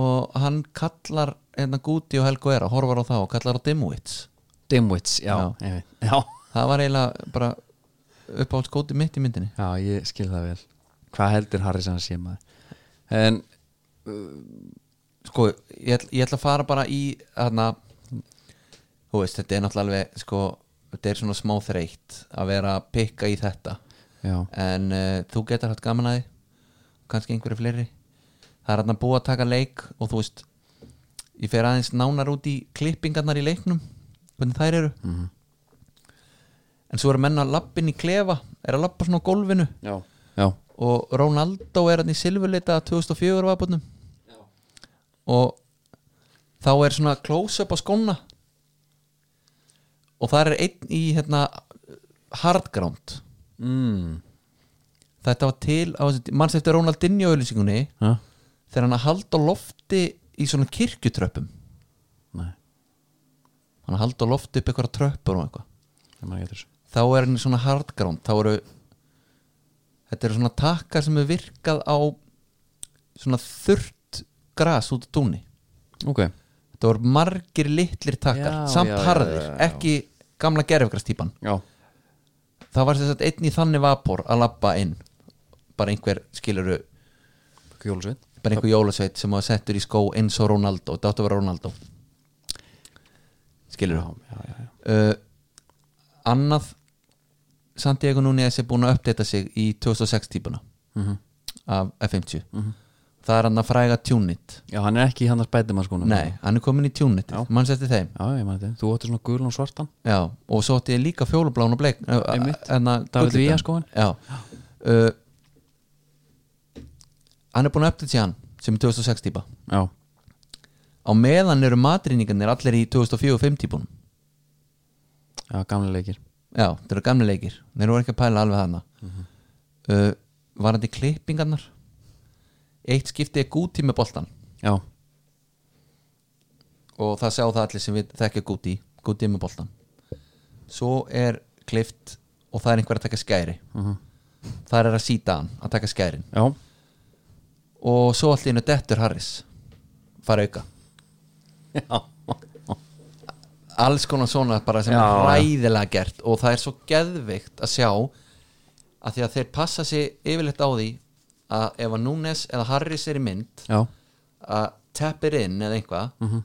S2: og hann kallar hérna Guti og Helgo Era, horfar á þá og kallar á Dimwits
S1: Dimwits, já,
S2: Já.
S1: já. já.
S2: það var eiginlega bara uppáhalds Guti mitt í myndinni
S1: Já, ég skil það vel Hvað heldur Harris að hann sé maður En,
S2: sko, ég, ætl- ég ætla að fara bara í þarna þú veist, þetta er náttúrulega alveg sko, þetta er svona smá þreytt að vera að pikka í þetta
S1: já,
S2: en uh, þú getur hatt gaman að því kannski einhverju fleiri það er hann að búa að taka leik og þú veist ég fer aðeins nánar út í klippingarnar í leiknum hvernig þær eru -hmm. en svo eru menn að lappin í klefa er að lappa svona á gólfinu
S1: já, já,
S2: og Ronaldo er hann í silfurleita 2004 vabunum og þá er svona close-up á skóna og það er einn í hérna hardground
S1: mm.
S2: þetta var til á þessu- manns eftir Ronaldinho auðlýsingunni
S1: ha?
S2: þegar hann að halda á lofti í svona kirkjutröppum
S1: Nei,
S2: hann að halda á lofti upp eitthvað tröppur og eitthvað
S1: það maður getur þessu
S2: þá er hann í svona hardground þá eru þetta eru svona takkar sem er virkað á svona þurrt gras út á túnni
S1: ok
S2: þetta voru margir litlir takkar
S1: Já,
S2: samt
S1: já, já,
S2: harðir,
S1: já, já.
S2: ekki gamla gerfgrastýpan
S1: já,
S2: það var sem sagt einn í þannig vapor að labba inn bara einhver skiluru
S1: kjólusveit
S2: bara einhver jólasveit sem var settur í skó eins og Ronaldo, þetta átti að vera Ronaldo skiluru uh, annað Santiago Núñez er búin að uppdata sig í 2006 típuna
S1: Mhm.
S2: af F50 það er hann að fræga Tunit
S1: já, hann er ekki í hann að spæti maður skónum
S2: nei, hann er komin í Tunit,
S1: Já.
S2: mann setti þeim
S1: já, ég maður þetta, þú óttir svona gulan og svartan
S2: já, og svo átti ég líka fjólublána og bleik
S1: Einmitt.
S2: enna,
S1: David Villa sko, skóinn.
S2: sko. já uh, hann er búin að uppdata sig hann sem er 2006 típa
S1: já,
S2: á meðan eru matrinningarnir allir í 2004 og 5 típunum
S1: já, gamlega leikir
S2: Já, þetta eru gamli leikir Þeir eru ekki að pæla alveg þarna mm -hmm. uh, Varandi klippingarnar Eitt skipti er Guti með boltan
S1: já,
S2: Og það sjá það allir sem við þekkja Guti Guti með boltan Svo er klift Og það er einhver að taka skæri mm
S1: Mhm.
S2: Það er að síta hann, að taka skærin
S1: já,
S2: Og svo allir innu dettur Harris Fara auka alls konar svona bara sem
S1: Já,
S2: er
S1: já.
S2: ræðilega gert og það er svo geðveikt að sjá að því að þeir passa sig yfirleitt á því að ef að Núnes eða Harris er í mynd
S1: já,
S2: að teppir inn eða einhvað
S1: mhm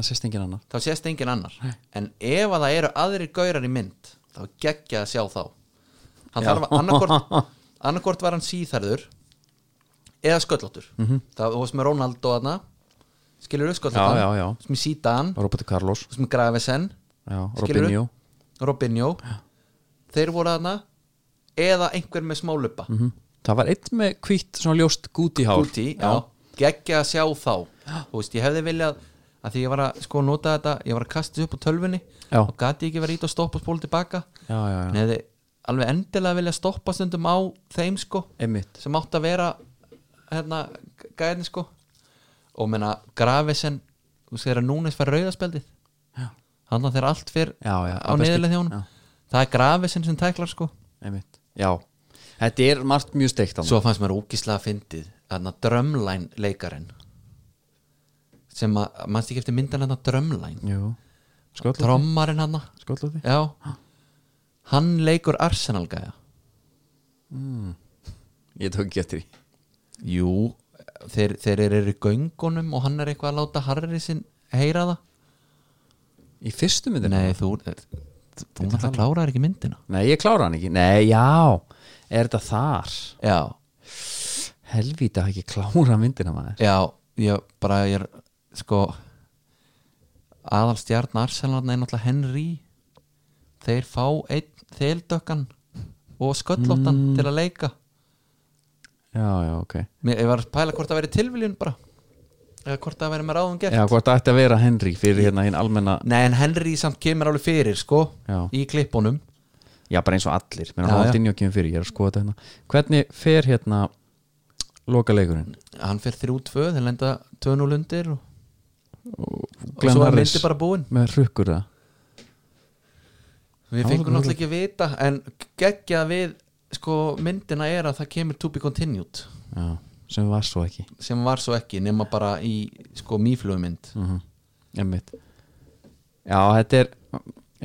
S1: það sést enginn annar
S2: þá sést engin annar en ef að það eru aðrir gaurar í mynd þá er geggja að sjá þá hann þarf að annarkort annarkort var hann síþarður eða sköllóttur það var sem er Ronaldo aðna skilur upp
S1: Mhm. Já, já, já.
S2: sköllóttan sem er Sítan
S1: Robert Carlos,
S2: sem er Gravesen
S1: já,
S2: Skilurðu?
S1: Robinho
S2: Robinho þeir voru aðna eða einhver með smá lupa mm -hmm.
S1: Mhm. það var einn með hvítt svona ljóst gúti hár
S2: Guti, já, geggja að sjá þá þú veist, ég hefði viljað að því ég var að sko nota þetta, ég var að kasta þessu upp á tölvunni
S1: Já.
S2: og gati ég ekki verið ít að stoppa og spóla tilbaka
S1: já, já, já.
S2: en hefði alveg endilega viljað stoppa stundum á þeim sko
S1: einmitt
S2: sem átt að vera hérna, gæðin sko og menna grafisen þú veist þegar Núnes fær rauðaspjaldið hann að þegar allt fyrr
S1: Já, já,
S2: á
S1: að beskri-
S2: neðurlega þjónum
S1: já.
S2: það er grafisen sem tæklar sko
S1: einmitt, já þetta er margt mjög steikt
S2: svo fannst mér ókíslega fyndið þarna drömlæn leikarinn sem að, mannst ekki eftir myndan þarna drömlæn
S1: skotluði
S2: trommarinn hann
S1: skotluði
S2: já hann leikur Arsenal gæja
S1: ég tók ekki eftir því
S2: Jú, þeir, þeir eru í göngunum og hann er eitthvað að láta Harry sinn heyra það
S1: í fyrstu myndinu
S2: Nei, þú, þú, þú náttúrulega klárar ekki myndina
S1: Nei, ég klára hann ekki Nei, já, er þetta þar
S2: Já,
S1: Helvíti að ekki klára myndina maður
S2: já, ég bara ég er sko aðal stjarn Arsenalna er náttúrulega Henry þeir fá einn þeldökkan og sköllóttan til að leika
S1: Já, já, ok
S2: Mér, Ég var að pæla hvort það væri tilviljun bara eða hvort það væri með ráðum gert
S1: Já, hvort það ætti að vera Henry fyrir hérna hinn almenna
S2: Nei, en Henry samt kemur alveg fyrir sko
S1: Já.
S2: í klippunum
S1: Já, bara eins og allir Mér
S2: Já,
S1: hann
S2: já.
S1: allt inn í okkjum fyrir, ég er að skoða þetta hérna Hvernig fer hérna loka leikurinn?
S2: hann fer 3-2, þeir lenda 2-0 undir og, og
S1: Glenn
S2: svo er
S1: Harris.
S2: myndi bara búin
S1: Með hrukkur það?
S2: við
S1: Já,
S2: fengum
S1: það-
S2: náttúrulega ekki að vita en geggja við sko, myndina er að það kemur to be continued
S1: Já, sem var svo ekki
S2: sem var svo ekki nema bara í sko mýflugmynd
S1: mm Einmitt Já, þetta er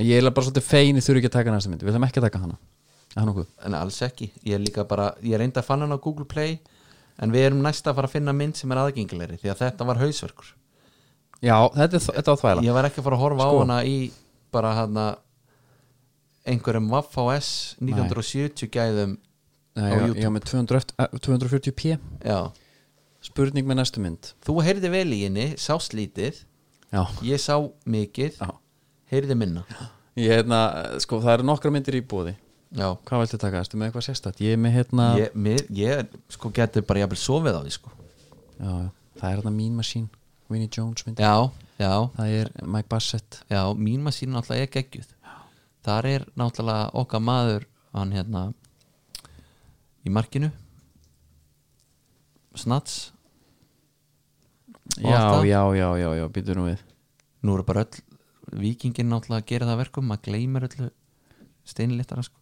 S1: Ég er bara svolítið fein, ég þurfi ekki að taka næsta mynd Við ætlum ekki að taka hana Er það nokkuð?
S2: en alls ekki, ég er líka bara ég reyndi að fann hann á Google Play en við erum næst að fara að finna mynd sem er aðgengilegri því að þetta var hausverkur
S1: Já, þetta er, þetta er á þvæla
S2: ég var ekki að fara að horfa á
S1: Sko.
S2: hana í bara hana einhverjum Waff S 1970 gæðum
S1: Nei,
S2: á
S1: ég,
S2: YouTube.
S1: ég á með 200 eft- eh, 240p
S2: já,
S1: Spurning með næstu mynd
S2: þú heyrði vel í henni sást lítið,
S1: Já,
S2: ég sá mikið
S1: Já.
S2: heyrði minna
S1: ég hérna, eh, sko það eru nokkra myndir í bóði
S2: já
S1: Hvað viltu taka, erstu með eitthvað sérstætt? Ég er með hérna
S2: ég, mér, ég sko getur bara jafnvel sofið á því sko
S1: já, já, það er hérna Mean Machine Winnie Jones mynd
S2: já, já,
S1: Það er Mike Bassett
S2: já, mín masín náttúrulega er geggjuð þar er náttúrulega okkar maður hann hérna í markinu Snats Og
S1: Já,
S2: allt það.
S1: já, já, já, já, býtur nú við
S2: nú eru bara öll vikingin náttúrulega að gera það að verkum maður gleymir öllu steinlittara sko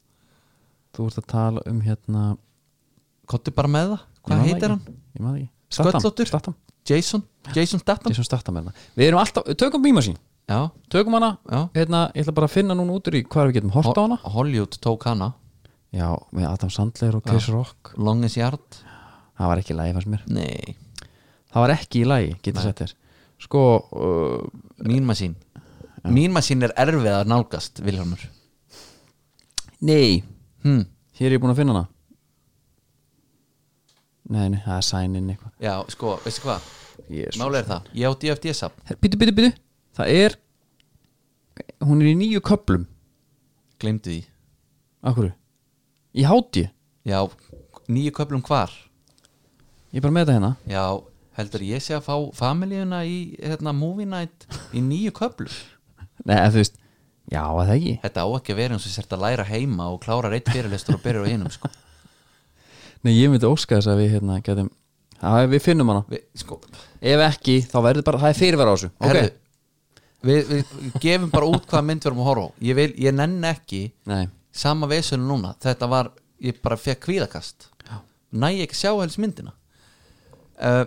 S1: Þú ert að tala um hérna
S2: Kottu bara með það,
S1: ég man
S2: hvað
S1: það
S2: heitir
S1: ekki.
S2: hann?
S1: Ég maður ekki
S2: Sköllóttur?
S1: Statham
S2: Jason, Jason Statham
S1: Jason Statham er það Við erum alltaf, tökum bíma sín
S2: Já,
S1: Tökum hana,
S2: Já.
S1: hérna, ég ætla bara að finna núna út úr í hvað við getum hort á hana
S2: Ho- Hollywood tók hana
S1: Já, með Adam Sandler og Chris Rock
S2: Longest Yard
S1: Það var ekki í lagi fannst mér
S2: Nei,
S1: Það var ekki í lagi, getur sett þér Sko, uh,
S2: mín masín Mín masín er erfið að nálgast Vilhelmur
S1: nei
S2: hm.
S1: Hér er ég búin að finna hana Nei, nei, það er sign in eitthvað
S2: Já, sko, veistu hvað?
S1: Jesus.
S2: Máli er það, ég á DFDS-app
S1: Býtu, býtu, býtu Það er Hún er í nýju köplum
S2: Gleimdu því
S1: Akkur Í háti
S2: Já, nýju köflum hvar
S1: Ég er bara með þetta hérna
S2: Já, heldur ég sé að fá familíuna í hérna, movie night í nýju köflum
S1: Nei, en þú veist Já, að það ekki
S2: Þetta á ekki að vera eins og sért að læra heima og klára reitt fyrirlestur og byrja á hinum sko.
S1: Nei, ég myndi óska þess að við hérna getum Já, við finnum hana
S2: Vi, sko,
S1: Ef ekki, þá verður bara Það er fyrirvara á þessu Ok
S2: herðu, við, við, við gefum bara út hvaða mynd við erum að horfa á Ég, vil, ég nenn ekki
S1: Nei
S2: sama vesunum núna þetta var, ég bara fekk kvíðakast næ ég ekki að sjá helst myndina uh,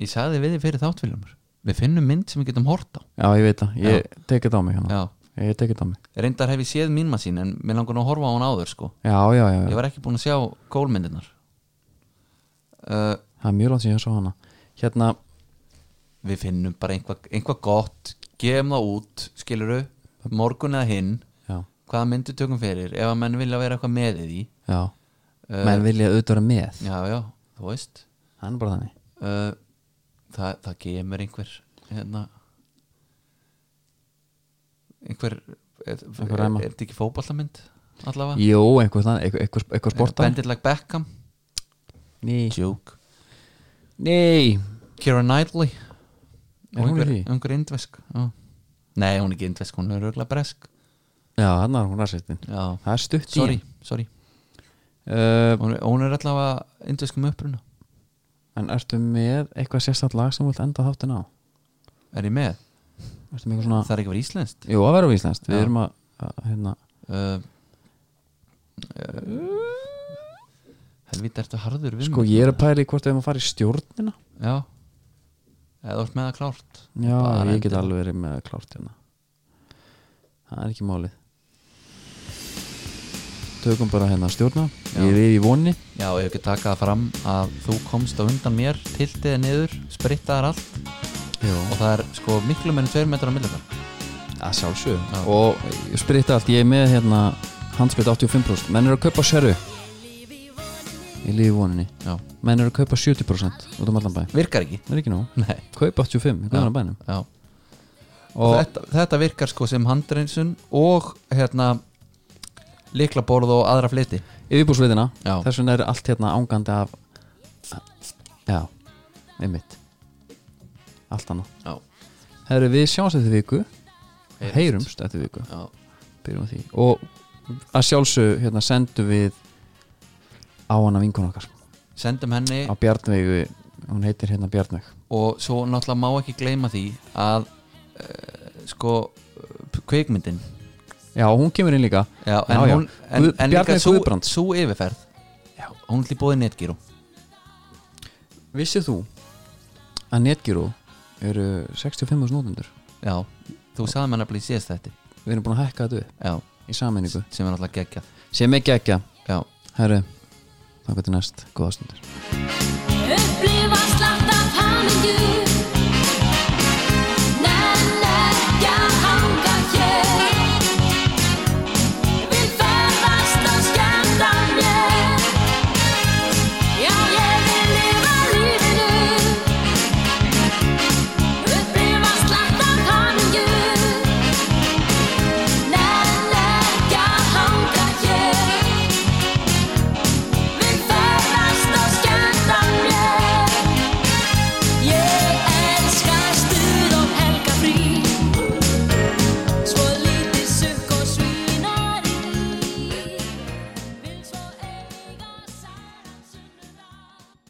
S2: ég sagði við þið fyrir þáttfélumur við finnum mynd sem við getum hort á
S1: Já, ég veit það Ég tek þetta á mig hérna
S2: já,
S1: Ég tek þetta á mig
S2: reyndar hef ég séð mín maður sín en mér langar nú að horfa á hún áður sko
S1: Já, já, já, já.
S2: ég var ekki búin að sjá gólmyndinar uh,
S1: Það er mjög langt sem ég sá hana Hérna
S2: við finnum bara einhvað einhva gott gefum það út, skiluru morgun eða hinn,
S1: Já,
S2: hvaða myndu tökum fyrir ef að menn vilja vera eitthvað með í því
S1: já
S2: Uh,
S1: Menn vilja auðvitað vera með
S2: já, já, þú veist
S1: Hann er bara þannig
S2: uh, það, það kemur einhver hérna einhver er,
S1: Einhver
S2: er,
S1: ræma.
S2: er þetta ekki fótballamynd allavega
S1: Jú, einhver, þannig- einhver, einhver, einhver sportar
S2: Bandit like Beckham
S1: Nei,
S2: Joke.
S1: nei
S2: Keira Knightley
S1: Er hún í
S2: einhver,
S1: því?
S2: einhver indvesk já. nei hún er ekki indvesk, hún er örgulega bresk
S1: Já, hann er hún rasistin
S2: já,
S1: Það er stutt
S2: sorry,
S1: í
S2: sorry.
S1: hann. uh,
S2: Hún, er, hún er allavega indveskum uppruna
S1: En ertu með eitthvað sérstætt lag sem þú vilt enda þáttin á?
S2: er ég með,
S1: Ertu með eitthvað svona
S2: það er ekki verið íslenskt
S1: Jú, að vera á Íslands, við
S2: Já.
S1: erum að, að hérna,
S2: uh, uh, helvita eh, ertu harður við
S1: Sko,
S2: mig.
S1: ég er að pæla í hvort við erum að fara í stjórnina
S2: Já Eða þú ert með það klárt
S1: Já,
S2: Bara
S1: ég get
S2: endilega.
S1: alveg verið með klárt hérna Það er ekki málið Tökum bara hérna stjórna
S2: Já.
S1: Ég er í vonni
S2: Já, ég hef ekki takað það fram að þú komst á undan mér Tiltiði niður, sprittaðar allt
S1: Jú
S2: Og það er sko miklu meðin tveir metrar á millum
S1: Að sjálfsögum Og ég spritta allt, ég er með hérna handsprit 85% Menn eru að kaupa seru Í lífi voninni
S2: Já,
S1: Menn eru að kaupa 70% út um allan bæ
S2: virkar ekki
S1: Það er ekki nóg
S2: Nei
S1: Kaupa 85% í guðan bænum
S2: Já
S1: Og
S2: þetta, þetta virkar sko sem handreinsun og hérna Liklaborð og aðra flyti
S1: yfirbúrsveitina
S2: Já.
S1: Þess vegna er allt hérna ángandi af Já, einmitt Allt annað
S2: Já,
S1: Herru, við sjáumst eftir viku
S2: Heyrumst.
S1: Heyrumst eftir viku
S2: já
S1: Byrjum á því Og að sjálfsög hérna sendum við á hana vinkun okkar
S2: Sendum henni
S1: á Bjarnvegu hún heitir hérna Bjarnveg
S2: og svo náttúrulega má ekki gleyma því að uh, sko eh, kveikmyndin
S1: já, hún kemur inn líka
S2: Já, en,
S1: Já, já.
S2: Hún, en,
S1: Guð-
S2: en
S1: Bjarni
S2: líka sú,
S1: Guðbrands.
S2: sú yfirferð já. hún er til bóðið netgíru
S1: vissið þú að Netgyro eru 65.000 nótendur
S2: já, þú sagði mér nefnilega í síðast þetta
S1: við erum búin að hekka þetta
S2: já,
S1: upp í sammenningu
S2: sem er alltaf geggjað
S1: sem ekki ekki,
S2: já
S1: herru þá getur næst, góða stundir
S5: Uppblí